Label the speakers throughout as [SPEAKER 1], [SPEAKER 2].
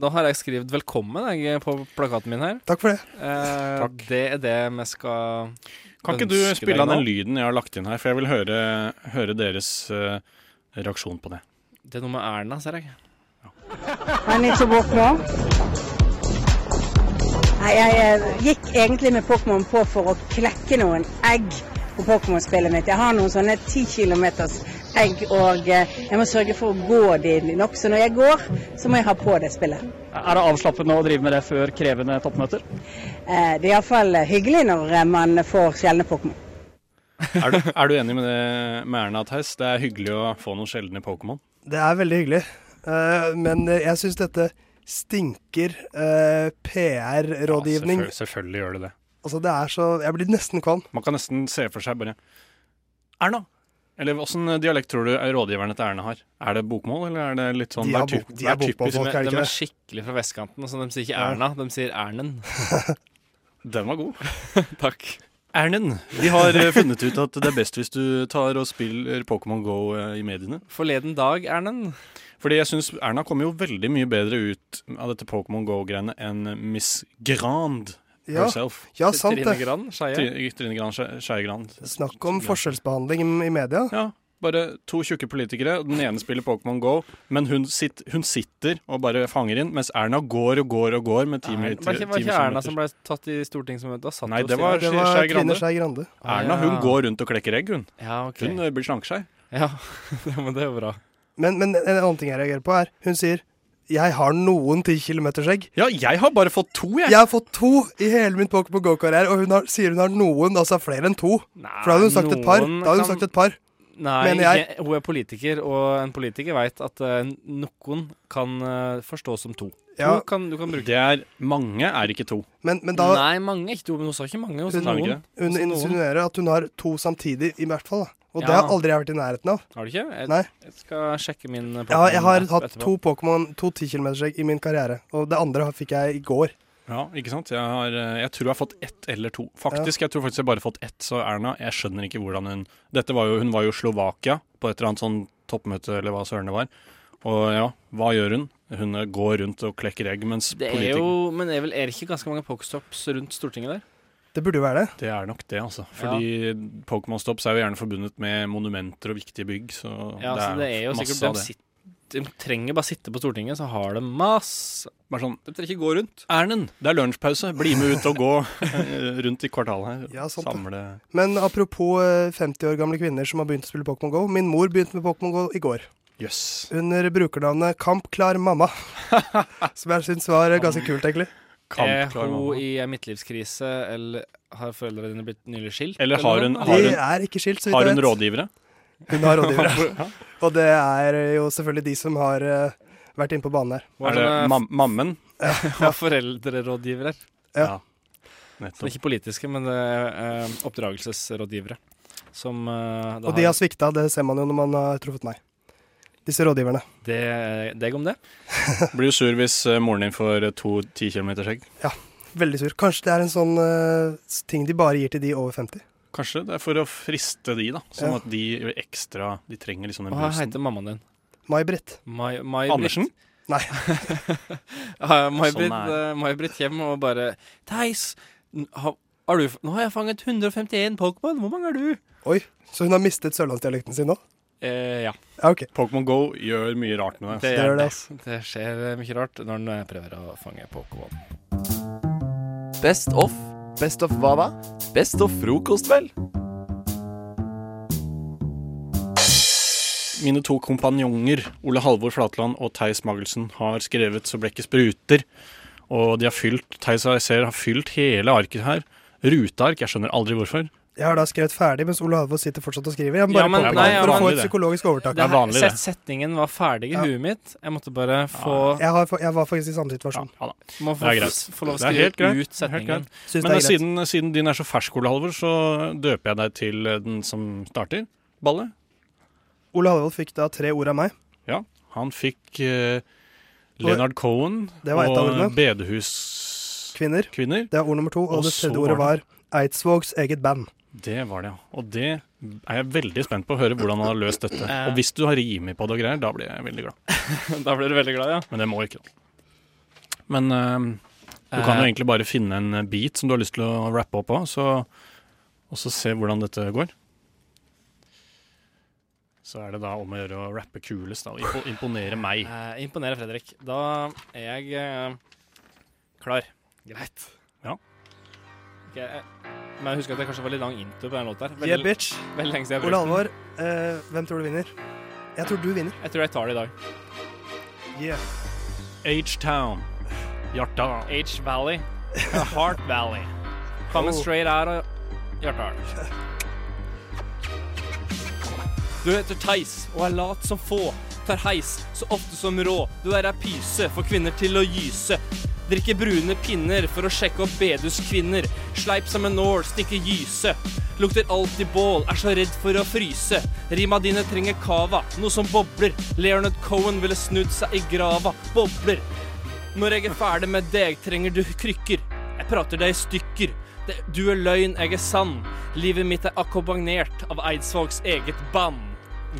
[SPEAKER 1] Da har jeg skrevet 'velkommen' jeg, på plakaten min her.
[SPEAKER 2] Takk for det.
[SPEAKER 1] Eh, Det er det vi skal
[SPEAKER 3] Kan ikke du
[SPEAKER 1] ønske
[SPEAKER 3] spille
[SPEAKER 1] deg
[SPEAKER 3] av den
[SPEAKER 1] nå?
[SPEAKER 3] lyden jeg har lagt inn her, for jeg vil høre, høre deres eh, reaksjon på det.
[SPEAKER 1] Det er noe med Erna, ser jeg.
[SPEAKER 4] Han er ikke våkna. Nei, jeg eh, gikk egentlig med Pokémon på for å klekke noen egg på Pokémon-spillet mitt. Jeg har noen sånne 10 kilometers egg, og eh, jeg må sørge for å gå de nok. Så når jeg går, så må jeg ha på det spillet.
[SPEAKER 5] Er det avslappende å drive med det før krevende toppmøter?
[SPEAKER 4] Eh, Det er iallfall hyggelig når eh, man får sjeldne Pokémon.
[SPEAKER 3] Er du, er du enig med det med Erna, Theis? Det er hyggelig å få noen sjeldne Pokémon.
[SPEAKER 2] Det er veldig hyggelig. Eh, men eh, jeg syns dette stinker eh, PR-rådgivning.
[SPEAKER 3] Ja, selvfølgelig, selvfølgelig gjør det det.
[SPEAKER 2] altså, det er så Jeg blir nesten kvalm.
[SPEAKER 3] Man kan nesten se for seg bare Erna! Eller åssen dialekt tror du rådgiverne til Erna har? Er det bokmål, eller er det litt sånn
[SPEAKER 2] De er
[SPEAKER 3] det typ-
[SPEAKER 2] bok- de
[SPEAKER 3] det
[SPEAKER 2] er bokmål,
[SPEAKER 3] typisk-
[SPEAKER 2] folk.
[SPEAKER 1] De,
[SPEAKER 2] Folk er
[SPEAKER 1] er-
[SPEAKER 2] ikke
[SPEAKER 1] de er
[SPEAKER 2] det.
[SPEAKER 1] skikkelig fra vestkanten. og sånn. de sier ikke
[SPEAKER 2] Ja.
[SPEAKER 1] Erna, de sier Ernen.
[SPEAKER 3] Den var god.
[SPEAKER 1] Takk.
[SPEAKER 3] Ernen, vi har eh, funnet ut at det er best hvis du tar og spiller Pokémon Go eh, i mediene.
[SPEAKER 1] Forleden dag, Ernen.
[SPEAKER 3] Fordi jeg synes Erna kommer jo veldig mye bedre ut av dette Pokémon Go-greiene enn Miss Grand
[SPEAKER 2] Ja,
[SPEAKER 3] herself.
[SPEAKER 2] ja sant
[SPEAKER 1] Trine
[SPEAKER 2] det.
[SPEAKER 1] Gran Skeie.
[SPEAKER 3] Tri- Trine Grand Skei Skei Grand.
[SPEAKER 2] Snakk om forskjellsbehandling i- i media.
[SPEAKER 3] Ja, bare to tjukke politikere. og Den ene spiller Pokémon Go, men hun, sitt, hun sitter og bare fanger inn, mens Erna går og går og går med ti
[SPEAKER 1] Var
[SPEAKER 3] minutter.
[SPEAKER 1] ikke, var
[SPEAKER 3] ti
[SPEAKER 1] ikke Erna
[SPEAKER 3] minutter.
[SPEAKER 1] som ble tatt i stortingsmøtet? Da satt
[SPEAKER 3] Nei,
[SPEAKER 1] hun
[SPEAKER 3] det
[SPEAKER 1] stille.
[SPEAKER 3] var-
[SPEAKER 2] Det
[SPEAKER 3] Skei-
[SPEAKER 2] var
[SPEAKER 3] Skei
[SPEAKER 2] Trine
[SPEAKER 3] Grande.
[SPEAKER 2] Skei Grande.
[SPEAKER 3] Erna hun går rundt og klekker egg, hun.
[SPEAKER 1] Ah. Ja, ok.
[SPEAKER 3] Hun eh, blir slankskei.
[SPEAKER 1] Ja, ja, men det er jo bra.
[SPEAKER 2] Men, men en annen ting jeg reagerer på, er hun sier 'jeg har noen 10 kilometers egg'.
[SPEAKER 3] Ja, jeg har bare fått to, jeg.
[SPEAKER 2] Jeg har fått to i hele min Pokémon Go-karriere, og hun har, sier hun har noen, altså flere enn to. For da hadde hun sagt et par. Da hadde hun sagt et par.
[SPEAKER 1] Nei,
[SPEAKER 2] mener jeg.
[SPEAKER 1] jeg- hun er politiker, og en politiker veit at eh, noen kan eh, forstås som to.
[SPEAKER 2] Ja.
[SPEAKER 1] To kan, du kan bruke
[SPEAKER 3] Det er mange, er ikke to.
[SPEAKER 2] Men, men da
[SPEAKER 1] Nei, mange er ikke to, men hun sa ikke mange. Hun sa
[SPEAKER 2] Hun-
[SPEAKER 3] Sa hun ikke
[SPEAKER 1] noen.
[SPEAKER 3] det?
[SPEAKER 2] hun
[SPEAKER 1] noen.
[SPEAKER 2] insinuerer at hun har to samtidig, i hvert fall. Da. Og det
[SPEAKER 1] Ja.
[SPEAKER 2] har aldri jeg vært i nærheten av.
[SPEAKER 1] Har du ikke? Jeg,
[SPEAKER 2] Nei.
[SPEAKER 1] jeg skal sjekke min eh,
[SPEAKER 2] Jeg har, jeg har
[SPEAKER 1] Pokémon-app
[SPEAKER 2] hatt
[SPEAKER 1] etterpå.
[SPEAKER 2] to Pokémon, to 10 kilometersegg i min karriere, og det andre fikk jeg i går.
[SPEAKER 3] Ja, ikke sant? Jeg, har, eh, jeg tror jeg har fått ett eller to. Faktisk, jeg tror faktisk jeg bare har fått ett. Så Erna, jeg skjønner ikke hvordan hun Dette var jo, Hun var jo i Slovakia på et eller annet sånn toppmøte eller hva søren det var. Og ja, hva gjør hun? Hun eh, går rundt og klekker egg mens
[SPEAKER 1] Det er
[SPEAKER 3] politikere
[SPEAKER 1] jo Men er, vel, er det ikke ganske mange pokestops rundt Stortinget der?
[SPEAKER 2] Det burde jo være det.
[SPEAKER 3] Det er nok det, altså. Fordi Pokémon Stops er jo gjerne forbundet med monumenter og viktige bygg. Så
[SPEAKER 1] Ja,
[SPEAKER 3] det
[SPEAKER 1] så
[SPEAKER 3] er,
[SPEAKER 1] det er jo
[SPEAKER 3] masse
[SPEAKER 1] sikkert
[SPEAKER 3] av
[SPEAKER 1] de,
[SPEAKER 3] det.
[SPEAKER 1] sitt- de trenger bare sitte på Stortinget, så har de masse
[SPEAKER 3] Bare sånn
[SPEAKER 1] De trenger ikke gå rundt.
[SPEAKER 3] Ernen, det er lunsjpause. Bli med ut og gå eh, rundt i kvartalet her.
[SPEAKER 2] Ja, sant det.
[SPEAKER 3] Samle
[SPEAKER 2] Men apropos eh, 50 år gamle kvinner som har begynt å spille Pokémon Go. Min mor begynte med Pokémon Go i går.
[SPEAKER 3] Jøss.
[SPEAKER 2] Under brukernavnet Kampklar mamma. som jeg syns var eh, ganske kult, egentlig. Eh,
[SPEAKER 1] Er
[SPEAKER 3] Kampklar
[SPEAKER 1] hun
[SPEAKER 3] mamma.
[SPEAKER 1] i en midtlivskrise, eller har foreldrene dine blitt nylig skilt?
[SPEAKER 3] Eller har hun-
[SPEAKER 1] noe?
[SPEAKER 3] har
[SPEAKER 2] De
[SPEAKER 3] hun-
[SPEAKER 2] er ikke skilt, så vidt
[SPEAKER 3] Har
[SPEAKER 2] jeg
[SPEAKER 3] hun
[SPEAKER 2] vet.
[SPEAKER 3] rådgivere?
[SPEAKER 2] Hun har rådgivere. Og det er jo selvfølgelig de som har eh, vært inne på banen her.
[SPEAKER 1] Hun har
[SPEAKER 3] Er det
[SPEAKER 1] sånne
[SPEAKER 3] mam mammen?
[SPEAKER 1] f- har foreldrerådgivere. Det er
[SPEAKER 3] Nettopp.
[SPEAKER 1] ikke politiske, men det er eh, oppdragelsesrådgivere. Som eh, da
[SPEAKER 2] Og de har svikta, det ser man jo når man har truffet meg. Disse rådgiverne.
[SPEAKER 1] det, Deg om det?
[SPEAKER 3] Blir jo sur hvis eh, moren din får eh, to 10 km skjegg.
[SPEAKER 2] Veldig sur. Kanskje det er en sånn eh, ting de bare gir til de over 50.
[SPEAKER 3] Kanskje det er for å friste de, da. Sånn
[SPEAKER 2] Ja.
[SPEAKER 3] at de ekstra De trenger liksom den
[SPEAKER 1] Hva
[SPEAKER 3] brusen.
[SPEAKER 1] heter mammaen din?
[SPEAKER 2] May-Britt.
[SPEAKER 1] Mai, Mai
[SPEAKER 3] Andersen?
[SPEAKER 2] Nei.
[SPEAKER 1] May-Britt
[SPEAKER 3] Sånn er
[SPEAKER 1] hjem og bare Theis, n- har, har du, f- nå har jeg fanget 151 Pokémon. Hvor mange er du?
[SPEAKER 2] Oi, så hun har mistet sørlandsdialekten sin nå?
[SPEAKER 1] Eh, ja.
[SPEAKER 2] Ja, OK.
[SPEAKER 3] Pokémon Go gjør mye rart med deg. altså.
[SPEAKER 1] Det,
[SPEAKER 2] gjør
[SPEAKER 1] er
[SPEAKER 2] det,
[SPEAKER 1] det. det skjer eh, mye rart når en eh, prøver å fange Pokémon.
[SPEAKER 6] Best of. Best of hva da? Best of frokost, vel?
[SPEAKER 3] Mine to kompanjonger, Ole Halvor Flatland og Theis Magelsen, har skrevet Så blekket spruter. Og de har fylt Theis og jeg ser har fylt hele arket her. Ruteark. Jeg skjønner aldri hvorfor.
[SPEAKER 2] Jeg har da skrevet ferdig, mens Ole Halvor sitter fortsatt og skriver. Jeg må bare
[SPEAKER 1] Ja, men-
[SPEAKER 2] poppe opp
[SPEAKER 1] nei,
[SPEAKER 2] for
[SPEAKER 1] ja,
[SPEAKER 2] å få
[SPEAKER 3] vanlig
[SPEAKER 2] et
[SPEAKER 3] det.
[SPEAKER 2] psykologisk overtak.
[SPEAKER 1] Det
[SPEAKER 3] er vanlig,
[SPEAKER 1] her-
[SPEAKER 3] det.
[SPEAKER 1] set- Setningen var ferdig i
[SPEAKER 2] Ja.
[SPEAKER 1] huet mitt. Jeg måtte bare få,
[SPEAKER 2] Jeg, har, jeg var faktisk i samme situasjon.
[SPEAKER 3] Ja, da.
[SPEAKER 1] må få,
[SPEAKER 3] det er greit.
[SPEAKER 1] få lov å
[SPEAKER 3] Det er helt greit.
[SPEAKER 1] skrive ut
[SPEAKER 3] Det er helt greit.
[SPEAKER 1] setningen.
[SPEAKER 2] Synes
[SPEAKER 3] Men
[SPEAKER 2] det er greit.
[SPEAKER 3] siden, siden din er så fersk, Ole Halvor, så døper jeg deg til eh, den som starter ballet.
[SPEAKER 2] Ole Halvor fikk da tre ord av meg.
[SPEAKER 3] Ja, han fikk eh, Leonard Cohen
[SPEAKER 2] Det var et av ordene.
[SPEAKER 3] og Bedehuskvinner.
[SPEAKER 2] Kvinner. Det er ord nummer to. Og,
[SPEAKER 3] Og
[SPEAKER 2] det tredje
[SPEAKER 3] så
[SPEAKER 2] ordet
[SPEAKER 3] var
[SPEAKER 2] var Eidsvågs eget band.
[SPEAKER 3] Det var det, ja. Og det er jeg veldig spent på å høre hvordan han har løst dette.
[SPEAKER 1] Eh.
[SPEAKER 3] Og hvis du har rimer på det og greier, da blir jeg veldig glad.
[SPEAKER 1] Da blir du veldig glad, ja.
[SPEAKER 3] Men det må ikke, da. men eh, du kan jo egentlig bare finne en eh, beat som du har lyst til å rappe opp på, så, og så se hvordan dette går. Så er det da om å gjøre å rappe kulest, da. og impo- Imponere meg.
[SPEAKER 1] Eh, imponerer Fredrik. Da er jeg eh, klar. Greit.
[SPEAKER 3] Ja.
[SPEAKER 1] Ok, eh, men husk at det kanskje var litt lang intro på den låta. her.
[SPEAKER 2] Yeah, bitch.
[SPEAKER 1] veldig lenge siden jeg
[SPEAKER 2] Ole
[SPEAKER 1] brukte den.
[SPEAKER 2] Alvor, eh, hvem tror du vinner? Jeg tror du vinner.
[SPEAKER 1] Jeg tror jeg tar det i dag.
[SPEAKER 2] Yeah.
[SPEAKER 3] H-Town. Hjarta.
[SPEAKER 1] H Valley. Heart Valley. Coming
[SPEAKER 2] Oh.
[SPEAKER 1] straight out of Hjartdal. Du heter Theis og er lat som få. Tar heis så ofte som rå. Du er ei pyse, får kvinner til å gyse. Drikker brune pinner for å sjekke opp beduskvinner. Sleip som en nål, stikker gyse. Lukter alltid bål, er så redd for å fryse. Rima dine trenger cava, noe som bobler. Leonard Cohen ville snudd seg i grava. Bobler. Når jeg er ferdig med deg, trenger du krykker. Jeg prater deg i stykker. Det, du er løgn, jeg er sann. Livet mitt er akkompagnert av Eidsvågs eget band.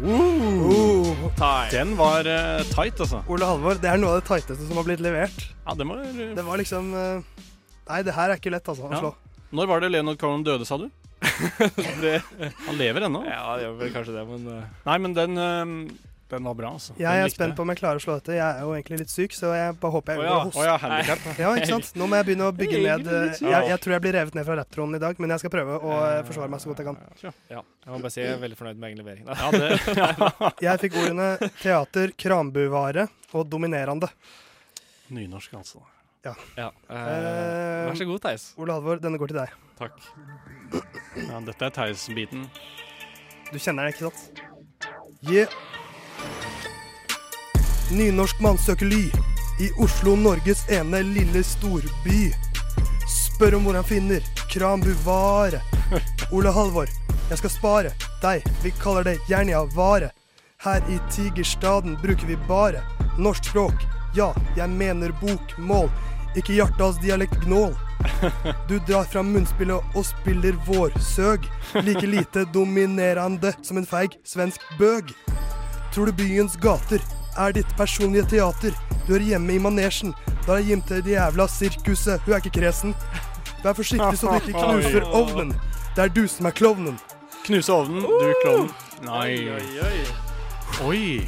[SPEAKER 2] Oh.
[SPEAKER 1] Time.
[SPEAKER 3] Den var eh, tight, altså.
[SPEAKER 2] Ole Alvor, det er noe av det tighteste som har blitt levert.
[SPEAKER 3] Ja, den var, eh,
[SPEAKER 2] Det var liksom eh, Nei, det her er ikke lett, altså. å
[SPEAKER 3] Ja.
[SPEAKER 2] slå.
[SPEAKER 3] Når var det Leonard Cohen døde, sa du? Han lever ennå.
[SPEAKER 1] Ja, det gjør vel kanskje det, men eh,
[SPEAKER 3] Nei, men den, eh, den var bra, altså.
[SPEAKER 2] Jeg
[SPEAKER 3] Den
[SPEAKER 2] er
[SPEAKER 3] likte
[SPEAKER 2] spent på om jeg klarer å slå dette. Jeg er jo egentlig litt syk, så jeg bare håper jeg
[SPEAKER 1] Å
[SPEAKER 2] unngår
[SPEAKER 1] ja,
[SPEAKER 2] å
[SPEAKER 3] Å
[SPEAKER 2] hoste.
[SPEAKER 3] ja, handikap.
[SPEAKER 2] Ja, ikke sant? Nå må jeg begynne å bygge ned
[SPEAKER 1] Jeg er egentlig
[SPEAKER 2] eh,
[SPEAKER 1] litt syk.
[SPEAKER 2] jeg, jeg tror jeg blir revet ned fra rapptronen i dag, men jeg skal prøve å eh, forsvare meg så godt jeg kan.
[SPEAKER 3] Ja,
[SPEAKER 1] ja. Jeg må bare si jeg er veldig fornøyd med egen levering.
[SPEAKER 3] ja, det,
[SPEAKER 2] Jeg fikk ordene teater, krambuvare og dominerende.
[SPEAKER 3] Nynorsk, altså.
[SPEAKER 1] Ja.
[SPEAKER 2] Eh,
[SPEAKER 1] vær så god, Theis.
[SPEAKER 2] Ole Halvor, denne går til deg.
[SPEAKER 1] Takk.
[SPEAKER 3] Ja, dette er Theis-biten.
[SPEAKER 2] Du kjenner den, ikke sant? Yeah. Nynorsk mannsøker ly i Oslo, Norges ene lille storby. Spør om hvor han finner kram buvare. Ole Halvor, jeg skal spare deg, vi kaller det Jernia-vare. Her i Tigerstaden bruker vi bare norsk språk. Ja, jeg mener bokmål, ikke Hjartdals dialekt gnål. Du drar fra munnspillet og spiller vårsøg. Like lite dominerende som en feig svensk bøg. Tror du byens gater er ditt personlige teater? Du er hjemme i manesjen. Da er Jim til det jævla sirkuset. Hun er ikke kresen. Vær forsiktig så du ikke knuser ovnen. Det er du som er klovnen.
[SPEAKER 3] Knuse ovnen, du klovn. Nei. Oi.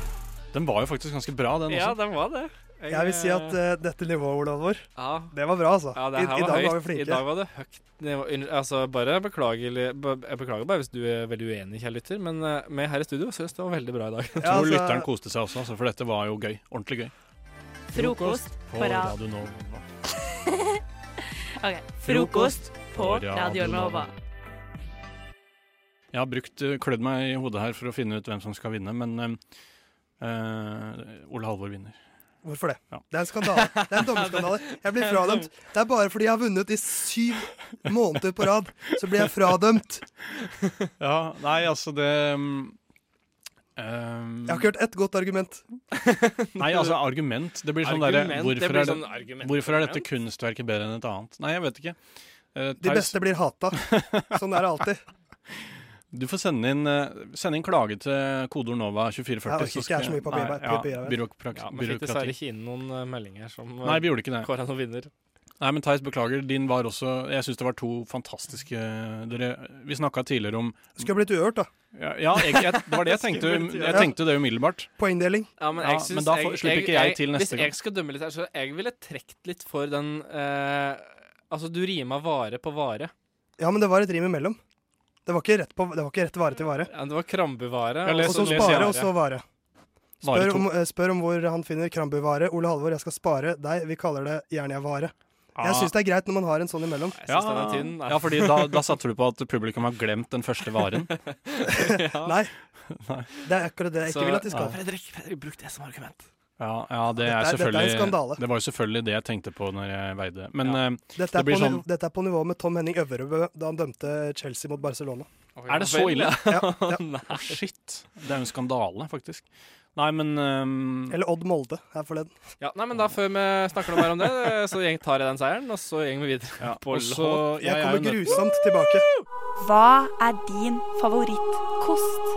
[SPEAKER 3] Den var jo faktisk ganske bra, den
[SPEAKER 1] Ja,
[SPEAKER 3] også.
[SPEAKER 1] den var det. Jeg,
[SPEAKER 2] Jeg vil si at
[SPEAKER 1] eh,
[SPEAKER 2] eh, dette nivået, Olav vår,
[SPEAKER 1] ja.
[SPEAKER 2] det var bra, altså.
[SPEAKER 1] Ja, det
[SPEAKER 2] I, I
[SPEAKER 1] her
[SPEAKER 2] dag
[SPEAKER 1] høyt.
[SPEAKER 2] var vi
[SPEAKER 1] I dag
[SPEAKER 2] flinke.
[SPEAKER 1] var det høyt nivå. Unnskyld, Altså, bare beklagelig be- Jeg beklager bare hvis du er veldig uenig, kjære lytter, men eh, med her i studio syns det var veldig bra i dag.
[SPEAKER 3] Jeg tror
[SPEAKER 2] Ja, altså-
[SPEAKER 3] lytteren koste seg også, altså, for dette var jo gøy. Ordentlig gøy.
[SPEAKER 7] Frokost
[SPEAKER 3] på
[SPEAKER 7] på ra-
[SPEAKER 3] Radio Nova.
[SPEAKER 7] Ok, Frokost på Radio Nova.
[SPEAKER 3] Jeg har brukt, eh, klødd meg i hodet her for å finne ut hvem som skal vinne, men eh, eh, Ole Halvor vinner.
[SPEAKER 2] Hvorfor det?
[SPEAKER 3] Ja.
[SPEAKER 2] Det er en skandale. Det er en dommerskandale. Jeg blir fradømt. Det er bare fordi jeg har vunnet i syv måneder på rad, så blir jeg fradømt.
[SPEAKER 3] Ja, nei, altså det mm, eh,
[SPEAKER 2] Jeg har ikke hørt ett godt argument.
[SPEAKER 3] Nei, altså argument. Det blir sånn derre
[SPEAKER 1] Argument, det
[SPEAKER 3] hvorfor,
[SPEAKER 1] blir
[SPEAKER 3] er det-
[SPEAKER 1] sånn argument.
[SPEAKER 3] hvorfor er dette kunstverket bedre enn et annet? Nei, jeg vet ikke. Eh,
[SPEAKER 2] De
[SPEAKER 3] Theis,
[SPEAKER 2] beste blir hata. Sånn er det alltid.
[SPEAKER 3] Du får sende inn, eh, sende inn klage til kodeord Nova 2440.
[SPEAKER 2] Jeg orker ikke, jeg er så mye papir-
[SPEAKER 3] Nei,
[SPEAKER 2] papir-
[SPEAKER 3] ja,
[SPEAKER 2] papir-
[SPEAKER 3] byråkrak-
[SPEAKER 1] Ja, men fikk dessverre
[SPEAKER 3] byråkrati.
[SPEAKER 1] ikke inn noen eh, meldinger som eh,
[SPEAKER 3] Nei, vi gjorde ikke det.
[SPEAKER 1] kåra noen vinner.
[SPEAKER 3] Nei, men Theis, beklager. Din var også Jeg syns det var to fantastiske dere, Vi snakka tidligere om
[SPEAKER 2] Skulle blitt uhørt, da.
[SPEAKER 3] Ja, ja jeg, jeg, det var det jeg tenkte. Jeg tenkte det umiddelbart.
[SPEAKER 2] Poengdeling.
[SPEAKER 1] Ja, men,
[SPEAKER 3] Ja,
[SPEAKER 1] jeg synes,
[SPEAKER 3] men da får-
[SPEAKER 1] jeg-
[SPEAKER 3] slipper ikke jeg til neste
[SPEAKER 1] Hvis
[SPEAKER 3] gang.
[SPEAKER 1] jeg skal dømme litt her, så jeg ville trukket litt for den eh, Altså, du rima vare på vare.
[SPEAKER 2] Ja, men det var et rim imellom. Det var ikke rett, på, det var ikke rett vare til vare.
[SPEAKER 1] Ja, det var krambevare.
[SPEAKER 3] Ja, les-
[SPEAKER 2] Og så
[SPEAKER 3] les
[SPEAKER 2] spare,
[SPEAKER 3] gjerne.
[SPEAKER 2] og så vare.
[SPEAKER 3] Vare
[SPEAKER 2] Spør
[SPEAKER 3] to.
[SPEAKER 2] om, eh, spør om hvor han finner krambuvare. Ole Halvor, jeg skal spare deg. Vi kaller det Jernia-vare.
[SPEAKER 3] Ah.
[SPEAKER 2] Jeg syns det er greit når man har en sånn imellom.
[SPEAKER 1] Jeg
[SPEAKER 3] ja,
[SPEAKER 1] synes den er tynn. altså. Nei.
[SPEAKER 3] ja, fordi da, da satte du på at publikum har glemt den første varen.
[SPEAKER 2] Nei. Det er akkurat det jeg ikke
[SPEAKER 1] Så-
[SPEAKER 2] vil at de
[SPEAKER 3] ah,
[SPEAKER 2] skal.
[SPEAKER 1] Fredrik, Fredrik, bruk det som argument.
[SPEAKER 3] Ja, ja det,
[SPEAKER 2] Dette er- dette er
[SPEAKER 3] er,
[SPEAKER 2] en
[SPEAKER 3] selvfølgelig
[SPEAKER 2] skandale.
[SPEAKER 3] Det var jo selvfølgelig det jeg tenkte på når jeg veide. Men eh,
[SPEAKER 2] Dette er,
[SPEAKER 3] Det blir
[SPEAKER 2] på, niv-
[SPEAKER 3] sånn-
[SPEAKER 2] dette er på nivå med Tom Henning Øvrebø da han dømte Chelsea mot Barcelona.
[SPEAKER 3] er det så ille?
[SPEAKER 2] Ja, ja.
[SPEAKER 3] Å, shit. Det er jo en skandale, faktisk. Nei, men ehm,
[SPEAKER 2] Eller Odd Molde her forleden.
[SPEAKER 1] Ja, nei, men da Før vi snakker noe mer om det, så gjeng tar jeg den seieren, og så går vi videre
[SPEAKER 3] ja,
[SPEAKER 1] på
[SPEAKER 3] også, jeg,
[SPEAKER 1] låt.
[SPEAKER 2] Jeg
[SPEAKER 3] er jo
[SPEAKER 2] kommer
[SPEAKER 3] nødt-
[SPEAKER 2] grusomt tilbake.
[SPEAKER 8] Hva er din favorittkost?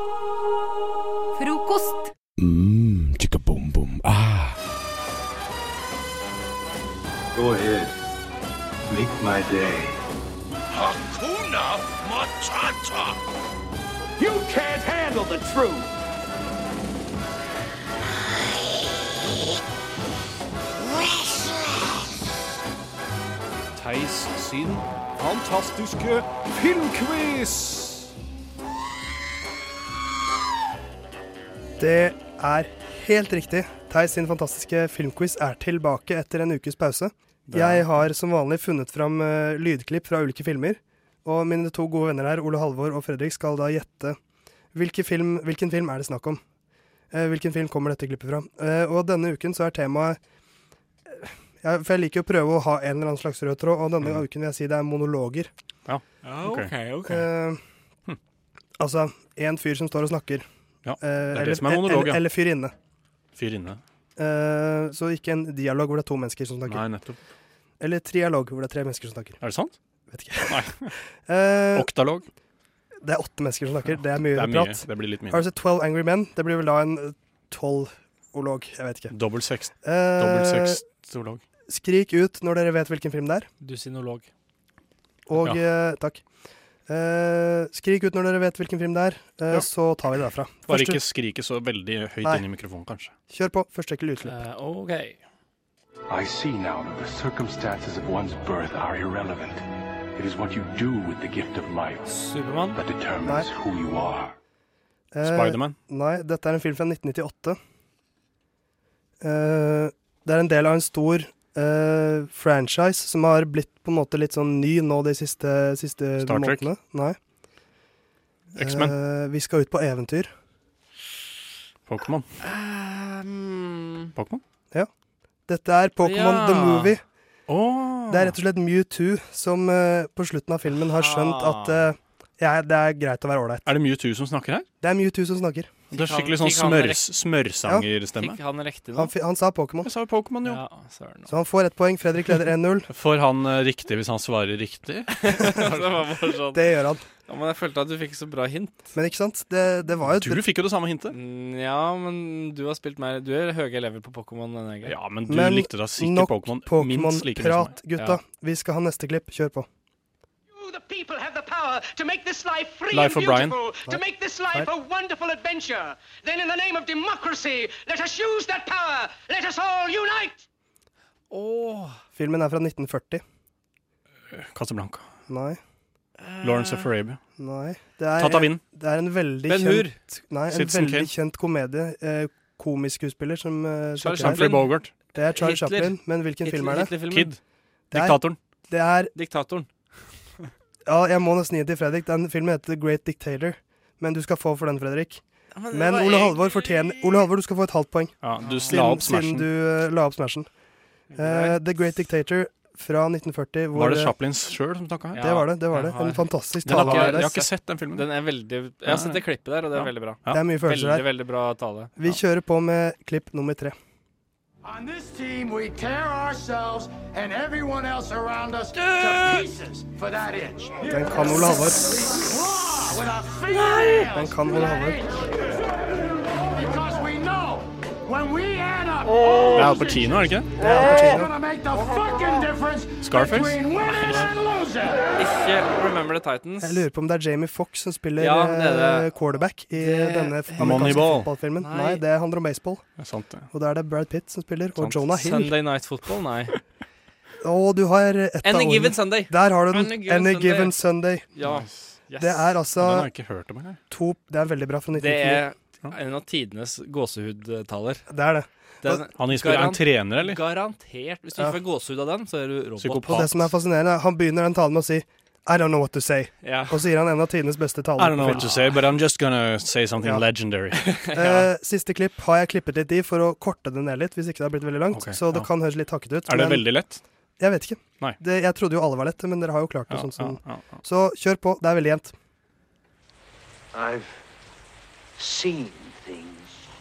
[SPEAKER 8] Frokost.
[SPEAKER 9] Mm, chicka boom boom. Ah. Go ahead. Make my day.
[SPEAKER 3] Theis sin fantastiske filmquiz!
[SPEAKER 2] Det er helt riktig. Theis sin fantastiske filmquiz er tilbake etter en ukes pause. Jeg har som vanlig funnet fram eh, lydklipp fra ulike filmer. Og mine to gode venner her, Ole Halvor og Fredrik, skal da gjette hvilken film, hvilken film er det snakk om. Eh, Hvilken film kommer dette klippet fra? Eh, Og denne uken så er temaet eh, ja, For jeg liker å prøve å ha en eller annen slags rød tråd, og denne uken vil jeg si det er monologer.
[SPEAKER 3] Ah, Ok.
[SPEAKER 2] Eh, altså en fyr som står og snakker.
[SPEAKER 3] Ja,
[SPEAKER 2] Eh,
[SPEAKER 3] det
[SPEAKER 2] eller,
[SPEAKER 3] som er monolog,
[SPEAKER 2] eller,
[SPEAKER 3] ja.
[SPEAKER 2] eller fyr inne.
[SPEAKER 3] Fyr inne.
[SPEAKER 2] Eh, så ikke en dialog hvor det er to mennesker som snakker.
[SPEAKER 3] Nei, nettopp.
[SPEAKER 2] Eller trialog hvor det er tre mennesker som snakker.
[SPEAKER 3] Er det sant?
[SPEAKER 2] Vet ikke.
[SPEAKER 3] Nei.
[SPEAKER 2] Eh,
[SPEAKER 3] Oktalog?
[SPEAKER 2] det er åtte mennesker som snakker. Det er mye
[SPEAKER 3] Det er mye.
[SPEAKER 2] prat.
[SPEAKER 3] Det blir litt mye.
[SPEAKER 2] Har du sett 12 Angry Men? Det blir vel da en eh, tolv-olog. Jeg vet ikke.
[SPEAKER 3] Dobbel seks.
[SPEAKER 2] Eh,
[SPEAKER 3] Dobbel sekstolog.
[SPEAKER 2] skrik ut når dere vet hvilken film det er.
[SPEAKER 1] Dusinolog.
[SPEAKER 2] Og eh, takk. Eh, skrik ut når dere vet hvilken film det er, eh,
[SPEAKER 3] Ja.
[SPEAKER 2] så tar vi det derfra.
[SPEAKER 3] Bare
[SPEAKER 2] Første-
[SPEAKER 3] ikke skrike så veldig høyt
[SPEAKER 2] Nei.
[SPEAKER 3] inn i mikrofonen, kanskje.
[SPEAKER 2] Kjør på. Første ekkel utslipp.
[SPEAKER 1] OK.
[SPEAKER 9] I see now that the circumstances of one's birth are irrelevant. It is what you do with the gift of life
[SPEAKER 1] Supermann.
[SPEAKER 9] that determines
[SPEAKER 2] Right.
[SPEAKER 9] who you are.
[SPEAKER 2] Eh,
[SPEAKER 3] Spiderman.
[SPEAKER 2] Nei, dette er en film fra 1998. Eh, det er en del av en stor eh, franchise som har blitt på en måte litt sånn ny nå de siste, siste
[SPEAKER 3] Star Trek?
[SPEAKER 2] månedene. Nei.
[SPEAKER 3] X-Men.
[SPEAKER 2] Eh, vi skal ut på eventyr.
[SPEAKER 3] Pokémon. Pokémon?
[SPEAKER 2] Dette er Pokémon
[SPEAKER 1] Um, Ja.
[SPEAKER 2] The Movie.
[SPEAKER 3] Åh!
[SPEAKER 2] Det er rett og slett Mewtwo som eh, på slutten av filmen har skjønt
[SPEAKER 1] Ah.
[SPEAKER 2] at eh, ja, det er greit å være ålreit.
[SPEAKER 3] Er det Mewtwo som snakker her?
[SPEAKER 2] Det er Mewtwo som snakker.
[SPEAKER 3] Det er
[SPEAKER 1] han-
[SPEAKER 3] skikkelig sånn
[SPEAKER 1] fikk han
[SPEAKER 3] smørs, smørsangerstemme.
[SPEAKER 1] Fikk han riktig nå?
[SPEAKER 2] Han, fi- han sa Pokémon,
[SPEAKER 3] Jeg sa jo Pokémon, jo.
[SPEAKER 1] Ja, søren. altså.
[SPEAKER 2] så han får ett poeng. Fredrik leder 1-0.
[SPEAKER 3] Får han eh, riktig hvis han svarer riktig?
[SPEAKER 1] det var bare sånn.
[SPEAKER 2] Det gjør han.
[SPEAKER 1] Ja, men jeg følte at du fikk så bra hint. Mm,
[SPEAKER 2] Men ikke sant? Det, det var jo et
[SPEAKER 3] Du fikk jo det samme hintet.
[SPEAKER 1] Ja, men du har spilt mer Du er høye level på Pokémon denne gangen.
[SPEAKER 3] Ja, men du
[SPEAKER 2] Men
[SPEAKER 3] likte da sikkert
[SPEAKER 2] nok
[SPEAKER 3] Pokémon minst like mye som meg.
[SPEAKER 2] Pokémon-prat,
[SPEAKER 1] Ja.
[SPEAKER 2] gutta. Vi skal ha neste klipp. Kjør på.
[SPEAKER 10] You, the people, have the power to make this life free
[SPEAKER 3] Life of
[SPEAKER 10] and
[SPEAKER 3] Brian.
[SPEAKER 10] beautiful, to make this life a wonderful adventure. Then, in the name of democracy, let us use that power. Let us all unite.
[SPEAKER 1] Åh.
[SPEAKER 2] Filmen er fra 1940.
[SPEAKER 3] Casablanca.
[SPEAKER 2] Nei,
[SPEAKER 1] Eh,
[SPEAKER 3] Lawrence of Arabia.
[SPEAKER 2] nei. Det er,
[SPEAKER 3] Tatt av vinden.
[SPEAKER 2] Det er en veldig
[SPEAKER 1] Ben Hur.
[SPEAKER 2] kjent Nei, en
[SPEAKER 3] Citizen
[SPEAKER 2] veldig
[SPEAKER 3] Kane.
[SPEAKER 2] kjent komedie. Eh, Komiskuespiller som eh,
[SPEAKER 1] Charles
[SPEAKER 2] snakker
[SPEAKER 3] Humphrey
[SPEAKER 2] her.
[SPEAKER 1] Chaplin.
[SPEAKER 3] Bogart.
[SPEAKER 2] Det er Charles
[SPEAKER 1] Hitler.
[SPEAKER 2] Chaplin. Men hvilken film er det?
[SPEAKER 1] Hitler-filmen.
[SPEAKER 3] Kid.
[SPEAKER 2] Det er,
[SPEAKER 3] Diktatoren.
[SPEAKER 2] det er
[SPEAKER 1] Diktatoren.
[SPEAKER 2] Ja, jeg må nesten gi det til Fredrik. Den filmen heter The Great Dictator. Men du skal få for den, Fredrik. Men Ole Halvor fortjener Ole Halvor, du skal få et halvt poeng.
[SPEAKER 3] Ja, du la
[SPEAKER 2] Siden,
[SPEAKER 3] opp
[SPEAKER 2] siden
[SPEAKER 3] smashen.
[SPEAKER 2] du eh, la opp smashen. Eh, The Great Dictator fra 1940. Hvor,
[SPEAKER 3] Var det
[SPEAKER 2] eh,
[SPEAKER 3] Chaplins sjøl som snakka her?
[SPEAKER 1] Ja.
[SPEAKER 2] Det var det. det var det.
[SPEAKER 1] jeg har-
[SPEAKER 2] En fantastisk
[SPEAKER 3] Den har
[SPEAKER 2] tale.
[SPEAKER 3] ikke,
[SPEAKER 2] av
[SPEAKER 1] var det.
[SPEAKER 3] jeg
[SPEAKER 2] deg.
[SPEAKER 3] har ikke sett den filmen.
[SPEAKER 1] Den er veldig Jeg har sett det klippet der, og det er
[SPEAKER 3] Ja.
[SPEAKER 1] veldig bra.
[SPEAKER 3] Ja.
[SPEAKER 2] Det er mye følelser her.
[SPEAKER 1] Veldig, veldig bra tale.
[SPEAKER 2] Vi kjører på med klipp nummer tre.
[SPEAKER 9] On this team, we tear ourselves and everyone else around us to pieces for that inch.
[SPEAKER 2] Den kan Ole Halvor.
[SPEAKER 9] With our fingernails
[SPEAKER 2] Den kan Ole Halvor.
[SPEAKER 9] because we know when we add up,
[SPEAKER 3] Det er Al Pacino, er det ikke?
[SPEAKER 2] Det er Al
[SPEAKER 9] it's
[SPEAKER 2] Pacino.
[SPEAKER 9] gonna make the fucking difference
[SPEAKER 3] Scarface?
[SPEAKER 9] between winning and losing.
[SPEAKER 1] Ikke Remember the Titans.
[SPEAKER 2] Jeg lurer på om det er Jamie Foxx som spiller
[SPEAKER 1] Ja, det er det.
[SPEAKER 2] eh, quarterback i
[SPEAKER 1] Det-
[SPEAKER 2] denne f- amerikanske
[SPEAKER 3] Moneyball.
[SPEAKER 2] fotballfilmen.
[SPEAKER 1] Nei.
[SPEAKER 2] Nei, det handler om baseball.
[SPEAKER 3] Det er sant, det.
[SPEAKER 2] Og da er det Brad Pitt som spiller, og
[SPEAKER 3] Sant.
[SPEAKER 2] Jonah Hill.
[SPEAKER 1] Sunday Night Football? Nei.
[SPEAKER 2] Å, du har ett av
[SPEAKER 1] Any Given
[SPEAKER 2] ordene.
[SPEAKER 1] Sunday.
[SPEAKER 2] Der har du den.
[SPEAKER 1] Any Given
[SPEAKER 2] Any
[SPEAKER 1] Sunday.
[SPEAKER 2] Given Sunday.
[SPEAKER 1] Ja. Yes.
[SPEAKER 2] Det er
[SPEAKER 3] Den
[SPEAKER 2] altså
[SPEAKER 3] har jeg ikke hørt om engang.
[SPEAKER 2] to Det er veldig bra fra
[SPEAKER 1] Det
[SPEAKER 2] 1990.
[SPEAKER 1] er en av tidenes gåsehudtaler.
[SPEAKER 2] Det er det.
[SPEAKER 1] Den
[SPEAKER 3] Han innspiller er
[SPEAKER 1] Garant-
[SPEAKER 3] en trener, eller?
[SPEAKER 1] garantert Hvis du
[SPEAKER 2] Ja.
[SPEAKER 1] ikke får gåsehud av den, så er du robot.
[SPEAKER 3] Psykopat.
[SPEAKER 2] Og det som er fascinerende, er- han begynner den talen med å si I don't know what to say.
[SPEAKER 1] Ja.
[SPEAKER 2] Og så gir han en av tidenes beste taler.
[SPEAKER 3] I
[SPEAKER 2] på
[SPEAKER 3] don't know
[SPEAKER 2] film.
[SPEAKER 3] what to say, but I'm just gonna say something
[SPEAKER 2] Ja.
[SPEAKER 3] legendary.
[SPEAKER 2] Eh, siste klipp har jeg klippet litt i for å korte det ned litt, hvis ikke det har blitt veldig langt.
[SPEAKER 3] Ok,
[SPEAKER 2] så det
[SPEAKER 3] ja.
[SPEAKER 2] kan høres litt hakket ut.
[SPEAKER 3] Er det
[SPEAKER 2] men
[SPEAKER 3] veldig lett?
[SPEAKER 2] Jeg vet ikke.
[SPEAKER 3] Nei.
[SPEAKER 2] Det, jeg trodde jo alle var lette, men dere har jo klart det
[SPEAKER 3] Ja,
[SPEAKER 2] sånn som
[SPEAKER 3] ja, ja, ja.
[SPEAKER 2] Så kjør på. Det er veldig jevnt.
[SPEAKER 9] I've seen things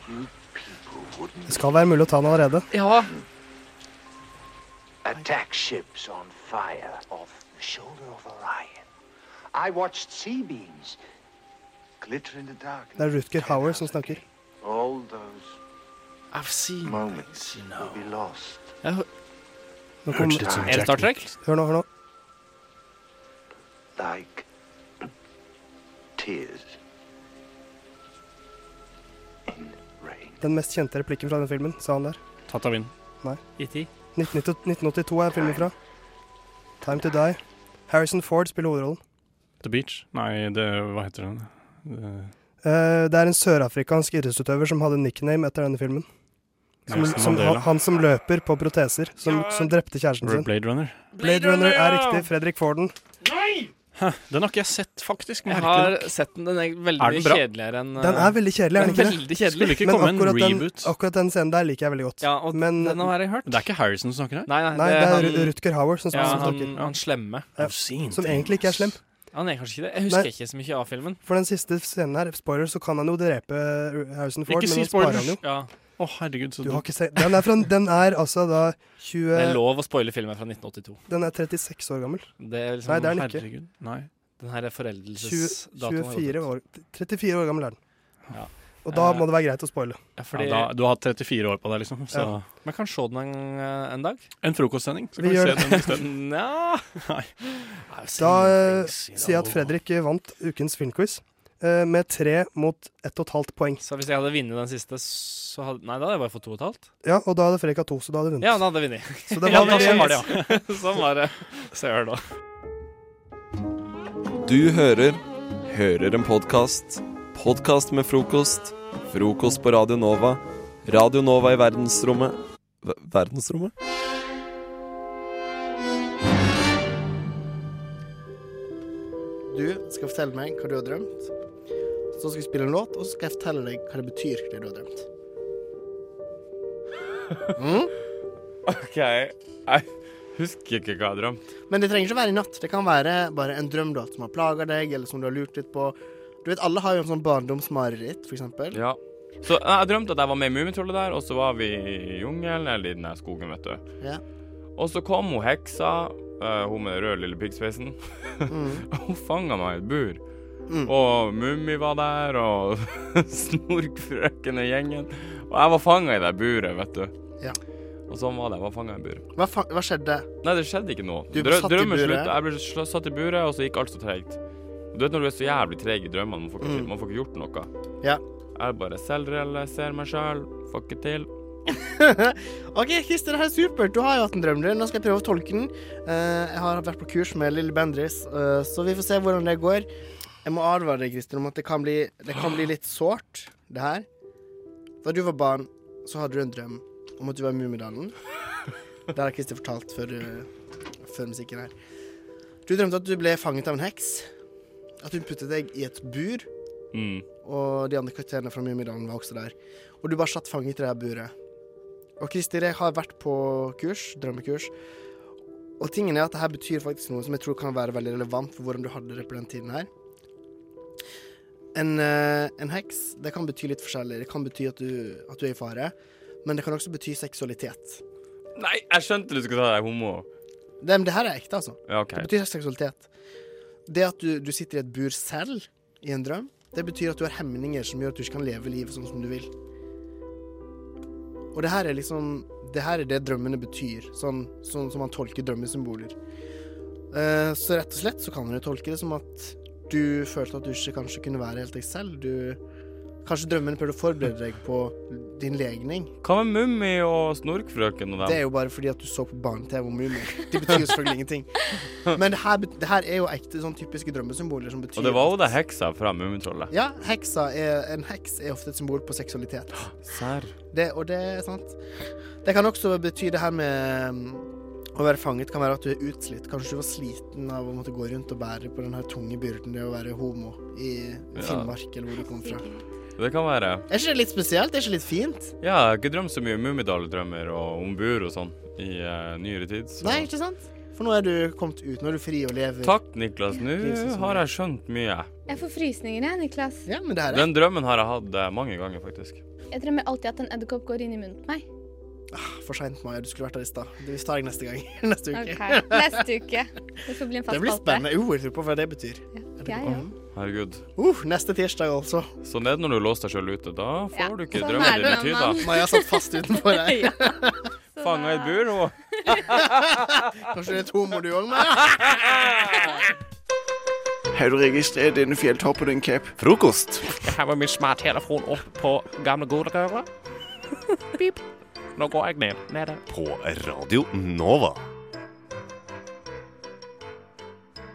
[SPEAKER 9] you people wouldn't.
[SPEAKER 2] Det skal være mulig å ta den allerede.
[SPEAKER 1] ja.
[SPEAKER 9] Attack ships on fire off the shoulder of Orion. I watched sea beams glitter in the dark.
[SPEAKER 2] Det er Rutger Hauer som snakker.
[SPEAKER 9] All those
[SPEAKER 1] I've seen
[SPEAKER 9] moments will be lost.
[SPEAKER 1] Jeg, hø-
[SPEAKER 2] Nå kom-
[SPEAKER 9] Hørtes ut som
[SPEAKER 1] Er det Star Trek?
[SPEAKER 2] Hør nå, hør nå.
[SPEAKER 9] like tears.
[SPEAKER 2] Den mest kjente replikken fra den filmen, sa han der.
[SPEAKER 3] Tatt av vind.
[SPEAKER 2] Nei.
[SPEAKER 1] E.T.
[SPEAKER 2] 1990 1982 er filmen fra. Time to Die. Harrison Ford spiller hovedrollen.
[SPEAKER 3] The Beach? Nei, det, hva heter den? Det-
[SPEAKER 2] Eh, det er en sørafrikansk idrettsutøver som hadde nickname etter denne filmen. Som,
[SPEAKER 3] Nelson
[SPEAKER 2] som,
[SPEAKER 3] Mandela.
[SPEAKER 2] han, han som løper på proteser, som, som drepte kjæresten sin.
[SPEAKER 3] Blade Runner.
[SPEAKER 2] Blade Runner er riktig. Fredrik Forden.
[SPEAKER 3] Hæ, Den har ikke jeg sett, faktisk.
[SPEAKER 1] Jeg
[SPEAKER 3] merkelig
[SPEAKER 1] har
[SPEAKER 3] nok.
[SPEAKER 1] sett den. Den er veldig
[SPEAKER 3] Er den
[SPEAKER 1] mye
[SPEAKER 3] bra?
[SPEAKER 1] kjedeligere enn eh,
[SPEAKER 2] Den er veldig kjedelig, er den ikke
[SPEAKER 1] veldig
[SPEAKER 2] det?
[SPEAKER 1] kjedelig.
[SPEAKER 3] Skulle ikke
[SPEAKER 2] Men
[SPEAKER 3] komme en
[SPEAKER 2] akkurat den-
[SPEAKER 3] reboot.
[SPEAKER 2] Akkurat den scenen der liker jeg veldig godt.
[SPEAKER 1] Ja, og
[SPEAKER 2] Men
[SPEAKER 1] den har jeg hørt.
[SPEAKER 3] Det er ikke Harrison som snakker her?
[SPEAKER 1] Nei, nei,
[SPEAKER 2] Nei, det er
[SPEAKER 1] han-
[SPEAKER 2] Ru- Rutger Hauer som
[SPEAKER 1] ja,
[SPEAKER 2] som
[SPEAKER 1] han,
[SPEAKER 2] snakker.
[SPEAKER 1] han slemme.
[SPEAKER 2] Ja,
[SPEAKER 3] I've seen
[SPEAKER 2] Som
[SPEAKER 3] things.
[SPEAKER 2] egentlig ikke er slem.
[SPEAKER 1] Han er kanskje ikke det. Jeg husker
[SPEAKER 2] Nei.
[SPEAKER 1] ikke så mye av filmen.
[SPEAKER 2] For den siste scenen her, spoiler, så kan han jo drepe Ru- Harrison Ford,
[SPEAKER 3] Ikke si
[SPEAKER 2] men nå sparer
[SPEAKER 3] spoilers.
[SPEAKER 2] han jo.
[SPEAKER 1] Ja,
[SPEAKER 3] Å, herregud.
[SPEAKER 2] Du
[SPEAKER 3] Så du
[SPEAKER 2] har ikke sett Den er, fra, den er altså da
[SPEAKER 1] Det er
[SPEAKER 2] 20
[SPEAKER 1] lov å spoile filmen fra 1982.
[SPEAKER 2] Den er 36 år gammel.
[SPEAKER 1] Det er liksom,
[SPEAKER 2] Nei, det er den ikke.
[SPEAKER 3] Herregud. Nei.
[SPEAKER 1] Den her
[SPEAKER 2] 20,
[SPEAKER 1] foreldelsesdatoen.
[SPEAKER 2] 24 år 34 år gammel er den.
[SPEAKER 1] Ja.
[SPEAKER 2] Og da
[SPEAKER 1] Eh,
[SPEAKER 2] må det være greit å spoile.
[SPEAKER 1] Ja, fordi,
[SPEAKER 3] Ja, da, du har hatt 34 år på deg, liksom. Så
[SPEAKER 2] Ja.
[SPEAKER 1] Man kan se den en, eh, en dag.
[SPEAKER 3] En frokostsending. Så
[SPEAKER 2] Vi
[SPEAKER 3] kan vi,
[SPEAKER 2] gjør
[SPEAKER 3] se den isteden.
[SPEAKER 1] Nja
[SPEAKER 3] Nei.
[SPEAKER 2] Da eh, sier jeg at Fredrik eh, vant ukens filmquiz eh, med tre mot ett og et halvt poeng.
[SPEAKER 1] Så hvis jeg hadde vunnet den siste, så hadde Nei, da hadde jeg bare fått to og et halvt.
[SPEAKER 2] Ja, og da hadde Fredrik hatt to, så da hadde du vunnet.
[SPEAKER 1] Ja, da hadde jeg vunnet.
[SPEAKER 2] Så det
[SPEAKER 1] Ja,
[SPEAKER 2] var
[SPEAKER 1] da
[SPEAKER 2] veldig-
[SPEAKER 1] sånn var det, ja. sånn var det. Søren, da.
[SPEAKER 6] Du hører Hører en podkast. Podkast med frokost. Frokost på Radio Nova. Radio Nova i verdensrommet Ver- Verdensrommet?
[SPEAKER 11] Du skal fortelle meg hva du har drømt. Så skal vi spille en låt, og så skal jeg fortelle deg hva det betyr det du har drømt. Mm?
[SPEAKER 12] OK. Jeg husker ikke hva jeg drømte.
[SPEAKER 11] Men det trenger ikke å være i natt. Det kan være bare en drømlåt som har plaga deg, eller som du har lurt litt på. Du vet, Alle har jo en sånn barndomsmareritt, for eksempel.
[SPEAKER 12] Ja. Så jeg, jeg drømte at jeg var med i Mummitrollet der, og så var vi i jungelen eller i den der skogen, vet du.
[SPEAKER 11] Ja.
[SPEAKER 12] Og så kom hun heksa, eh, hun med den røde lille piggsveisen.
[SPEAKER 11] Mm.
[SPEAKER 12] hun fanga meg i et bur. Og Mummi var der, og Snorkfrøken og gjengen. Og jeg var fanga i det buret, vet du.
[SPEAKER 11] Ja.
[SPEAKER 12] Og sånn var det. Jeg var fanga i buret.
[SPEAKER 11] Hva, fa hva skjedde?
[SPEAKER 12] Nei, det skjedde ikke noe.
[SPEAKER 11] Du ble
[SPEAKER 12] Drø
[SPEAKER 11] satt i
[SPEAKER 12] drømmen
[SPEAKER 11] buret.
[SPEAKER 12] slutta. Jeg ble sl satt i buret, og så gikk alt så tregt. Du vet når du er så jævlig treg i drømmene, man får ikke,
[SPEAKER 11] Mm.
[SPEAKER 12] man får ikke gjort noe.
[SPEAKER 11] Ja.
[SPEAKER 12] Jeg bare selvrealiserer meg sjøl, får ikke til.
[SPEAKER 11] OK, Christer, det her er supert. Du har jo hatt en drøm. du. Nå skal jeg prøve å tolke den. Eh, jeg har vært på kurs med Lille Bendriss, eh, så vi får se hvordan det går. Jeg må advare deg, Christer, om at det kan bli, det kan bli litt sårt, det her. Da du var barn, så hadde du en drøm om at du var i Mummidalen. Det har Christer fortalt før, eh, før musikken her. Du drømte at du ble fanget av en heks. At hun puttet deg i et bur.
[SPEAKER 12] Mm.
[SPEAKER 11] Og de andre karakterene fra Mummidalen var også der. Og du bare satt fanget i det her buret. Og Christer, jeg har vært på kurs, drømmekurs. Og tingen er at det her betyr faktisk noe som jeg tror kan være veldig relevant for hvordan du hadde det på den tiden her. En, eh, en heks, det kan bety litt forskjellig. Det kan bety at du, at du er i fare. Men det kan også bety seksualitet.
[SPEAKER 12] Nei, jeg skjønte du skulle ta deg homo.
[SPEAKER 11] Det, men det her er ekte, altså.
[SPEAKER 12] Ja, OK.
[SPEAKER 11] Det betyr seksualitet. Det at du, du sitter i et bur selv i en drøm, det betyr at du har hemninger som gjør at du ikke kan leve livet sånn som du vil. Og det her er liksom Det her er det drømmene betyr, sånn, sånn som man tolker drømmesymboler. Eh, så rett og slett så kan man jo tolke det som at du følte at du ikke kanskje kunne være helt deg selv. Du Kanskje drømmene prøvde å forberede deg på din legning.
[SPEAKER 12] Hva med Mummi og Snorkfrøken og dem?
[SPEAKER 11] Det er jo bare fordi at du så på barne-TV om Mumin. Det betyr jo selvfølgelig ingenting. Men det her, bet- det her er jo ekte sånn typiske drømmesymboler som betyr
[SPEAKER 12] Og det var
[SPEAKER 11] at-
[SPEAKER 12] jo det heksa fra Mummitrollet.
[SPEAKER 11] Ja, heksa er, en heks er ofte et symbol på seksualitet.
[SPEAKER 12] Serr.
[SPEAKER 11] Det, og det er sant. Det kan også bety det her med mm, å være fanget kan være at du er utslitt. Kanskje du var sliten av å måtte gå rundt og bære på den her tunge byrden det å være homo i
[SPEAKER 12] Ja.
[SPEAKER 11] Finnmark, eller hvor du kom fra.
[SPEAKER 12] Det kan være.
[SPEAKER 11] Er ikke det litt spesielt? Er ikke det litt fint?
[SPEAKER 12] Ja, jeg har ikke drømt så mye Mummidal-drømmer og om bur og sånn i eh, nyere tid. Så.
[SPEAKER 11] Nei, ikke sant? For nå er du kommet ut. Nå er du fri og lever.
[SPEAKER 12] Takk, Niklas. Nå
[SPEAKER 11] Liv som-
[SPEAKER 12] har jeg skjønt mye.
[SPEAKER 13] Jeg får frysninger, jeg, Niklas.
[SPEAKER 11] Ja, men det her er
[SPEAKER 12] Den drømmen har jeg hatt eh, mange ganger, faktisk.
[SPEAKER 13] Jeg drømmer alltid at en edderkopp går inn i munnen på meg.
[SPEAKER 11] for seint, Maja. Du skulle vært der i stad. Vi tar deg neste gang. Neste uke.
[SPEAKER 13] Ok, Neste uke. Det får bli en fast
[SPEAKER 11] Det blir spennende. Jo, Mm. jeg tror på hva det betyr.
[SPEAKER 13] spalte. Jeg òg.
[SPEAKER 12] Herregud.
[SPEAKER 11] Uh, neste tirsdag altså.
[SPEAKER 12] Sånn er det når du låser deg sjøl ute. Da får
[SPEAKER 13] Ja,
[SPEAKER 12] du ikke
[SPEAKER 13] sånn
[SPEAKER 12] drømmen
[SPEAKER 13] er det
[SPEAKER 12] dine
[SPEAKER 13] når
[SPEAKER 12] tyda.
[SPEAKER 13] man-
[SPEAKER 11] Maja satt fast utenfor her.
[SPEAKER 12] Fanga i et bur, hun.
[SPEAKER 11] Kanskje det er et homo du òg, men
[SPEAKER 14] Har du registrert denne fjelltoppen din, Cap?
[SPEAKER 6] Frokost.
[SPEAKER 15] Jeg har med min smarttelefon opp på gamle godrøra. Pip. Nå går jeg ned. Nede.
[SPEAKER 6] På Radio Nova.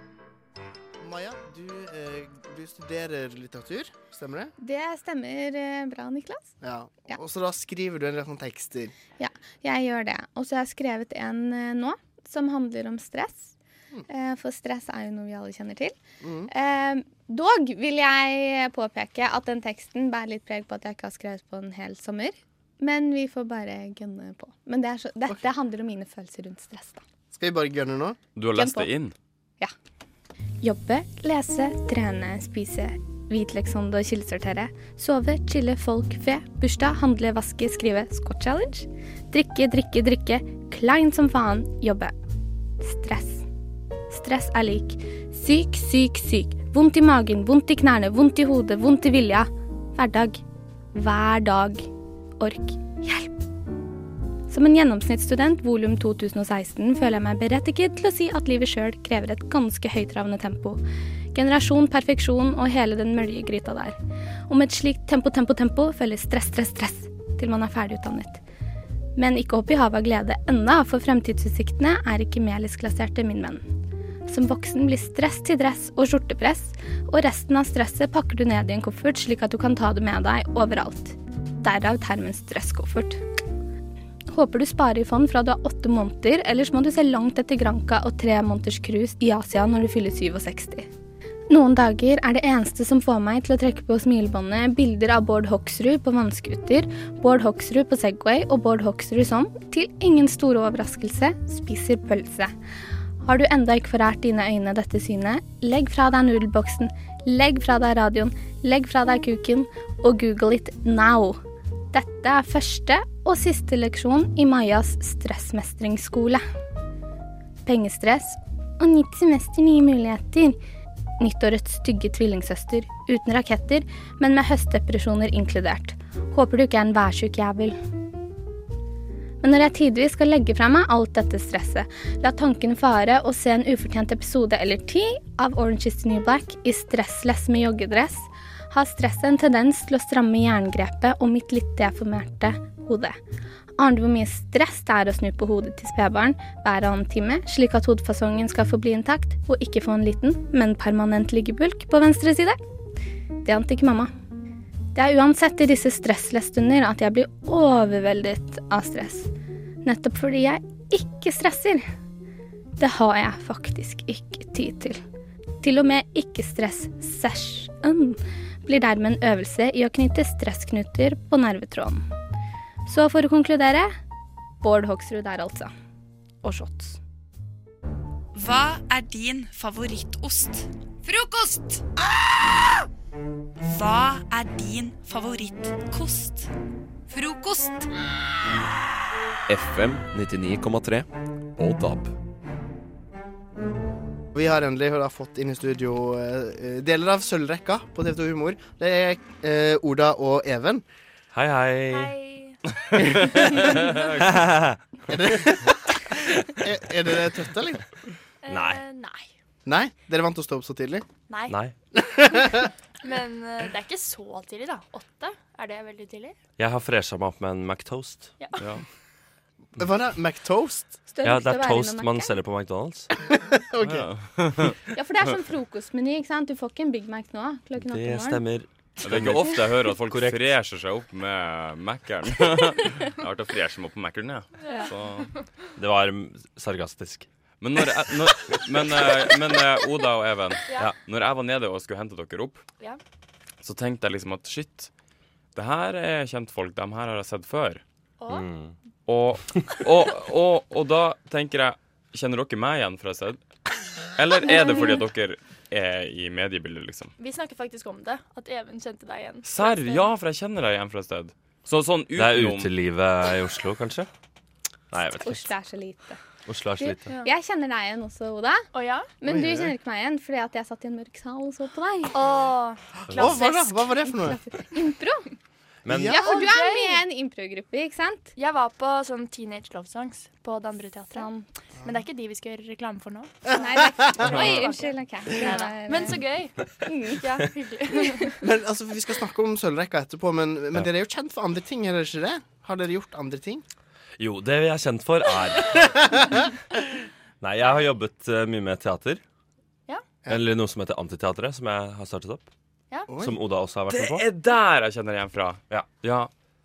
[SPEAKER 11] Maja, du, eh, du studerer litteratur, stemmer det?
[SPEAKER 13] Det stemmer eh, bra, Niklas.
[SPEAKER 11] Ja. Og så da skriver du en del sånne tekster.
[SPEAKER 13] Ja, jeg gjør det. Og så har jeg skrevet en eh, nå som handler om stress.
[SPEAKER 11] Mm.
[SPEAKER 13] Eh, For stress er jo noe vi alle kjenner til. Eh, Dog vil jeg påpeke at den teksten bærer litt preg på at jeg ikke har skrevet på en hel sommer. Men vi får bare gønne på. Men det er så, dette handler om mine følelser rundt stress. da.
[SPEAKER 11] Skal vi bare gønne nå?
[SPEAKER 12] Du har lest det inn?
[SPEAKER 8] Jobbe, lese, trene, spise. Hvitløksonde og kildesortere. Sove, chille, folk, fe. Bursdag, handle, vaske, skrive. Scott challenge. Drikke, drikke, drikke. Klein som faen. Jobbe. Stress. Stress er lik syk, syk, syk. Vondt i magen, vondt i knærne, vondt i hodet, vondt i vilja. Hverdag. Hver dag. Ork. Hjelp. Som en gjennomsnittsstudent volum 2016 føler jeg meg berettiget til å si at livet sjøl krever et ganske høytravende tempo. Generasjon perfeksjon og hele den møljegryta der. Og med et slikt tempo, tempo, tempo følger stress, stress, stress til man er ferdigutdannet. Men ikke hopp i havet av glede enda, for fremtidsutsiktene er ikke melisklasserte, min venn. Som voksen blir stress til dress og skjortepress, og resten av stresset pakker du ned i en koffert slik at du kan ta det med deg overalt. Derav termen stresskoffert. Håper du sparer i fond fra du er åtte måneder, ellers må du se langt etter Granca og tre måneders cruise i Asia når du fyller 67. Noen dager er det eneste som får meg til å trekke på smilebåndet, bilder av Bård Hoksrud på vannskuter, Bård Hoksrud på Segway og Bård Hoksrud som, til ingen store overraskelse, spiser pølse. Har du enda ikke forært dine øyne dette synet, legg fra deg nudelboksen, legg fra deg radioen, legg fra deg kuken, og google it now. Dette er første og siste leksjon i Majas stressmestringsskole. Pengestress og nytt semester nye muligheter. Nyttårets stygge tvillingsøster, uten raketter, men med høstdepresjoner inkludert. Håper du ikke er en værsjuk jævel. Men når jeg tidvis skal legge fra meg alt dette stresset, la tankene fare og se en ufortjent episode eller ti av Orange is the New Black i stressless med joggedress, har stresset en tendens til å stramme jerngrepet om mitt litt deformerte hode. Aner du hvor mye stress det er å snu på hodet til spedbarn hver annen time, slik at hodefasongen skal forbli intakt og ikke få en liten, men permanent liggebulk på venstre side? Det ante ikke mamma. Det er uansett i disse stressless-stunder at jeg blir overveldet av stress. Nettopp fordi jeg ikke stresser. Det har jeg faktisk ikke tid til. Til og med ikke-stress-session blir dermed en øvelse i å knytte stressknuter på nervetråden. Så for å konkludere Bård Hoksrud der, altså. Og shots. Hva er din favorittost? Frokost! Hva er din favorittkost? Frokost!
[SPEAKER 6] FM 99,3 og DAB.
[SPEAKER 11] Vi har endelig da fått inn i studio eh, deler av sølvrekka på TV2 Humor. Det er eh, Oda og Even.
[SPEAKER 16] Hei, hei.
[SPEAKER 11] er, det, er, er dere trøtte, eller?
[SPEAKER 16] Nei.
[SPEAKER 17] nei.
[SPEAKER 11] Nei? Dere vant å stå opp så tidlig?
[SPEAKER 17] Nei.
[SPEAKER 16] Nei.
[SPEAKER 17] Men eh, det er ikke så tidlig, da. Åtte? Er det veldig tidlig?
[SPEAKER 16] Jeg har fresha meg opp med en McToast.
[SPEAKER 17] Ja.
[SPEAKER 16] Ja.
[SPEAKER 11] Hva er det? McToast?
[SPEAKER 16] ja, det er toast man selger på McDonald's.
[SPEAKER 11] Ok.
[SPEAKER 13] Ja, for det er sånn frokostmeny, ikke sant? Du får ikke en Big Mac nå klokken åtte om
[SPEAKER 16] Det
[SPEAKER 13] morgenen.
[SPEAKER 16] stemmer.
[SPEAKER 12] Det er ikke ofte jeg hører at folk fresher seg opp med Mac-eren. Jeg har vært og fresher meg opp på Mac-eren,
[SPEAKER 13] Ja.
[SPEAKER 12] ja. Så
[SPEAKER 16] Det var mm, sarkastisk.
[SPEAKER 12] Men, når jeg, når, men, eh, men eh, Oda og Even,
[SPEAKER 17] Ja.
[SPEAKER 12] når jeg var nede og skulle hente dere opp,
[SPEAKER 17] Ja.
[SPEAKER 12] så tenkte jeg liksom at shit, det her er kjentfolk, de her har jeg sett før.
[SPEAKER 17] Og?
[SPEAKER 12] Og, og, og, og da tenker jeg, kjenner dere meg igjen fra et sted? Eller er det fordi at dere er i mediebildet, liksom?
[SPEAKER 17] Vi snakker faktisk om det. At Even kjente deg igjen.
[SPEAKER 12] Serr, ja, for jeg kjenner deg igjen fra et sted. Så sånn
[SPEAKER 16] Det er
[SPEAKER 12] utenom
[SPEAKER 16] utelivet Eh, i Oslo, kanskje? Nei, jeg vet ikke.
[SPEAKER 13] Oslo er så lite.
[SPEAKER 16] Oslo er så
[SPEAKER 13] Du,
[SPEAKER 16] lite.
[SPEAKER 13] Jeg kjenner deg igjen også, Oda. Men
[SPEAKER 16] Oi,
[SPEAKER 13] du
[SPEAKER 16] oi, oi.
[SPEAKER 13] kjenner ikke meg igjen fordi at jeg satt i en mørk sal og så på deg.
[SPEAKER 17] Åh,
[SPEAKER 11] Å, hva da? Hva var det for noe?
[SPEAKER 13] Impro.
[SPEAKER 16] Men
[SPEAKER 13] Ja, for du er med i en improgruppe, ikke sant?
[SPEAKER 17] Jeg var på sånn Teenage Love Songs på Danderudteatret. Men det er ikke de vi skal gjøre reklame for nå.
[SPEAKER 13] Nei, det er ikke- Oi, unnskyld, ok.
[SPEAKER 17] Nei da. Men så gøy. Ja, hyggelig.
[SPEAKER 11] Men altså, Vi skal snakke om sølvrekka etterpå, men, men dere er jo kjent for andre ting, er dere ikke det? Har dere gjort andre ting?
[SPEAKER 16] Jo, det vi er kjent for, er Nei, jeg har jobbet eh, mye med teater.
[SPEAKER 17] Ja.
[SPEAKER 16] Eller noe som heter Antiteatret, som jeg har startet opp.
[SPEAKER 17] Ja.
[SPEAKER 16] Som Oda også har vært
[SPEAKER 12] Det
[SPEAKER 16] med på.
[SPEAKER 12] er der jeg kjenner igjen fra.
[SPEAKER 16] Ja. ja.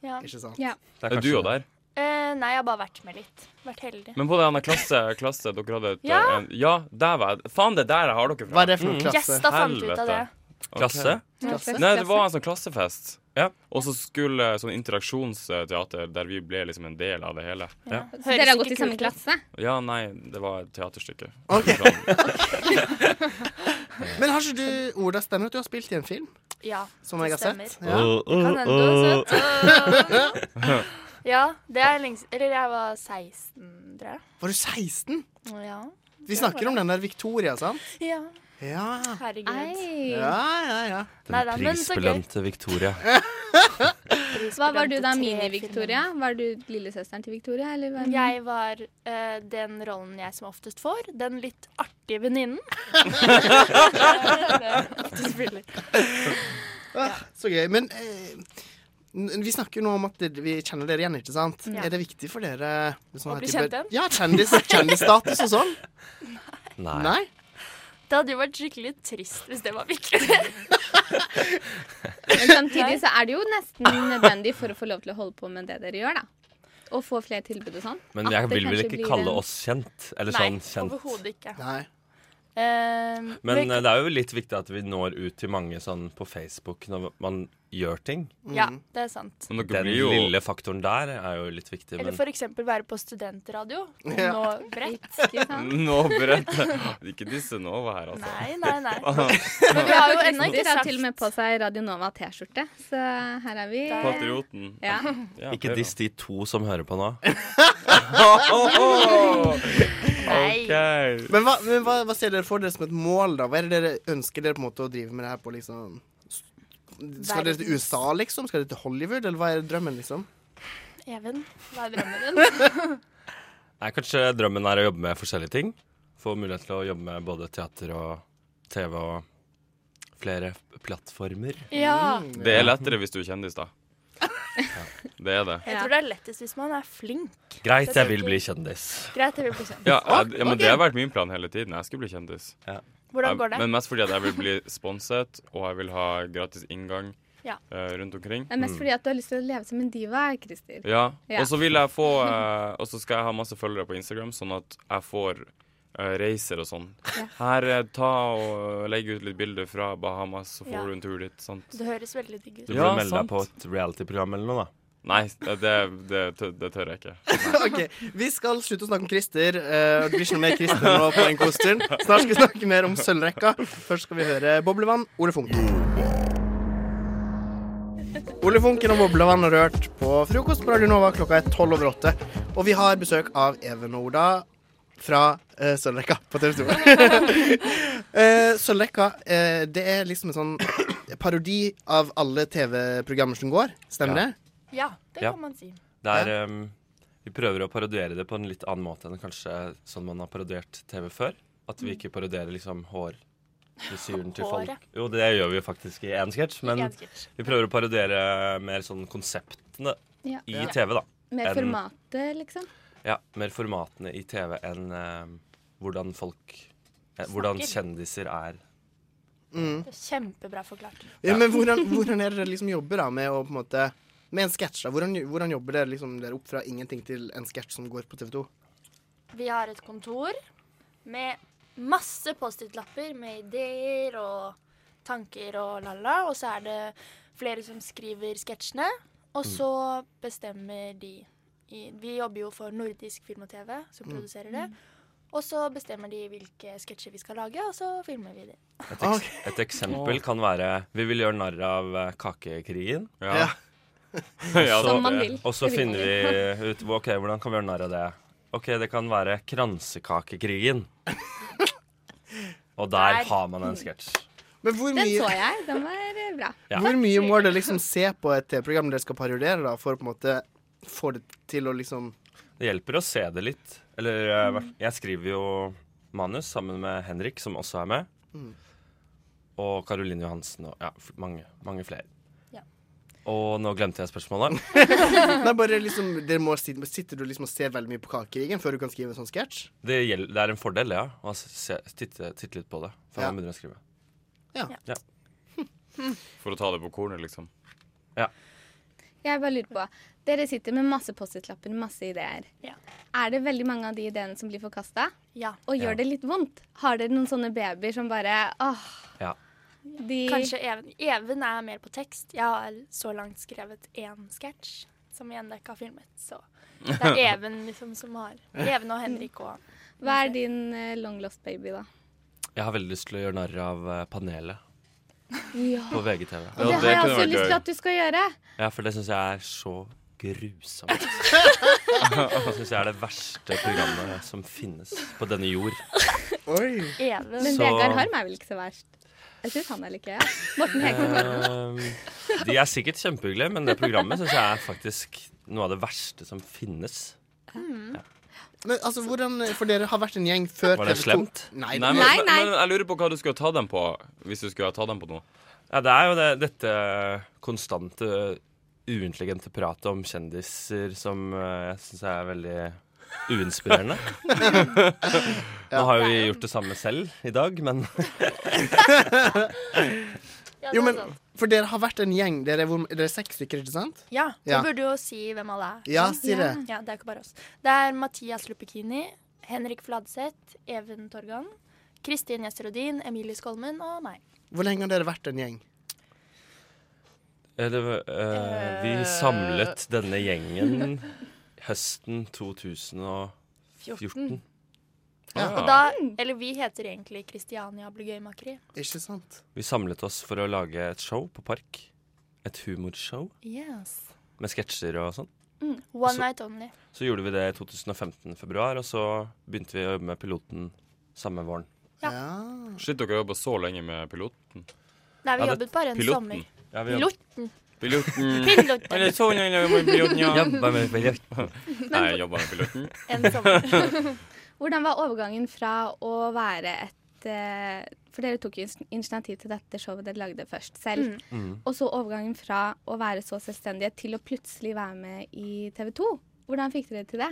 [SPEAKER 17] Ja. Ja.
[SPEAKER 12] Det er du òg der.
[SPEAKER 17] Eh, nei, jeg har bare vært med litt. Vært heldig.
[SPEAKER 12] Men på den klasse, klasse dere hadde et, eh,
[SPEAKER 17] Ja.
[SPEAKER 12] en, ja, der var jeg. Faen, det er der jeg har dere fra.
[SPEAKER 11] Hva er det for noen klasse?
[SPEAKER 17] Gjesta fant ut av det.
[SPEAKER 12] Ok.
[SPEAKER 16] Klasse?
[SPEAKER 11] Klasse.
[SPEAKER 12] Nei, det var en sånn klassefest. Og så skulle sånn interaksjonsteater, der vi ble liksom en del av det hele. Ja,
[SPEAKER 13] Så dere har gått i samme klasse?
[SPEAKER 12] ja nei, det var et teaterstykke.
[SPEAKER 11] Ok.
[SPEAKER 12] Sånn.
[SPEAKER 11] Men har ikke du Oda, stemmer at du har spilt i en film?
[SPEAKER 17] Ja,
[SPEAKER 11] Som jeg har
[SPEAKER 17] det stemmer.
[SPEAKER 11] sett?
[SPEAKER 16] Åh, åh,
[SPEAKER 17] Kan hende du har sett.
[SPEAKER 16] åh.
[SPEAKER 17] Ja, det er lengst Eller jeg var 16, tror jeg.
[SPEAKER 11] Var du 16?
[SPEAKER 17] Ja.
[SPEAKER 11] Vi snakker om den der Victoria, sant?
[SPEAKER 17] Ja.
[SPEAKER 11] Ja.
[SPEAKER 13] Ah.
[SPEAKER 17] Herregud.
[SPEAKER 11] Ja, ja, ja.
[SPEAKER 17] Nei da, men så gøy.
[SPEAKER 16] Prisbelønte Victoria.
[SPEAKER 13] Hva var du da, Mini-Victoria? Var du lillesøsteren til Victoria? Eller
[SPEAKER 8] Mm.
[SPEAKER 13] var
[SPEAKER 17] Jeg var eh, den rollen jeg som oftest får. Den litt artige venninnen. Ofte spiller.
[SPEAKER 11] Ah, så gøy. Men eh, n- vi snakker jo nå om at dere- vi kjenner dere igjen, ikke sant?
[SPEAKER 17] Ja.
[SPEAKER 11] Er det viktig for dere liksom,
[SPEAKER 17] Å
[SPEAKER 11] her
[SPEAKER 17] bli
[SPEAKER 11] type-
[SPEAKER 17] kjent igjen?
[SPEAKER 11] Ja, kjendis, kjendisstatus og sånn.
[SPEAKER 16] Nei.
[SPEAKER 17] Det hadde jo vært skikkelig trist hvis det var viktig.
[SPEAKER 13] Men samtidig så er det jo nesten nødvendig for å få lov til å holde på med det dere gjør, da. Og få flere tilbud og sånn.
[SPEAKER 16] Men
[SPEAKER 13] At
[SPEAKER 16] jeg
[SPEAKER 13] det
[SPEAKER 16] vil vel
[SPEAKER 13] kanskje
[SPEAKER 16] ikke
[SPEAKER 13] blir
[SPEAKER 16] kalle
[SPEAKER 13] en-
[SPEAKER 16] oss kjent? Eller
[SPEAKER 17] Nei,
[SPEAKER 16] sånn kjent.
[SPEAKER 17] overhodet ikke.
[SPEAKER 11] Nei.
[SPEAKER 17] Eh,
[SPEAKER 16] Men eh, det er jo litt viktig at vi når ut til mange sånn på Facebook når man gjør ting.
[SPEAKER 17] Ja,
[SPEAKER 12] Mm.
[SPEAKER 17] det er sant.
[SPEAKER 12] Men dere
[SPEAKER 16] Den
[SPEAKER 12] blir jo-
[SPEAKER 16] lille faktoren der er jo litt viktig.
[SPEAKER 17] Eller
[SPEAKER 16] Men
[SPEAKER 17] for eksempel være på studentradio og
[SPEAKER 16] Ja.
[SPEAKER 17] nå bredt.
[SPEAKER 12] Nå brente sånn- Ikke disse Nova her, altså.
[SPEAKER 17] Nei, nei, nei.
[SPEAKER 13] Men
[SPEAKER 17] vi har jo
[SPEAKER 13] faktisk-
[SPEAKER 17] ennå ikke
[SPEAKER 13] de har
[SPEAKER 17] sagt-
[SPEAKER 13] til og med på seg Radio Nova T-skjorte, så her er vi.
[SPEAKER 12] Patrioten.
[SPEAKER 13] Ja.
[SPEAKER 16] ikke diss de to som hører på nå.
[SPEAKER 11] Nei.
[SPEAKER 12] Ok.
[SPEAKER 11] Men, hva, men hva, hva ser dere for dere som et mål, da? Hva er det dere ønsker dere på en måte å drive med det her på, liksom? Skal dere til USA, liksom? Skal dere til Hollywood, eller hva er drømmen, liksom?
[SPEAKER 17] Even, hva er drømmen din?
[SPEAKER 16] Nei, kanskje drømmen er å jobbe med forskjellige ting. Få mulighet til å jobbe med både teater og TV og flere plattformer.
[SPEAKER 17] Ja.
[SPEAKER 12] Det er lettere hvis du er kjendis, da. Det er det.
[SPEAKER 17] Jeg tror det er lettest hvis man er flink.
[SPEAKER 16] Greit,
[SPEAKER 17] Det er
[SPEAKER 16] jeg vil
[SPEAKER 17] ikke-
[SPEAKER 16] bli kjendis.
[SPEAKER 17] Greit, jeg vil bli kjent.
[SPEAKER 12] Ja, jeg, ja, men Det har vært min plan hele tiden. Jeg skulle bli kjendis.
[SPEAKER 17] Hvordan går
[SPEAKER 12] Jeg-
[SPEAKER 17] det?
[SPEAKER 12] Men mest fordi at jeg vil bli sponset, og jeg vil ha gratis inngang
[SPEAKER 13] Ja.
[SPEAKER 12] eh, rundt omkring.
[SPEAKER 13] Det er
[SPEAKER 16] Mm.
[SPEAKER 13] mest fordi at du har lyst til å leve som en diva, Christer.
[SPEAKER 12] Ja. Og så vil jeg få eh, Og så skal jeg ha masse følgere på Instagram, sånn at jeg får eh, reiser og sånn. Her, eh, ta og legge ut litt bilder fra Bahamas, så får
[SPEAKER 17] Ja.
[SPEAKER 12] du en tur dit. sant?
[SPEAKER 17] Det høres veldig digg ut.
[SPEAKER 16] Du burde melde deg på et reality-program eller noe, da.
[SPEAKER 12] Nei, det, det, tør- det tør jeg ikke.
[SPEAKER 11] OK. Vi skal slutte å snakke om Christer. eh, Det blir ikke noe mer Christer nå på den kosten. Snart skal vi snakke mer om sølvrekka. Først skal vi høre Boblevann, Ole Funken. Ole Funken og Boblevann og Rørt på frokost på Radio Nova klokka er tolv over åtte. Og vi har besøk av Even og Oda fra eh, Sølvrekka på TV 2. Eh, Sølvrekka, eh, det er liksom en sånn parodi av alle TV-programmer som går. Stemmer det?
[SPEAKER 17] Ja, det
[SPEAKER 16] Ja.
[SPEAKER 17] kan man
[SPEAKER 1] Eh,
[SPEAKER 17] si.
[SPEAKER 16] Det er ehm, Vi prøver å parodiere det på en litt annen måte enn kanskje sånn man har parodiert TV før. At vi
[SPEAKER 17] Mm.
[SPEAKER 16] ikke parodierer liksom hår. Frisyren til
[SPEAKER 17] Håret.
[SPEAKER 16] folk. Jo, det gjør vi jo faktisk i én sketsj, men
[SPEAKER 17] én sketsj.
[SPEAKER 16] vi prøver å parodiere mer sånn konseptene
[SPEAKER 13] Ja.
[SPEAKER 16] i
[SPEAKER 13] Ja.
[SPEAKER 16] TV, da.
[SPEAKER 13] Mer
[SPEAKER 16] enn-
[SPEAKER 13] formatet, liksom.
[SPEAKER 16] Ja, mer formatene i TV enn ehm, hvordan folk eh, Hvordan
[SPEAKER 17] Snakker.
[SPEAKER 16] kjendiser er.
[SPEAKER 11] Mm.
[SPEAKER 17] Det er Kjempebra forklart.
[SPEAKER 11] Ja, men hvordan, hvordan er det dere liksom jobber da med å på en måte Med en sketsj, da? Hvordan, hvordan jobber dere liksom dere opp fra ingenting til en sketsj som går på TV 2?
[SPEAKER 17] Vi har et kontor med masse Post-It-lapper med ideer og tanker og la-la. Og så er det flere som skriver sketsjene, og så bestemmer de i, Vi jobber jo for Nordisk Film og TV, som
[SPEAKER 16] Mm.
[SPEAKER 17] produserer det. Og så bestemmer de hvilke sketsjer vi skal lage, og så filmer vi det.
[SPEAKER 16] Et, eks et eksempel kan være Vi vil gjøre narr av eh, kakekrigen.
[SPEAKER 12] Ja.
[SPEAKER 16] Og så-
[SPEAKER 12] Som man vil.
[SPEAKER 16] Og så
[SPEAKER 12] Det vil man
[SPEAKER 16] finner vi ut Ok, hvordan kan vi gjøre narr av det. Ok, det kan være kransekakekrigen. Og der
[SPEAKER 13] Der.
[SPEAKER 16] har man en sketsj.
[SPEAKER 11] Men hvor
[SPEAKER 13] Den
[SPEAKER 11] mye
[SPEAKER 13] så jeg. Den var eh,
[SPEAKER 8] går bra.
[SPEAKER 11] Hvor mye må dere liksom se på et TV-program dere skal parodiere, da, for å på en måte få det til å liksom
[SPEAKER 16] Det hjelper å se det litt. Eller eh,
[SPEAKER 12] Mm.
[SPEAKER 16] hvert- jeg skriver jo manus sammen med Henrik, som også er med.
[SPEAKER 11] Mm.
[SPEAKER 16] Og Karoline Johansen og ja, f- mange, mange flere.
[SPEAKER 17] Ja.
[SPEAKER 16] Og nå glemte jeg spørsmålet.
[SPEAKER 11] Nei, bare liksom dere må, sit- Sitter du liksom og ser veldig mye på Kakekrigen før du kan skrive en sånn sketsj?
[SPEAKER 16] Det, gjel- det er en fordel, ja, å s- se- titte, titte litt på det før
[SPEAKER 11] Ja.
[SPEAKER 16] man begynner å skrive.
[SPEAKER 11] Ja.
[SPEAKER 16] Ja.
[SPEAKER 12] For å ta det på kornet, liksom.
[SPEAKER 16] Ja.
[SPEAKER 8] Jeg bare lurer på, Dere sitter med masse Post-It-lapper, masse ideer. Er det veldig mange av de ideene som blir forkasta?
[SPEAKER 17] Ja.
[SPEAKER 8] Og gjør
[SPEAKER 16] Ja.
[SPEAKER 8] det litt vondt? Har dere noen sånne babyer som bare åh,
[SPEAKER 16] Ja.
[SPEAKER 8] de
[SPEAKER 17] Kanskje Even. Even er mer på tekst. Jeg har så langt skrevet én sketsj som jeg ennå ikke har filmet. Så det er Even liksom som har Even og Henrik og
[SPEAKER 8] Hva er din eh, long lost baby, da?
[SPEAKER 16] Jeg har veldig lyst til å gjøre narr av eh, panelet
[SPEAKER 8] Ja.
[SPEAKER 16] på VGTV.
[SPEAKER 8] Og det, har jeg også lyst til at du skal gjøre.
[SPEAKER 16] Ja, for det syns jeg er så grusomt. Det syns jeg er det verste programmet som finnes på denne jord.
[SPEAKER 8] Even. Men
[SPEAKER 16] Så-
[SPEAKER 8] Vegard Harm er vel ikke så verst? Jeg syns han er litt gøy. ja. Morten Hegstad.
[SPEAKER 16] Ehm, De er sikkert kjempehyggelige, men det programmet syns jeg er faktisk noe av det verste som finnes.
[SPEAKER 11] Mm. Men altså, hvordan For dere har vært en gjeng før
[SPEAKER 16] Var det
[SPEAKER 11] TV2.
[SPEAKER 16] slemt?
[SPEAKER 11] Nei,
[SPEAKER 12] men, Men, men jeg lurer på hva du skulle ta dem på, hvis du skulle ha tatt dem på noe.
[SPEAKER 16] Ja, det er jo det, dette eh, konstante, eh, uintelligente pratet om kjendiser som eh, jeg syns er veldig uinspirerende. Nå har jo vi gjort det samme selv i dag, men
[SPEAKER 11] Jo, men
[SPEAKER 17] sånn.
[SPEAKER 11] For dere har vært en gjeng. Dere er, hvor, dere er seks stykker, ikke sant?
[SPEAKER 17] Ja, vi
[SPEAKER 11] Ja.
[SPEAKER 17] burde jo si hvem alle er.
[SPEAKER 11] Ja, si det.
[SPEAKER 17] Ja, det er ikke bare oss. Det er Mathias Lupikini, Henrik Fladseth, Even Torgan, Kristin Gjesterudin, Emilie Skolmen og meg.
[SPEAKER 11] Hvor lenge har dere vært en gjeng?
[SPEAKER 16] eh, det, var- eh, vi samlet denne gjengen høsten 2014.
[SPEAKER 17] Og da, eller vi heter egentlig Kristiania Blugøymakeri.
[SPEAKER 11] Ikke sant?
[SPEAKER 16] Vi samlet oss for å lage et show på Park. Et humorshow
[SPEAKER 17] Yes.
[SPEAKER 16] med sketsjer og sånn.
[SPEAKER 17] Mm. One
[SPEAKER 16] Så-
[SPEAKER 17] night only.
[SPEAKER 16] Så gjorde vi det i 2015 i februar, og så begynte vi å jobbe med piloten samme våren.
[SPEAKER 17] Ja.
[SPEAKER 12] Shit, dere har jobba så lenge med piloten.
[SPEAKER 17] Nei, vi
[SPEAKER 12] Ja, det-
[SPEAKER 17] jobbet bare en
[SPEAKER 12] piloten.
[SPEAKER 17] sommer.
[SPEAKER 16] Ja, vi jobbet-
[SPEAKER 17] Piloten.
[SPEAKER 12] Piloten.
[SPEAKER 17] Piloten.
[SPEAKER 12] Mm. Eller så lenge jeg jobber med piloten, ja.
[SPEAKER 16] Jobba med piloten.
[SPEAKER 12] Nei, jeg jobba med piloten.
[SPEAKER 17] En sommer.
[SPEAKER 8] Hvordan var overgangen fra å være et eh, For dere tok jo ins- initiativ til dette showet dere lagde først selv.
[SPEAKER 17] Mm. Mm.
[SPEAKER 8] Og så overgangen fra å være så selvstendige til å plutselig være med i TV 2. Hvordan fikk dere til det?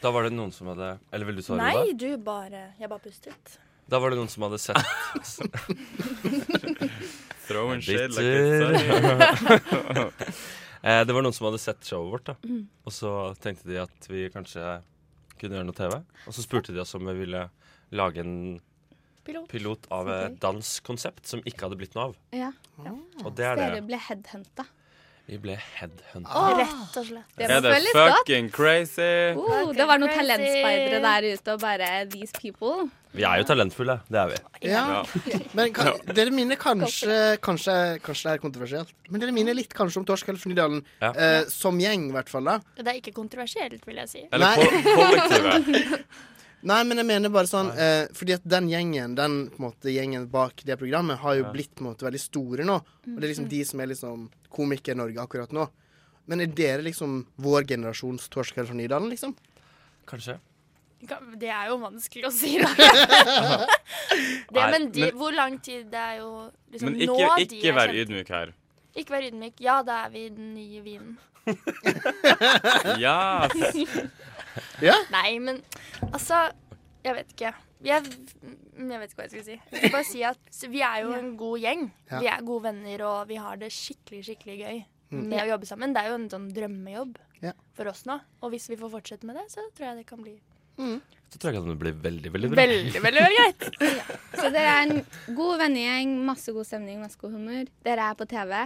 [SPEAKER 16] Da var det noen som hadde Eller vil du svare,
[SPEAKER 17] Nei,
[SPEAKER 16] Oda?
[SPEAKER 17] du bare Jeg bare pustet.
[SPEAKER 16] Da var det noen som hadde sett
[SPEAKER 12] Throw in shade like
[SPEAKER 16] Bitter.
[SPEAKER 12] it's sunny.
[SPEAKER 16] Eh, Det var noen som hadde sett showet vårt, da.
[SPEAKER 8] Mm.
[SPEAKER 16] Og så tenkte de at vi kanskje kunne gjøre noe TV. Og så spurte de oss om vi ville lage en
[SPEAKER 8] Pilot.
[SPEAKER 16] pilot av et
[SPEAKER 8] Ok.
[SPEAKER 16] danskonsept som ikke hadde blitt noe av.
[SPEAKER 8] Ja.
[SPEAKER 16] Ah, Og det er
[SPEAKER 8] Så dere
[SPEAKER 16] det.
[SPEAKER 8] ble headhunta.
[SPEAKER 16] Vi ble headhunta.
[SPEAKER 8] Rett
[SPEAKER 17] og slett.
[SPEAKER 8] Det
[SPEAKER 12] Er
[SPEAKER 8] var
[SPEAKER 12] det
[SPEAKER 8] veldig godt.
[SPEAKER 12] fucking crazy?
[SPEAKER 8] Oh, det var noen talentspeidere der ute og bare eh, These people.
[SPEAKER 16] Vi er jo talentfulle, det er vi.
[SPEAKER 11] Ja. Men kan, dere minner kanskje, kanskje Kanskje det er kontroversielt, men dere minner litt kanskje om Torsk eller Fornydalen.
[SPEAKER 16] Ja.
[SPEAKER 11] Eh, som gjeng, i hvert fall. da
[SPEAKER 17] Det er ikke kontroversielt, vil jeg si.
[SPEAKER 11] Nei. Nei, men jeg mener bare sånn eh, Fordi at den gjengen Den på en måte gjengen bak det programmet Har jo
[SPEAKER 16] Ja.
[SPEAKER 11] blitt på en måte veldig store nå Og det er liksom de som er liksom komikere i Norge akkurat nå Men er dere liksom Vår generasjons torskere fra Nydalen liksom?
[SPEAKER 16] Kanskje
[SPEAKER 17] Det er jo vanskelig å si, da. det,
[SPEAKER 12] Nei,
[SPEAKER 17] men de,
[SPEAKER 12] men-
[SPEAKER 17] hvor lang tid Det er jo liksom
[SPEAKER 12] Men
[SPEAKER 17] nå
[SPEAKER 12] ikke,
[SPEAKER 17] de
[SPEAKER 12] ikke
[SPEAKER 17] er
[SPEAKER 12] vær
[SPEAKER 17] kjent.
[SPEAKER 12] ydmyk her.
[SPEAKER 17] Ikke vær ydmyk. Ja, da er vi den nye vinen.
[SPEAKER 12] Ja.
[SPEAKER 17] Nei, men altså Jeg vet ikke. Jeg, jeg vet ikke hva jeg skal si. Jeg skal bare si at vi er jo en god gjeng.
[SPEAKER 11] Ja.
[SPEAKER 17] Vi er gode venner, og vi har det skikkelig, skikkelig gøy
[SPEAKER 11] Mm.
[SPEAKER 17] med å jobbe sammen. Det er jo en sånn drømmejobb
[SPEAKER 11] Ja.
[SPEAKER 17] for oss nå. Og hvis vi får fortsette med det, så tror jeg det kan bli
[SPEAKER 16] Så tror jeg det blir veldig, veldig bra.
[SPEAKER 17] veldig, veldig, veldig greit.
[SPEAKER 8] Så dere er en god vennegjeng, masse god stemning, masse god humør. Dere er på TV.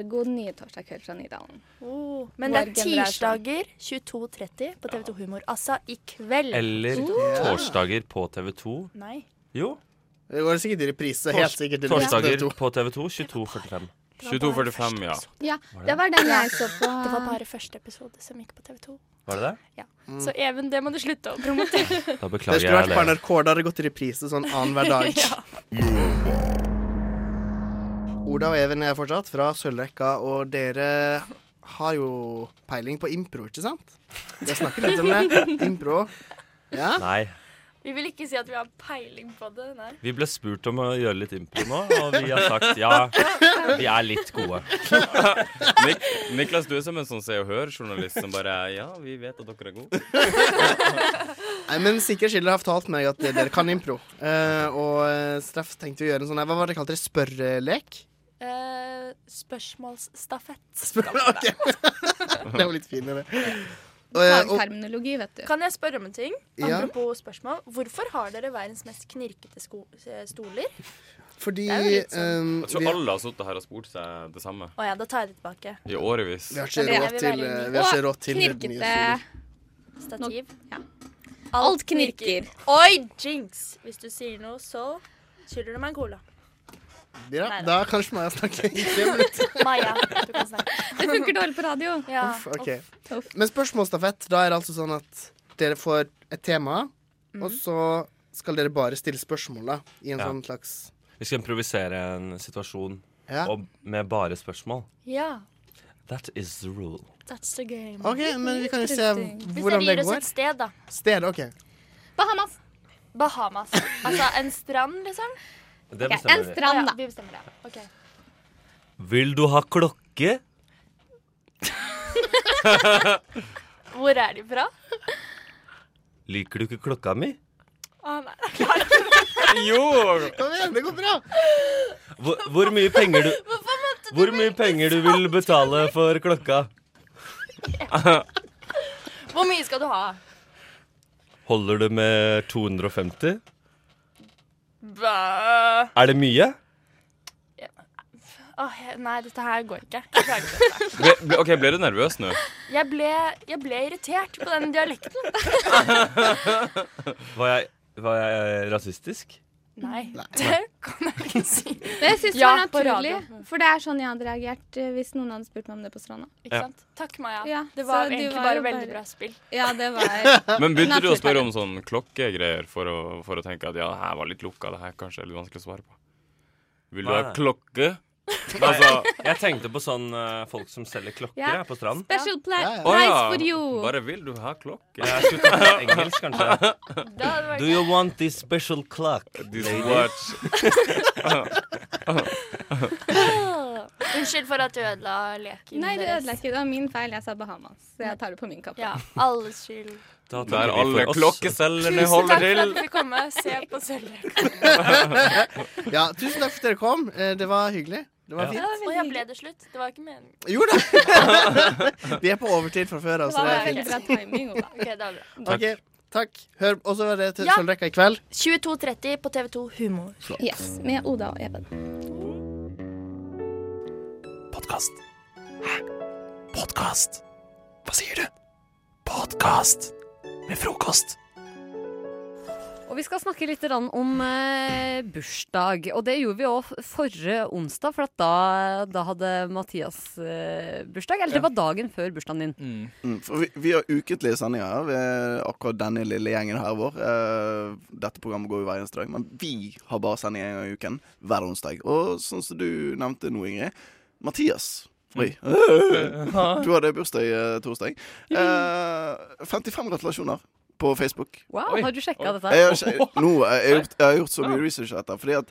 [SPEAKER 8] Ergo den nye torsdag kveld fra Nydalen.
[SPEAKER 17] Oh, men det
[SPEAKER 8] Vår
[SPEAKER 17] er
[SPEAKER 8] generasjon.
[SPEAKER 17] tirsdager 22.30 på TV2 Humor. Altså i kveld.
[SPEAKER 16] Eller
[SPEAKER 17] Ja.
[SPEAKER 16] torsdager på TV2.
[SPEAKER 17] Nei.
[SPEAKER 16] Jo.
[SPEAKER 11] Det går sikkert i reprise
[SPEAKER 16] tors-
[SPEAKER 11] Helt sikkert i reprise
[SPEAKER 16] Torsdager
[SPEAKER 11] TV2.
[SPEAKER 16] på TV2 22.45.
[SPEAKER 12] 22.45, ja.
[SPEAKER 8] Ja,
[SPEAKER 16] Var det?
[SPEAKER 8] det var den jeg så på.
[SPEAKER 17] Det var bare første episode som gikk på TV2.
[SPEAKER 16] Var det det?
[SPEAKER 17] Ja. Så Even, det må du slutte å promotere.
[SPEAKER 16] Da
[SPEAKER 11] Det
[SPEAKER 16] beklager
[SPEAKER 11] skulle
[SPEAKER 16] jeg
[SPEAKER 11] vært på
[SPEAKER 16] det.
[SPEAKER 11] NRK Da hadde det gått i reprise sånn annen hver dag
[SPEAKER 17] Ja.
[SPEAKER 11] Oda og Even er fortsatt fra Sølvrekka, og dere har jo peiling på impro, ikke sant? Jeg snakker litt om det. Impro. Ja?
[SPEAKER 16] Nei.
[SPEAKER 17] Vi vil ikke si at vi har peiling på det. Nei.
[SPEAKER 16] Vi ble spurt om å gjøre litt impro nå, og vi har sagt ja. Vi er litt gode.
[SPEAKER 12] Nik Niklas, du er som en sånn Se og Hør-journalist som bare Ja, vi vet at dere er gode.
[SPEAKER 11] Nei, men sikkert Schiller har fortalt meg at dere kan impro. Eh, og Steff tenkte å gjøre en sånn her, Hva var det kalt dere? Spørrelek?
[SPEAKER 17] Eh, spørsmålsstafett.
[SPEAKER 11] Spør ok. det var litt fin idé. Og, eh, og-
[SPEAKER 13] Fagterminologi, vet du.
[SPEAKER 17] Kan jeg spørre om en ting?
[SPEAKER 11] Ja.
[SPEAKER 17] Apropos spørsmål. Hvorfor har dere verdens mest knirkete sko eh, stoler?
[SPEAKER 11] Fordi
[SPEAKER 17] Det er jo litt sånn.
[SPEAKER 11] ehm,
[SPEAKER 12] Jeg tror
[SPEAKER 11] vi-
[SPEAKER 12] alle har sittet her og spurt seg det samme
[SPEAKER 17] Å ja, da tar jeg det tilbake.
[SPEAKER 12] i årevis.
[SPEAKER 11] Vi har ikke råd til, eh, vi har ikke råd til
[SPEAKER 13] knirkete.
[SPEAKER 11] nye stoler.
[SPEAKER 17] Stativ.
[SPEAKER 13] Alt knirker.
[SPEAKER 17] Oi, jinx! Hvis du sier noe, så skylder du meg en cola.
[SPEAKER 11] Ja,
[SPEAKER 17] Neida.
[SPEAKER 11] da kanskje Maja snakker. Ikke, men-
[SPEAKER 17] Maja, du kan snakke.
[SPEAKER 13] Det funker dårlig på radio.
[SPEAKER 17] Ja.
[SPEAKER 11] Uff, ok. Men spørsmålsstafett, da er det altså sånn at dere får et tema,
[SPEAKER 17] Mhm.
[SPEAKER 11] og så skal dere bare stille spørsmål, da. I en
[SPEAKER 16] Ja.
[SPEAKER 11] sånn slags
[SPEAKER 16] Vi skal improvisere en situasjon
[SPEAKER 11] Ja.
[SPEAKER 16] og med bare spørsmål.
[SPEAKER 17] Ja,
[SPEAKER 16] That is the rule.
[SPEAKER 17] that's the game.
[SPEAKER 11] OK, men vi kan jo se
[SPEAKER 17] Hvis
[SPEAKER 11] hvordan
[SPEAKER 17] dere
[SPEAKER 11] det
[SPEAKER 17] gir oss
[SPEAKER 11] går.
[SPEAKER 17] et sted, da.
[SPEAKER 11] Sted, OK.
[SPEAKER 13] Bahamas.
[SPEAKER 17] Bahamas. Altså en strand, liksom?
[SPEAKER 16] Det bestemmer vi.
[SPEAKER 17] strand, da. Ja, vi bestemmer det. Ok.
[SPEAKER 16] Vil du ha klokke?
[SPEAKER 17] Hvor er de fra?
[SPEAKER 16] Liker du ikke klokka mi?
[SPEAKER 17] Å, nei.
[SPEAKER 16] Jo!
[SPEAKER 11] Kom igjen, det går bra.
[SPEAKER 16] Hvor, hvor mye penger du Hvor mye penger du vil betale for klokka?
[SPEAKER 17] Hvor mye skal du ha?
[SPEAKER 16] Holder du med 250?
[SPEAKER 17] Bæ...
[SPEAKER 16] Er det mye?
[SPEAKER 17] Åh, jeg- nei, dette her går ikke. Jeg klarer ikke dette.
[SPEAKER 12] Ble, ble, OK, ble du nervøs nå?
[SPEAKER 17] Jeg ble, jeg ble irritert på den dialekten.
[SPEAKER 16] Var jeg, var jeg rasistisk?
[SPEAKER 17] Nei, det kan jeg ikke si.
[SPEAKER 13] Men jeg syns
[SPEAKER 17] Ja,
[SPEAKER 13] det
[SPEAKER 17] på
[SPEAKER 13] var
[SPEAKER 17] radio.
[SPEAKER 13] naturlig, for det er sånn jeg hadde reagert eh, hvis noen hadde spurt meg om det på stranda.
[SPEAKER 17] Ikke sant? Takk, Maja.
[SPEAKER 13] Ja,
[SPEAKER 17] det
[SPEAKER 13] så
[SPEAKER 17] var
[SPEAKER 13] du
[SPEAKER 17] egentlig
[SPEAKER 13] var
[SPEAKER 17] bare
[SPEAKER 13] jo
[SPEAKER 17] veldig
[SPEAKER 13] bare-
[SPEAKER 17] bra spill.
[SPEAKER 13] Ja, det var
[SPEAKER 12] Men begynte du å spørre om sånn klokkegreier for å, for å tenke at ja, det her var litt lukka, det her kanskje er litt vanskelig å svare på? Vil du ha
[SPEAKER 16] Nei.
[SPEAKER 12] klokke?
[SPEAKER 16] Nei,
[SPEAKER 12] Altså
[SPEAKER 16] jeg tenkte på sånn eh, folk som selger klokker
[SPEAKER 13] Ja.
[SPEAKER 16] jeg, på stranden.
[SPEAKER 13] Special pla-
[SPEAKER 16] Ja, ja.
[SPEAKER 13] price
[SPEAKER 16] Å ja,
[SPEAKER 13] for you.
[SPEAKER 12] Bare vil du ha klokke?
[SPEAKER 16] Jeg skulle ta engelsk, kanskje.
[SPEAKER 13] Da hadde det vært
[SPEAKER 16] Do you want this special clock?
[SPEAKER 12] This
[SPEAKER 16] lady?
[SPEAKER 17] Åh, Unnskyld for at du ødela leken
[SPEAKER 13] Nei, det
[SPEAKER 17] deres.
[SPEAKER 13] ødela ikke. Det var min feil. Jeg sa Bahamas. Så jeg tar det på min kappe.
[SPEAKER 17] Ja, alles skyld.
[SPEAKER 16] Da takker
[SPEAKER 12] Der
[SPEAKER 16] vi for
[SPEAKER 12] alle
[SPEAKER 16] oss.
[SPEAKER 12] klokkeselgerne
[SPEAKER 17] Tusen takk for
[SPEAKER 12] holder
[SPEAKER 17] at
[SPEAKER 12] til.
[SPEAKER 17] du fikk komme. Se på Sølvrekka.
[SPEAKER 11] ja, tusen takk for at dere kom. Eh, Det var hyggelig. Det var fint.
[SPEAKER 17] Og jeg ble det slutt. Det var ikke meningen.
[SPEAKER 11] Jo da! Vi er på overtid fra før av, så altså. det er
[SPEAKER 17] veldig bra
[SPEAKER 11] fint.
[SPEAKER 17] timing. Ola. Ok, det var bra.
[SPEAKER 11] OK, takk. Hør, og så var det til
[SPEAKER 17] Ja.
[SPEAKER 11] Sølvrekka i kveld.
[SPEAKER 17] 22.30 på TV2 Humor.
[SPEAKER 13] Yes, med Oda og Even.
[SPEAKER 6] Podkast. Hæ? Podkast? Hva sier du? Podkast med frokost.
[SPEAKER 18] Og vi skal snakke litt grann om eh, bursdag. Og det gjorde vi òg forrige onsdag, for at da, da hadde Mathias eh, bursdag. Eller det var dagen før bursdagen din.
[SPEAKER 14] Mm, for vi, vi har ukentlige sendinger her, ved akkurat denne lille gjengen her vår. Eh, dette programmet går jo hver eneste dag, men vi har bare sending en gang i uken hver onsdag. Og sånn som du nevnte nå, Ingrid Mathias. Oi.
[SPEAKER 18] Mm.
[SPEAKER 14] Du hadde bursdag eh, torsdag. Eh, 55 gratulasjoner på Facebook.
[SPEAKER 18] Wow, har du sjekka dette?
[SPEAKER 14] Jeg har, ikke- nå, jeg, har gjort, jeg har gjort så mye research etter Fordi at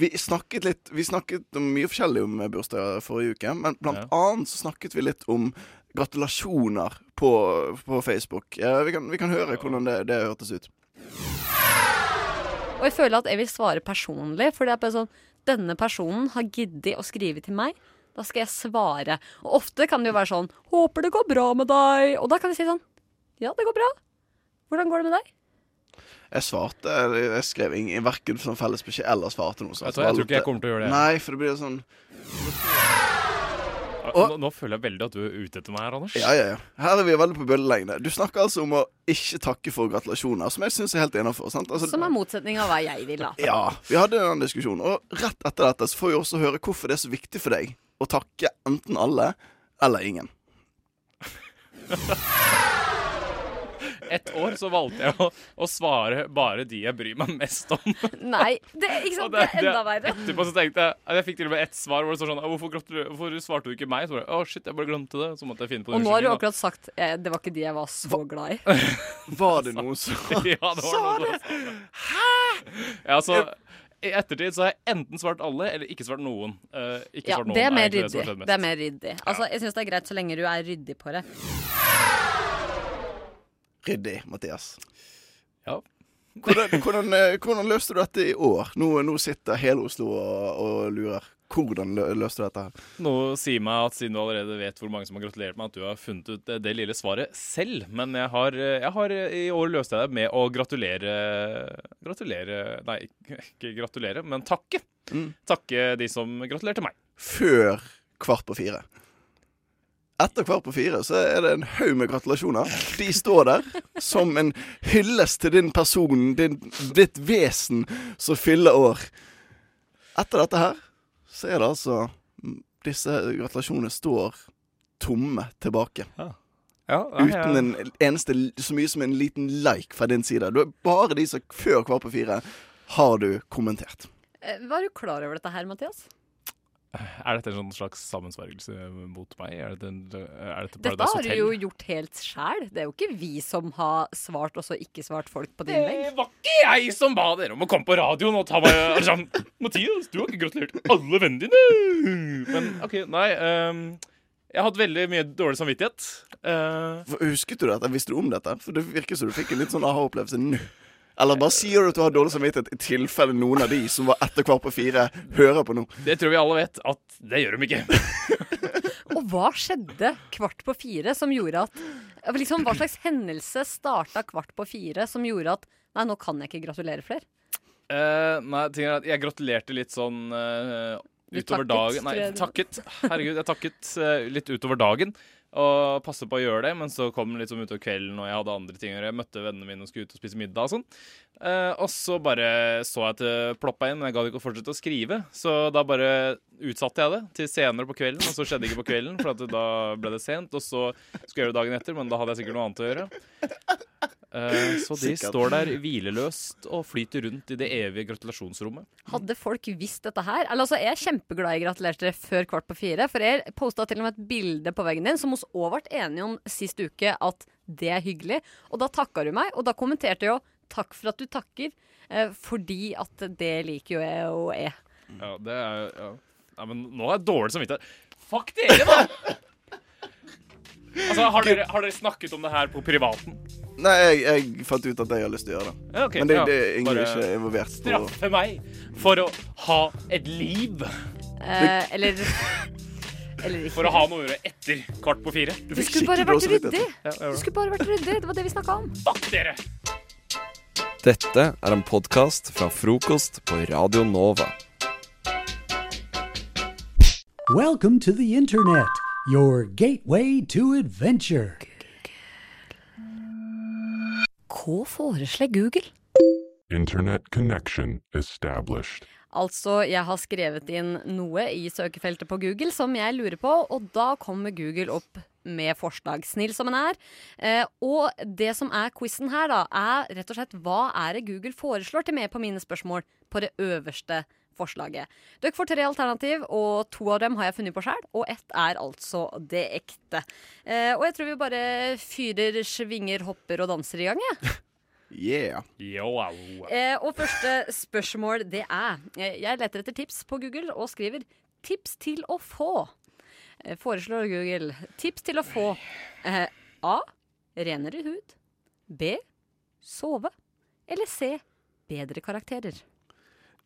[SPEAKER 14] vi snakket litt Vi snakket om mye forskjellig om bursdager forrige uke Men blant annet så snakket vi litt om Gratulasjoner på, på Facebook Eh, vi, kan, vi kan høre hvordan det, det hørtes ut
[SPEAKER 18] Og jeg føler at jeg vil svare personlig, for det er bare sånn Denne personen har giddet å skrive til meg. Da skal jeg svare. Og ofte kan det jo være sånn 'Håper det går bra med deg.' Og da kan jeg si sånn 'Ja, det går bra. Hvordan går det med deg?'
[SPEAKER 14] Jeg svarte, jeg skrev ingen, hverken sånn felles beskjed Eller svarte noe sånt
[SPEAKER 3] Jeg tror- jeg tror ikke jeg kommer til å gjøre det.
[SPEAKER 14] Nei, for det blir sånn
[SPEAKER 3] Nå, nå føler jeg veldig at du er ute etter meg her, Anders.
[SPEAKER 14] Ja, ja, ja. Her er vi veldig på bølgelengde Du snakker altså om å ikke takke for gratulasjoner Som jeg synes er helt innenfor sant? altså,
[SPEAKER 18] Som er motsetning av hva jeg vil, da.
[SPEAKER 14] Ja, vi hadde den diskusjonen. Og rett etter dette så får vi også høre hvorfor det er så viktig for deg å takke enten alle eller ingen.
[SPEAKER 19] ett år så valgte jeg å, å svare bare de jeg bryr meg mest om.
[SPEAKER 18] Nei, det, ikke sant?
[SPEAKER 19] Og
[SPEAKER 18] Det, er enda verre.
[SPEAKER 19] Etterpå så tenkte jeg Jeg fikk til og med ett svar hvor det står sånn «Å, hvorfor, gratulerer- hvorfor svarte du ikke meg? Så bare, Å, shit, jeg bare glemte det. Så måtte jeg finne på
[SPEAKER 18] Og
[SPEAKER 19] en
[SPEAKER 18] nå har du
[SPEAKER 19] unnskyldning, da.
[SPEAKER 18] akkurat sagt eh, det var ikke de jeg var så glad i.
[SPEAKER 14] Var det noen som
[SPEAKER 19] Ja, det var noe sånt. Ja, altså, så I ettertid så har jeg enten svart alle eller ikke svart noen. Eh, ikke
[SPEAKER 18] Ja,
[SPEAKER 19] svart noen
[SPEAKER 18] det er mer
[SPEAKER 19] egentlig
[SPEAKER 18] ryddig.
[SPEAKER 19] som har skjedd mest.
[SPEAKER 18] Det er mer ryddig. Altså, jeg syns det er greit så lenge du er ryddig på det.
[SPEAKER 14] Ryddig, Mathias.
[SPEAKER 19] Ja.
[SPEAKER 14] Hvordan, hvordan, eh, hvordan løste du dette i år? Nå, nå sitter hele Oslo og, og lurer. Hvordan lø- løste du dette? her?
[SPEAKER 19] Noe sier meg at siden du allerede vet hvor mange som har gratulert meg, at du har funnet ut det, det lille svaret selv. Men jeg har, jeg har i år løst jeg det med å gratulere Gratulere Nei, ikke gratulere, men takke. Takke de som gratulerte meg.
[SPEAKER 14] Før kvart på fire. Etter kvart på fire så er det en haug med gratulasjoner. De står der som en hyllest til din person, din, ditt vesen, som fyller år. Etter dette her så er det altså Disse gratulasjonene står tomme tilbake.
[SPEAKER 19] nei, jeg-
[SPEAKER 14] Uten en eneste Så mye som en liten like fra din side. Du er bare de som før kvart på fire har du kommentert.
[SPEAKER 18] Eh, Var du klar over dette her, Mathias?
[SPEAKER 19] Er dette en sånn slags sammensvergelse mot meg? Er dette, en, er dette
[SPEAKER 18] Dette
[SPEAKER 19] Paradise
[SPEAKER 18] har du
[SPEAKER 19] Hotel?
[SPEAKER 18] jo gjort helt sjæl. Det er jo ikke vi som har svart og så ikke svart folk på din
[SPEAKER 19] Det
[SPEAKER 18] vegg.
[SPEAKER 19] var ikke jeg som ba dere om å komme på radioen og ta meg og sånn, Mathias, du har ikke gratulert alle vennene dine! Men OK, nei. ehm, jeg har hatt veldig mye dårlig samvittighet. Eh,
[SPEAKER 14] For- Husket du dette? Visste du om dette? For det virker som du fikk en litt sånn aha-opplevelse nå. Eller bare sier du at du har dårlig samvittighet i tilfelle noen av de som var etter kvart på fire, hører på nå.
[SPEAKER 19] det tror vi alle vet at det gjør de ikke.
[SPEAKER 18] Og hva skjedde kvart på fire som gjorde at liksom, Hva slags hendelse starta kvart på fire som gjorde at Nei, nå kan jeg ikke gratulere flere.
[SPEAKER 19] Eh, nei, ting er at jeg gratulerte litt sånn eh,
[SPEAKER 18] Du
[SPEAKER 19] utover
[SPEAKER 18] takket,
[SPEAKER 19] dagen. Nei,
[SPEAKER 18] tror
[SPEAKER 19] takket. Herregud, jeg takket eh, litt utover dagen og passet på å gjøre det. Men så kom det litt sånn utover kvelden, og jeg hadde andre ting å gjøre. Jeg møtte vennene mine og skulle ut og spise middag og sånn. Eh, og så bare så jeg at det ploppa inn, men jeg gadd ikke å fortsette å skrive. Så da bare utsatte jeg det til senere på kvelden, og så skjedde det ikke på kvelden, for at da ble det sent. Og så skulle jeg gjøre det dagen etter, men da hadde jeg sikkert noe annet å gjøre. Eh, så de
[SPEAKER 18] Sikkert.
[SPEAKER 19] står der hvileløst og flyter rundt i det evige gratulasjonsrommet.
[SPEAKER 18] Hadde folk visst dette her? Eller altså, Jeg er kjempeglad jeg gratulerte dere før kvart på fire. For jeg posta til og med et bilde på veggen din som oss òg ble enige om sist uke at det er hyggelig. Og da takka du meg, og da kommenterte jeg jo 'takk for at du takker', eh, fordi at det liker jo jeg og jeg.
[SPEAKER 19] Ja, det er ja. Nei, men nå er jeg dårlig samvittighet. Fuck dere, da! Altså, har dere, har dere snakket om det her på privaten?
[SPEAKER 14] Nei, jeg, jeg fant ut at jeg har lyst til å gjøre det.
[SPEAKER 19] Ja, ok,
[SPEAKER 14] Men det,
[SPEAKER 19] ja.
[SPEAKER 14] det er ingen
[SPEAKER 19] Bare
[SPEAKER 14] ikke er involvert. på-
[SPEAKER 19] Straffe meg for å ha et liv.
[SPEAKER 18] Eh, eller Eller ikke.
[SPEAKER 19] For å ha noe å gjøre etter kvart på fire.
[SPEAKER 18] Du skulle bare vært ryddig!
[SPEAKER 19] Ja, jeg gjorde
[SPEAKER 18] Du
[SPEAKER 19] det.
[SPEAKER 18] skulle bare vært ryddig, Det var det vi snakka om.
[SPEAKER 19] Fuck dere!
[SPEAKER 6] Dette er en podkast fra frokost på Radio Nova.
[SPEAKER 20] Welcome to the Internet, your gateway to adventure.
[SPEAKER 18] Hva foreslår Google?
[SPEAKER 21] Internet connection established.
[SPEAKER 18] Altså, jeg har skrevet inn noe i søkefeltet på Google som jeg lurer på, og da kommer Google opp med forslag, snill som den er. Eh, og det som er quizen her, da, er rett og slett hva er det Google foreslår til meg på mine spørsmål på det øverste forslaget. Dere får tre alternativ, og to av dem har jeg funnet på sjøl, og ett er altså det ekte. Eh, og jeg tror vi bare fyrer, svinger, hopper og danser i gang, jeg.
[SPEAKER 14] Yeah.
[SPEAKER 18] Eh, og første spørsmål det er eh, Jeg leter etter tips på Google og skriver 'tips til å få'. Eh, foreslår Google tips til å få eh, A. Renere hud. B. Sove. Eller C. Bedre karakterer.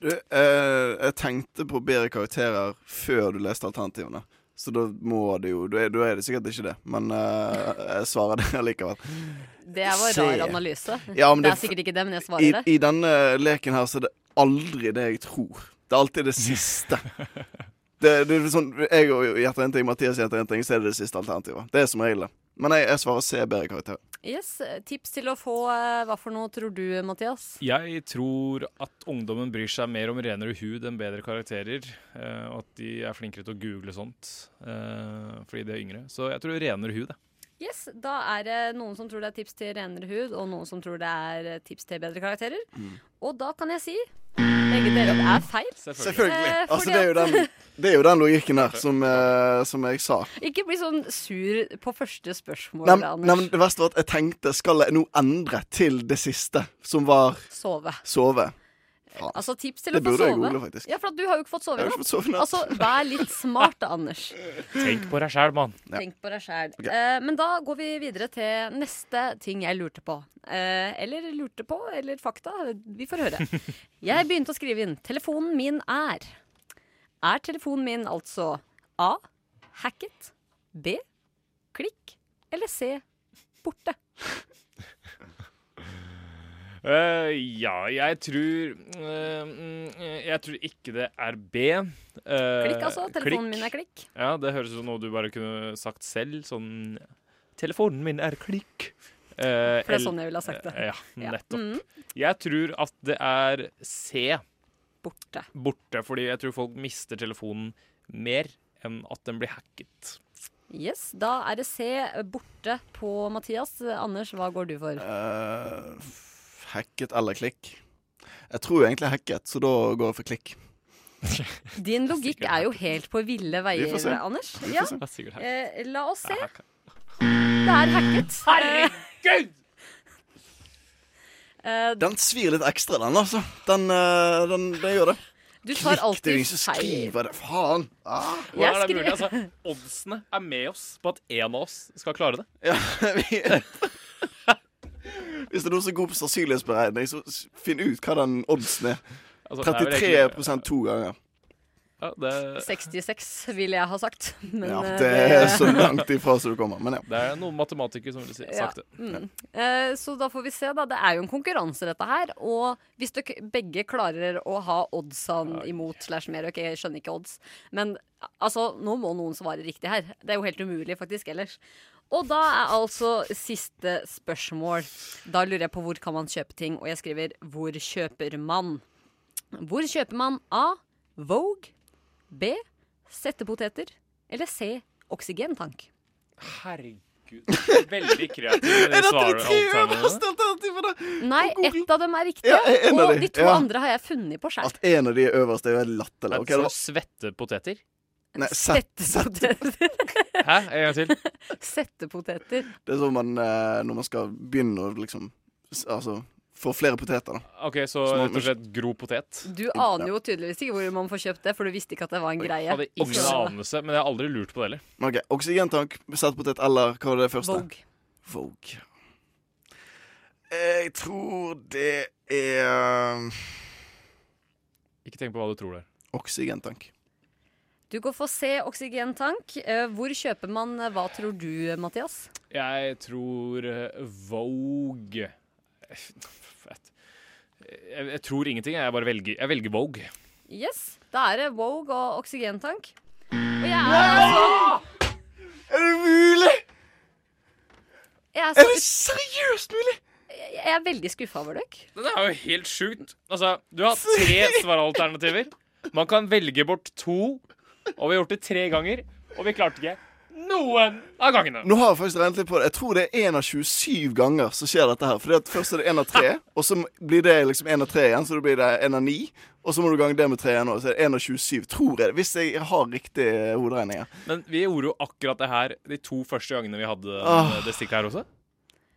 [SPEAKER 14] Du, eh, jeg tenkte på bedre karakterer før du leste alternativene. Så da må det jo Da er, da er det sikkert ikke det, men eh, jeg svarer det allikevel.
[SPEAKER 18] Det var
[SPEAKER 14] C.
[SPEAKER 18] rar analyse.
[SPEAKER 14] Ja, men
[SPEAKER 18] det,
[SPEAKER 14] det-
[SPEAKER 18] er sikkert ikke det, men jeg
[SPEAKER 14] I,
[SPEAKER 18] svarer det.
[SPEAKER 14] I denne leken her så er det aldri det jeg tror. Det er alltid det siste. Det, det er sånn, Jeg og- gjetter en ting, Mathias gjetter en ting, så er det det siste alternativet. Det er som regel det. Men jeg, jeg svarer C, bedre karakter.
[SPEAKER 18] Yes, eh, Tips til å få eh, hva for noe, tror du, Mathias?
[SPEAKER 19] Jeg tror at ungdommen bryr seg mer om renere hud enn bedre karakterer. eh, Og at de er flinkere til å google sånt eh, fordi de er yngre. Så jeg tror renere hud. jeg.
[SPEAKER 18] Yes, Da er det noen som tror det er tips til renere hud, og noen som tror det er eh, tips til bedre karakterer. Og da kan jeg si begge deler er feil.
[SPEAKER 14] Selvfølgelig.
[SPEAKER 18] Eh,
[SPEAKER 14] Altså,
[SPEAKER 18] fordi
[SPEAKER 14] det, er jo
[SPEAKER 18] at-
[SPEAKER 14] den, det er jo den logikken der som, eh, som jeg sa.
[SPEAKER 18] Ikke bli sånn sur på første spørsmål,
[SPEAKER 14] Nei, men-
[SPEAKER 18] Anders.
[SPEAKER 14] nei, men det verste var at jeg tenkte Skal jeg nå endre til det siste, som var
[SPEAKER 18] Sove.
[SPEAKER 14] sove? Faen.
[SPEAKER 18] Altså tips til
[SPEAKER 14] Det
[SPEAKER 18] å få
[SPEAKER 14] burde jeg
[SPEAKER 18] sove.
[SPEAKER 14] google, faktisk.
[SPEAKER 18] Ja, for at du har jo ikke fått sove i
[SPEAKER 14] Jeg har ikke
[SPEAKER 18] natt.
[SPEAKER 14] fått sove i natt.
[SPEAKER 18] Altså, vær litt smart, da, Anders.
[SPEAKER 15] Tenk på deg sjæl, mann.
[SPEAKER 18] Tenk på deg sjæl.
[SPEAKER 15] Ok.
[SPEAKER 18] Eh, men da går vi videre til neste ting jeg lurte på. Eh, eller lurte på, eller fakta. Vi får høre. Jeg begynte å skrive inn 'Telefonen min er'. Er telefonen min altså A. Hacket. B. Klikk. Eller C. Borte.
[SPEAKER 19] Eh, ja, jeg tror eh, mm, eh, Jeg tror ikke det er B. Eh,
[SPEAKER 18] Klikk, altså. Telefonen min er klikk.
[SPEAKER 19] Ja, det høres ut som noe du bare kunne sagt selv. Sånn Telefonen min er klikk. Eh,
[SPEAKER 18] For det er
[SPEAKER 19] el-
[SPEAKER 18] sånn jeg ville ha sagt det.
[SPEAKER 19] eh, Ja,
[SPEAKER 18] Ja.
[SPEAKER 19] nettopp.
[SPEAKER 18] Mm.
[SPEAKER 19] Jeg tror at det er C.
[SPEAKER 18] Borte.
[SPEAKER 19] Borte, fordi jeg tror folk mister telefonen mer enn at den blir hacket.
[SPEAKER 18] Yes, Da er det C eh, borte på Mathias. Anders, hva går du for?
[SPEAKER 14] Eh, f- hacket eller klikk? Jeg tror jo egentlig jeg hacket, så da går jeg for klikk.
[SPEAKER 18] Din logikk er jo helt på ville
[SPEAKER 14] Vi får se.
[SPEAKER 18] veier, Anders.
[SPEAKER 14] Vi får
[SPEAKER 18] Ja.
[SPEAKER 14] se. Det er sikkert hacket.
[SPEAKER 18] Eh, la oss se. Det er hacket. Herregud! Eh,
[SPEAKER 14] Den svir litt ekstra, den, altså. Den, eh, den, den gjør det.
[SPEAKER 18] Du tar alltid
[SPEAKER 14] det er jo ingen som
[SPEAKER 18] feil.
[SPEAKER 14] skriver det. Faen! Ah.
[SPEAKER 19] Hvordan er det mulig? Altså, oddsene er med oss på at én av oss skal klare det.
[SPEAKER 14] Hvis det er noen som går på sannsynlighetsberegning, så s- finn ut hva den oddsen er.
[SPEAKER 19] Altså, det er vel
[SPEAKER 14] 33 to ganger.
[SPEAKER 19] Ja, det,
[SPEAKER 18] 66 ville Eh, jeg ha sagt. Men,
[SPEAKER 14] Ja,
[SPEAKER 18] eh,
[SPEAKER 14] det er så langt ifra som du kommer. Men ja.
[SPEAKER 19] det er noen matematikere som ville si-
[SPEAKER 18] ja.
[SPEAKER 19] sagt det.
[SPEAKER 18] Mm. Eh, så da får vi se, da. Det er jo en konkurranse, dette her. Og hvis dere begge klarer å ha oddsene imot slash mer, ok, jeg skjønner ikke odds, men altså, nå må noen svare riktig her. Det er jo helt umulig faktisk ellers. Og da er altså siste spørsmål. Da lurer jeg på hvor kan man kjøpe ting, og jeg skriver 'hvor kjøper man'? Hvor kjøper man A. Vogue. B. Settepoteter. Eller C. Oksygentank.
[SPEAKER 19] Herregud. Veldig kreative
[SPEAKER 18] Er
[SPEAKER 19] de
[SPEAKER 18] dette
[SPEAKER 19] svarer
[SPEAKER 18] de ti
[SPEAKER 19] alternativene.
[SPEAKER 18] Nei, ett av dem er riktig.
[SPEAKER 14] Ja, en av
[SPEAKER 18] og
[SPEAKER 14] de,
[SPEAKER 18] de to
[SPEAKER 14] ja.
[SPEAKER 18] andre har jeg funnet på sjøl.
[SPEAKER 14] En av de øverste er jo helt latterlig. Ok, det var-
[SPEAKER 19] Svettepoteter?
[SPEAKER 14] Nei, sett, sett.
[SPEAKER 19] Hæ? En gang til.
[SPEAKER 18] Settepoteter.
[SPEAKER 14] Det er sånn man, eh, når man skal begynne å liksom s- Altså få flere poteter, da.
[SPEAKER 19] OK, så
[SPEAKER 14] Sånn at
[SPEAKER 19] rett og slett grov potet.
[SPEAKER 18] Du aner jo tydeligvis ikke hvor man får kjøpt det, for du visste ikke at det var en greie.
[SPEAKER 19] Hadde ingen anelse, men jeg har aldri lurt på det heller.
[SPEAKER 14] Ok, Oksygentank, settepotet eller hva var det første?
[SPEAKER 18] Vogue.
[SPEAKER 14] Vogue. Jeg tror det er eh,
[SPEAKER 19] Ikke tenk på hva du tror der.
[SPEAKER 14] Oksygentank.
[SPEAKER 18] Du går for C, oksygentank. Eh, Hvor kjøper man eh, hva, tror du, Mathias?
[SPEAKER 19] Jeg tror eh, Vogue jeg, jeg tror ingenting. Jeg bare velger, jeg velger Vogue.
[SPEAKER 18] Yes, da er det Vogue og oksygentank. Og jeg er altså-
[SPEAKER 14] Nei!
[SPEAKER 18] så,
[SPEAKER 14] Er det mulig?!
[SPEAKER 18] jeg er
[SPEAKER 14] Er det
[SPEAKER 18] så,
[SPEAKER 14] seriøst mulig?!
[SPEAKER 18] jeg er veldig skuffa over dere.
[SPEAKER 19] Det er jo helt sjukt. Altså, du har tre svaralternativer. Man kan velge bort to, og vi har gjort det tre ganger, og vi klarte ikke noen av gangene.
[SPEAKER 14] Nå har jeg faktisk regnet litt på det. Jeg tror det er én av 27 ganger som skjer dette her. Fordi at først er det én av tre, og så blir det liksom én av tre igjen, så da blir det én av ni. Og så må du gange det med tre igjen, og så er det én av 27. Tror jeg det. Hvis jeg har riktig hoderegning her.
[SPEAKER 19] Men vi gjorde jo akkurat det her de to første gangene vi hadde
[SPEAKER 14] Ah.
[SPEAKER 19] det stikket her også.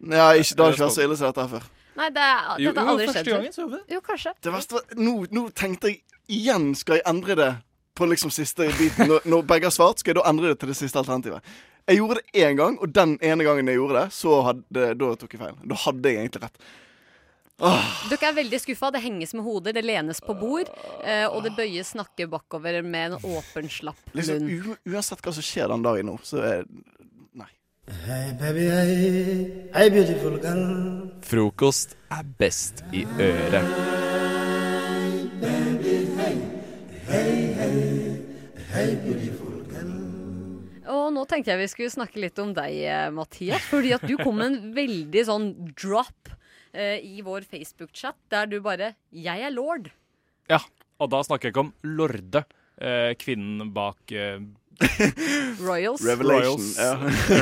[SPEAKER 14] Nei, ikke, det har ikke vært så ille som dette her før.
[SPEAKER 18] Nei, det er,
[SPEAKER 19] Jo,
[SPEAKER 18] dette har
[SPEAKER 19] jo,
[SPEAKER 18] aldri
[SPEAKER 19] første
[SPEAKER 18] skjedd.
[SPEAKER 19] gangen så gjorde
[SPEAKER 18] Jo, kanskje.
[SPEAKER 14] Det verste var nå, nå tenkte jeg igjen Skal jeg endre det på liksom siste biten? Når, når begge har svart, skal jeg da endre det til det siste alternativet? Jeg gjorde det én gang, og den ene gangen jeg gjorde det, så hadde, da tok jeg feil. Da hadde jeg egentlig rett. Åh.
[SPEAKER 18] Dere er veldig skuffa. Det henges med hoder, det lenes på bord, eh, og det bøyes nakke bakover med en åpen, slapp
[SPEAKER 14] Liksom, u uansett hva som skjer den dagen nå, så er
[SPEAKER 2] Hey baby, hey, hey beautiful girl.
[SPEAKER 6] Frokost er best i øret.
[SPEAKER 18] Og nå tenkte jeg vi skulle snakke litt om deg, eh, Mathias. Fordi at du kom med en veldig sånn drop eh, i vår Facebook-chat, der du bare 'Jeg er lord'.
[SPEAKER 19] Ja, og da snakker jeg ikke om Lorde, eh, kvinnen bak eh,
[SPEAKER 18] Royals.
[SPEAKER 14] Revelation, ja.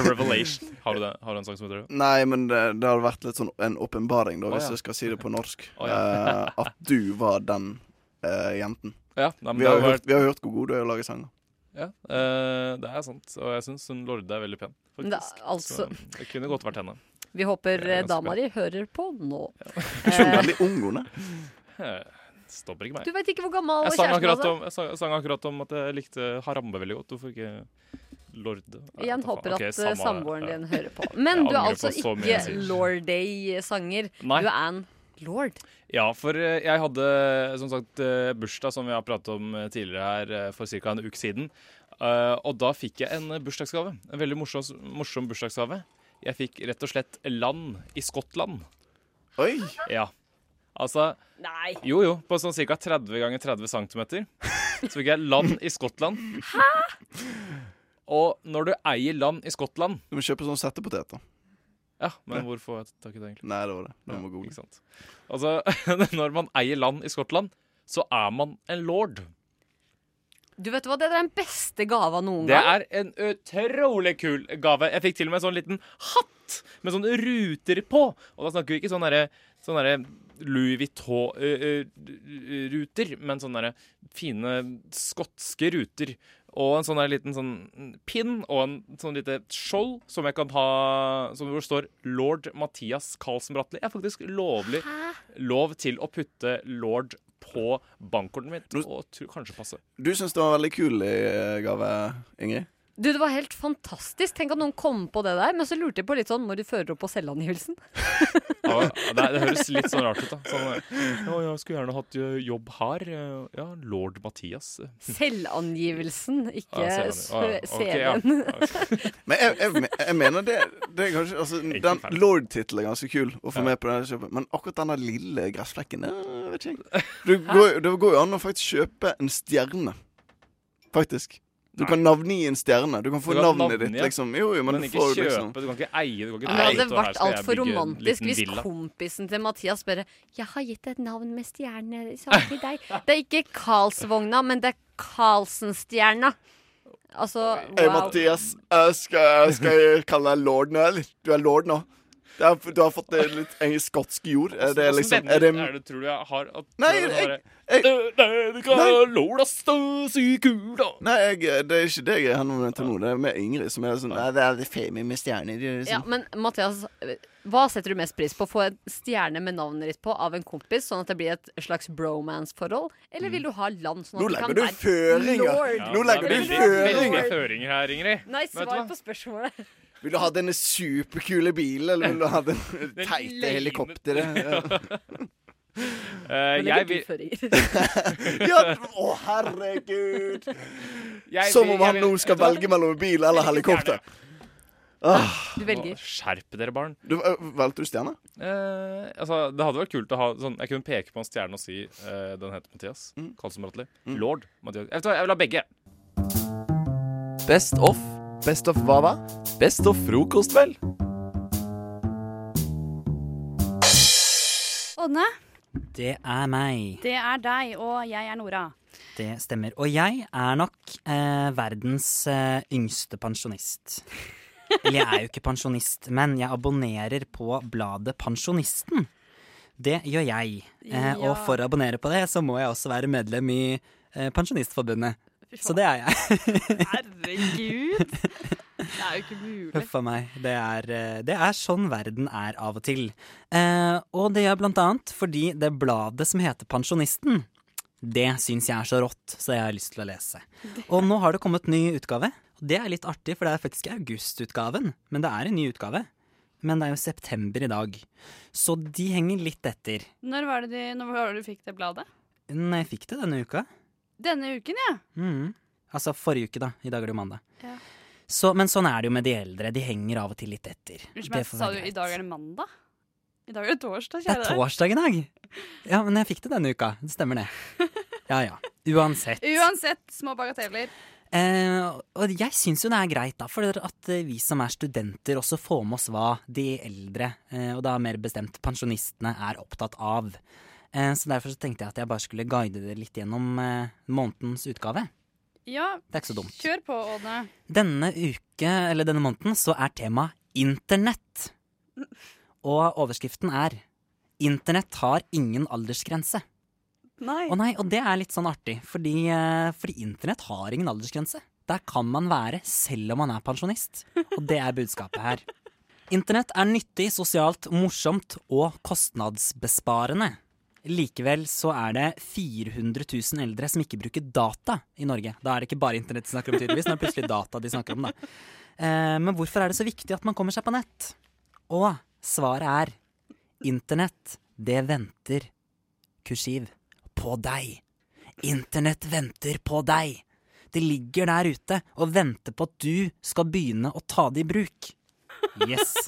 [SPEAKER 19] Revelation. Har du, det? Har du en sang som heter det?
[SPEAKER 14] Nei, men det, det hadde vært litt sånn en åpenbaring, da,
[SPEAKER 19] Å,
[SPEAKER 14] hvis
[SPEAKER 19] ja.
[SPEAKER 14] jeg skal si det på norsk.
[SPEAKER 19] Å, ja.
[SPEAKER 14] Eh, at du var den eh, jenten.
[SPEAKER 19] Ja, nei, men
[SPEAKER 14] vi,
[SPEAKER 19] det
[SPEAKER 14] har
[SPEAKER 19] hadde
[SPEAKER 14] hørt, vi har hørt hvor god du er i å lage sanger.
[SPEAKER 19] Ja, eh, det er sant. Og jeg syns hun Lorde er veldig pen,
[SPEAKER 18] Men da,
[SPEAKER 19] faktisk.
[SPEAKER 18] altså-
[SPEAKER 19] Så eh, det kunne godt vært henne.
[SPEAKER 18] Vi håper eh,
[SPEAKER 19] Jeg er ganske
[SPEAKER 18] dama di hører på nå. Eh,
[SPEAKER 14] hun
[SPEAKER 19] Eh, Stopper ikke meg.
[SPEAKER 18] Du vet ikke hvor gammel
[SPEAKER 19] jeg sang,
[SPEAKER 18] kjæresten
[SPEAKER 19] akkurat
[SPEAKER 18] hadde.
[SPEAKER 19] om, jeg, sang, sang akkurat om at jeg likte Harambe veldig godt. Hvorfor ikke Lorde? Nei,
[SPEAKER 18] Igjen
[SPEAKER 19] vet da
[SPEAKER 18] håper at
[SPEAKER 19] faen. Ok,
[SPEAKER 18] eh,
[SPEAKER 19] samme-
[SPEAKER 18] samboeren
[SPEAKER 19] ja.
[SPEAKER 18] din hører på. Men
[SPEAKER 19] Jeg
[SPEAKER 18] du er
[SPEAKER 19] angrer
[SPEAKER 18] altså
[SPEAKER 19] på så mye
[SPEAKER 18] ikke
[SPEAKER 19] jeg sier.
[SPEAKER 18] Lord Day-sanger. Du
[SPEAKER 19] Nei.
[SPEAKER 18] er en lord.
[SPEAKER 19] Ja, for eh, jeg hadde som sagt eh, bursdag, som vi har pratet om eh, tidligere her, eh, for ca. en uke siden. Eh, Og da fikk jeg en eh, bursdagsgave. En veldig morsom, morsom bursdagsgave. Jeg fikk rett og slett land i Skottland.
[SPEAKER 14] Oi!
[SPEAKER 19] Ja. Altså
[SPEAKER 18] Nei.
[SPEAKER 19] Jo, jo. På sånn ca. 30 ganger 30 cm. Så fikk jeg land i Skottland. Og når du eier land i Skottland
[SPEAKER 14] Du må kjøpe sånn settepotet, da.
[SPEAKER 19] Ja, men
[SPEAKER 14] Ja.
[SPEAKER 19] hvor får jeg tak i det, egentlig?
[SPEAKER 14] Nei, det var det. Du må google.
[SPEAKER 19] Ikke sant. Altså, når man eier land i Skottland, så er man en lord.
[SPEAKER 18] Du vet hva, Det er den beste gava noen
[SPEAKER 19] Det
[SPEAKER 18] gang.
[SPEAKER 19] er en utrolig kul gave. Jeg fikk til og med en sånn liten hatt med sånne ruter på. Og da snakker vi ikke sånn derre sånn derre Louis Vuitton-ruter, men sånne derre fine skotske ruter. Og en sånn der liten sånn pin og en sånn lite skjold som jeg kan ha Som hvor det står 'Lord Mathias Carlsen Bratteli'. Jeg er faktisk lovlig lov til å putte 'Lord' på bankkortet mitt. Og tror kanskje passe.
[SPEAKER 14] Du syns det var en veldig kul eh, gave, Ingrid?
[SPEAKER 18] Du, Det var helt fantastisk. Tenk at noen kom på det der. Men så lurte jeg på litt sånn når du fører opp på selvangivelsen.
[SPEAKER 19] Ja, det, det høres litt sånn rart ut, da. Sånn, ja, jeg skulle gjerne hatt ø, jobb her. ø, Ja, lord Mathias.
[SPEAKER 18] Selvangivelsen, ikke
[SPEAKER 19] Ja, selvangivelsen.
[SPEAKER 18] sø-
[SPEAKER 19] Ah, ja. Ok,
[SPEAKER 18] CV-en.
[SPEAKER 14] Men jeg, jeg, jeg mener det, det er kanskje altså, Den Lord-tittelen er ganske kul å få med på det kjøpet, men akkurat denne lille gressflekken eh, vet ikke jeg. Du går, det går jo an å faktisk kjøpe en stjerne. Faktisk. Du kan navngi en stjerne. Du kan få
[SPEAKER 19] Du kan
[SPEAKER 14] navnet ditt,
[SPEAKER 19] navngi, ja.
[SPEAKER 14] liksom. Jo, jo, men,
[SPEAKER 19] Men
[SPEAKER 14] du
[SPEAKER 19] ikke
[SPEAKER 14] får
[SPEAKER 19] kjøpe,
[SPEAKER 14] liksom
[SPEAKER 19] du kan ikke eie, du kan ikke
[SPEAKER 18] Det hadde
[SPEAKER 19] ut, og her
[SPEAKER 18] vært
[SPEAKER 19] skal jeg
[SPEAKER 18] altfor
[SPEAKER 19] bygge en
[SPEAKER 18] romantisk
[SPEAKER 19] liten
[SPEAKER 18] hvis
[SPEAKER 19] villa.
[SPEAKER 18] kompisen til Mathias bare 'Jeg har gitt et navn med stjerne sa jeg til deg.' Det er ikke Karlsvogna, men det er Karlsen-stjerna. Altså,
[SPEAKER 14] Hei,
[SPEAKER 18] wow.
[SPEAKER 14] Mathias. Jeg skal, skal jeg kalle deg lord nå, eller? Du er lord nå. Det er, du har fått det litt en skotsk jord. Er det
[SPEAKER 19] Hvordan
[SPEAKER 14] liksom
[SPEAKER 19] venner
[SPEAKER 14] Er det
[SPEAKER 19] er det tror du jeg har at,
[SPEAKER 14] Nei,
[SPEAKER 19] tror
[SPEAKER 14] jeg-
[SPEAKER 19] har det?
[SPEAKER 14] Nei, jeg, det er ikke det jeg henvender meg til nå. Det er med Ingrid, som er sånn Nei, det er det femi med stjerner. Liksom.
[SPEAKER 18] Ja, men Mathias, hva setter du mest pris på? Få en stjerne med navnet ditt på av en kompis, sånn at det blir et slags bromance-forhold? Eller vil du ha land sånn at
[SPEAKER 14] Mm. Nå
[SPEAKER 18] du kan
[SPEAKER 14] legger du
[SPEAKER 18] være
[SPEAKER 14] føringer.
[SPEAKER 18] lord?
[SPEAKER 14] Nå legger du
[SPEAKER 19] det er veldig-
[SPEAKER 14] føringer.
[SPEAKER 19] Veldig føringer her, Ingrid.
[SPEAKER 18] Nei,
[SPEAKER 19] Vet du
[SPEAKER 18] svar
[SPEAKER 19] hva?
[SPEAKER 18] på spørsmålet.
[SPEAKER 14] Vil du ha denne superkule bilen, eller vil du ha den teite
[SPEAKER 19] lame.
[SPEAKER 14] helikopteret?
[SPEAKER 19] Eh, jeg vil
[SPEAKER 14] ja, å herregud!
[SPEAKER 19] Jeg
[SPEAKER 14] Som
[SPEAKER 19] vil-
[SPEAKER 14] om han
[SPEAKER 19] jeg
[SPEAKER 14] nå
[SPEAKER 19] vil-
[SPEAKER 14] skal
[SPEAKER 19] vet du hva?
[SPEAKER 14] velge mellom bil eller helikopter. Ah.
[SPEAKER 18] Du velger.
[SPEAKER 19] Skjerp dere, barn.
[SPEAKER 14] Du, eh, valgte du stjerne?
[SPEAKER 19] Eh, altså, det hadde vært kult å ha sånn Jeg kunne peke på en stjerne og si eh, den heter Mathias.
[SPEAKER 14] Mm.
[SPEAKER 19] Karlsen Bratteli. Lord Mathias. Jeg, vet hva, jeg vil ha begge.
[SPEAKER 6] Best of.
[SPEAKER 14] Best of hva da?
[SPEAKER 6] Best of frokost, vel.
[SPEAKER 5] Ådne,
[SPEAKER 22] Det er meg.
[SPEAKER 5] det er deg, og jeg er Nora.
[SPEAKER 22] Det stemmer. Og jeg er nok eh, verdens eh, yngste pensjonist. Eller jeg er jo ikke pensjonist, men jeg abonnerer på bladet Pensjonisten. Det gjør jeg. Eh,
[SPEAKER 5] Ja.
[SPEAKER 22] Og for å abonnere på det, så må jeg også være medlem i eh, Pensjonistforbundet. Så det er jeg.
[SPEAKER 5] Herregud! Det er jo ikke mulig.
[SPEAKER 22] Huff a meg. Det er, eh, det er sånn verden er av og til. Eh, og det gjør blant annet fordi det bladet som heter Pensjonisten, det syns jeg er så rått, så jeg har lyst til å lese. Og nå har det kommet ny utgave. Og det er litt artig, for det er faktisk ikke augustutgaven, men det er en ny utgave. Men det er jo september i dag, så de henger litt etter.
[SPEAKER 5] Når var det, de, når var det du fikk det bladet?
[SPEAKER 22] Men jeg fikk det denne uka.
[SPEAKER 5] Denne uken, ja.
[SPEAKER 22] Mhm. Altså forrige uke, da. I dag er det jo mandag.
[SPEAKER 5] Ja.
[SPEAKER 22] Så, men sånn er det jo med de eldre. De henger av og til litt etter.
[SPEAKER 5] Unnskyld meg,
[SPEAKER 22] Det får
[SPEAKER 5] sa
[SPEAKER 22] være
[SPEAKER 5] du
[SPEAKER 22] greit.
[SPEAKER 5] i dag er det mandag? I dag er det
[SPEAKER 22] Det
[SPEAKER 5] torsdag,
[SPEAKER 22] er
[SPEAKER 5] kjære deg.
[SPEAKER 22] torsdag i dag. Ja, men jeg fikk det denne uka. Det stemmer, det. Ja ja. Uansett.
[SPEAKER 5] Uansett, små bagateller.
[SPEAKER 22] Eh, og jeg syns jo det er greit, da, for at eh, vi som er studenter, også får med oss hva de eldre, eh, og da mer bestemt pensjonistene, er opptatt av. Eh, så derfor så tenkte jeg at jeg bare skulle guide dere litt gjennom eh, månedens utgave.
[SPEAKER 4] Ja,
[SPEAKER 22] Det er ikke så dumt.
[SPEAKER 4] kjør på, Ådne.
[SPEAKER 22] Denne uke, eller denne måneden, så er temaet internett. Og overskriften er 'Internett har ingen aldersgrense'.
[SPEAKER 4] Nei.
[SPEAKER 22] Og nei, og det er litt sånn artig, fordi, eh, fordi internett har ingen aldersgrense. Der kan man være selv om man er pensjonist. Og det er budskapet her. Internett er nyttig, sosialt, morsomt og kostnadsbesparende. Likevel så er det 400 000 eldre som ikke bruker data i Norge. Da er det ikke bare internett de snakker om, tydeligvis, men det er plutselig data de snakker om. da. Eh, men hvorfor er det så viktig at man kommer seg på nett? Og svaret er internett, det venter kursiv på deg. Internett venter på deg. Det ligger der ute og venter på at du skal begynne å ta det i bruk. Yes.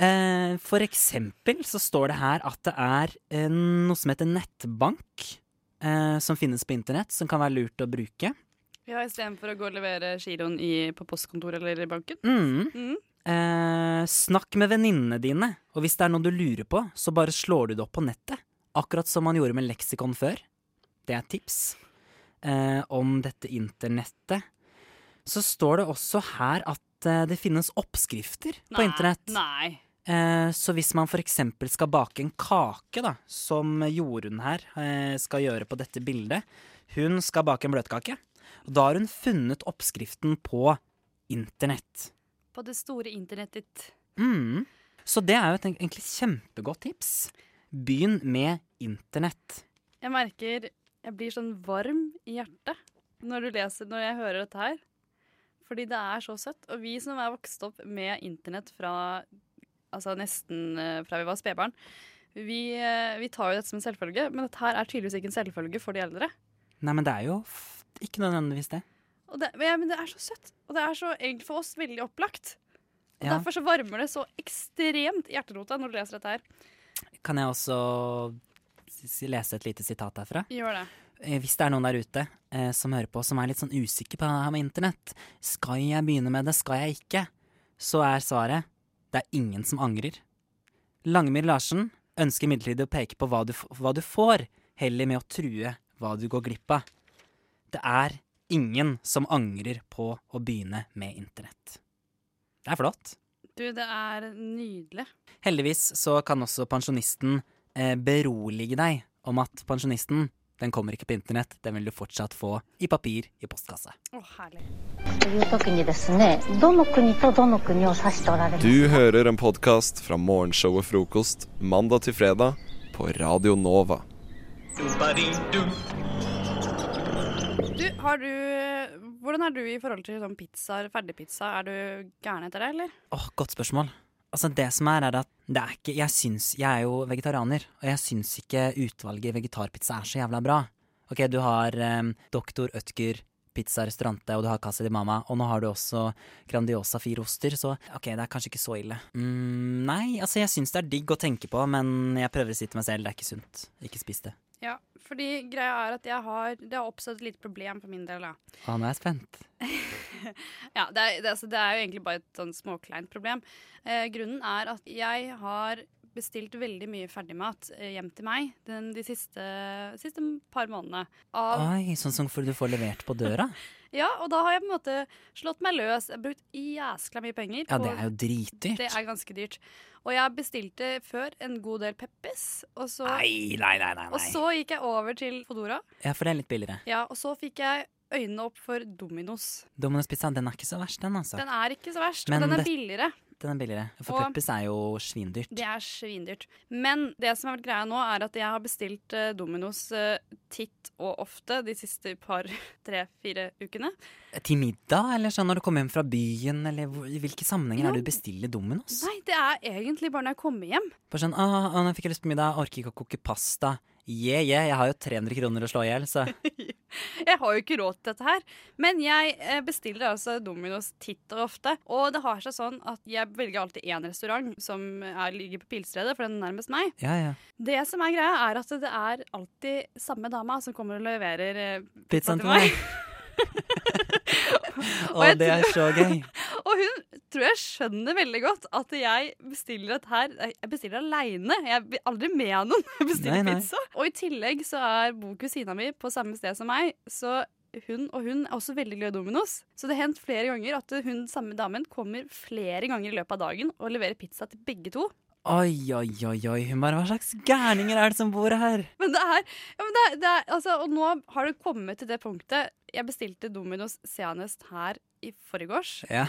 [SPEAKER 22] Eh, for eksempel så står det her at det er eh, noe som heter nettbank, eh, som finnes på internett, som kan være lurt å bruke.
[SPEAKER 4] Ja, Istedenfor å gå og levere giroen i, på postkontoret eller i banken.
[SPEAKER 22] Mm.
[SPEAKER 4] Mm.
[SPEAKER 22] Eh, snakk med venninnene dine, og hvis det er noe du lurer på, så bare slår du det opp på nettet. Akkurat som man gjorde med leksikon før. Det er tips eh, om dette internettet. Så står det også her at eh, det finnes oppskrifter på internett.
[SPEAKER 4] Nei.
[SPEAKER 22] Eh, Så hvis man f.eks. skal bake en kake, da, som Jorunn her eh, skal gjøre på dette bildet Hun skal bake en bløtkake. Og da har hun funnet oppskriften på internett.
[SPEAKER 4] På det store internettet.
[SPEAKER 22] Mm. Så det er jo et en- egentlig kjempegodt tips. Begynn med internett.
[SPEAKER 4] Jeg merker jeg blir sånn varm i hjertet når du leser, når jeg hører dette her. Fordi det er så søtt. Og vi som er vokst opp med internett fra altså nesten eh, fra vi var spedbarn, vi, eh, vi tar jo dette som en selvfølge. Men dette her er tydeligvis ikke en selvfølge for de eldre.
[SPEAKER 22] Nei, men det er jo f ikke nødvendigvis det.
[SPEAKER 4] Og det, men jeg- men det er så søtt. Og det er så egentlig for oss veldig opplagt. Og
[SPEAKER 22] Ja.
[SPEAKER 4] Derfor så varmer det så ekstremt i hjerterota når du leser dette her.
[SPEAKER 22] Kan jeg også s- s- lese et lite sitat derfra?
[SPEAKER 4] Gjør det.
[SPEAKER 22] Eh, Hvis det er noen der ute eh, som hører på, som er litt sånn usikker på det her med internett, skal jeg begynne med det, skal jeg ikke? Så er svaret det er ingen som angrer. Langemyr Larsen ønsker imidlertid å peke på hva du, f- hva du får, heller med å true hva du går glipp av. Det er ingen som angrer på å begynne med internett. Det er flott.
[SPEAKER 4] Du, det er nydelig.
[SPEAKER 22] Heldigvis så kan også pensjonisten eh, berolige deg om at pensjonisten den kommer ikke på internett, den vil du fortsatt få i papir i postkasse.
[SPEAKER 4] Å, herlig.
[SPEAKER 7] という時にですねどの国とどの国を指しておられます
[SPEAKER 6] Du hører en podkast fra morgenshowet Frokost mandag til fredag på Radio Nova.
[SPEAKER 4] Du, har du, hvordan er du i forhold til sånn pizzaer, ferdigpizza? Er du gæren etter det, eller?
[SPEAKER 22] Åh, godt spørsmål. Altså Det som er, er at det er ikke Jeg syns Jeg er jo vegetarianer, og jeg syns ikke utvalget i vegetarpizza er så jævla bra. Ok, du har eh, Doktor Ødger Pizza Restaurante, og du har Casa di Mama, og nå har du også Grandiosa fire oster, så ok, det er kanskje ikke så ille. Mm, nei, altså jeg syns det er digg å tenke på, men jeg prøver å si til meg selv det er ikke sunt. Ikke spis det.
[SPEAKER 4] Ja, fordi greia er at jeg har, det har oppstått et lite problem for min del. Da.
[SPEAKER 22] Å, nå er jeg spent.
[SPEAKER 4] Ja, det, er, det, altså, det er jo egentlig bare et sånn småkleint problem. Eh, grunnen er at jeg har bestilt veldig mye ferdigmat eh, hjem til meg den, de siste, siste par månedene. Av,
[SPEAKER 22] Oi, sånn som for du får levert på døra?
[SPEAKER 4] Ja, og da har jeg på en måte slått meg løs. Jeg har brukt jæskla mye penger.
[SPEAKER 22] Ja,
[SPEAKER 4] på-
[SPEAKER 22] det er jo dritdyrt.
[SPEAKER 4] Det er ganske dyrt. Og jeg bestilte før en god del Peppes. Og så,
[SPEAKER 22] Nei, nei, nei, nei, nei.
[SPEAKER 4] Og så gikk jeg over til Fodora.
[SPEAKER 22] Ja, for det er litt billigere.
[SPEAKER 4] Ja, og så fikk jeg øynene opp for Dominos.
[SPEAKER 22] Domino's pizza, den er ikke så verst, den, altså.
[SPEAKER 4] Den er ikke så verst,
[SPEAKER 22] Men
[SPEAKER 4] og den er
[SPEAKER 22] det-
[SPEAKER 4] billigere.
[SPEAKER 22] Den er billigere. For
[SPEAKER 4] Og-
[SPEAKER 22] Peppers er jo svindyrt.
[SPEAKER 4] Det er svindyrt. Men det som har vært greia nå, er at jeg har bestilt eh, Dominos eh, titt og ofte de siste par, tre-fire ukene.
[SPEAKER 22] Til middag, eller sånn når du kommer hjem fra byen, eller hvor, i hvilke sammenhenger er det du bestiller Domino's?
[SPEAKER 4] Nei, det er egentlig bare når jeg kommer hjem.
[SPEAKER 22] Bare sånn, ah, ah, nå fikk jeg lyst på middag, orker ikke å koke pasta. Yeah, yeah, jeg har jo 300 kroner å slå i hjel, så
[SPEAKER 4] Jeg har jo ikke råd til dette her. Men jeg eh, bestiller altså Dominos titt og ofte. Og det har seg sånn at jeg velger alltid én restaurant som eh, er, ligger på Pilsredet, for den er nærmest meg.
[SPEAKER 22] ja, ja.
[SPEAKER 4] Det som er greia, er at det er alltid samme dama som kommer og leverer eh,
[SPEAKER 22] Pizzaen til meg. Å,
[SPEAKER 4] jeg
[SPEAKER 22] det er så
[SPEAKER 4] tror-
[SPEAKER 22] gøy.
[SPEAKER 4] Og hun tror jeg skjønner veldig godt at jeg bestiller dette her Jeg bestiller aleine. Jeg blir aldri med noen. Jeg bestiller
[SPEAKER 22] Nei, nei.
[SPEAKER 4] pizza. Og i tillegg så er bor kusina mi på samme sted som meg, så hun, og hun er også veldig glad i Dominos. Så det har hendt flere ganger at hun samme damen kommer flere ganger i løpet av dagen og leverer pizza til begge to.
[SPEAKER 22] Oi, oi, oi, oi, Humar, hva slags gærninger er det som bor her?
[SPEAKER 4] Men det er, ja, men det er, det er altså, Og nå har det kommet til det punktet. Jeg bestilte Dominos senest her i forgårs.
[SPEAKER 22] Ja.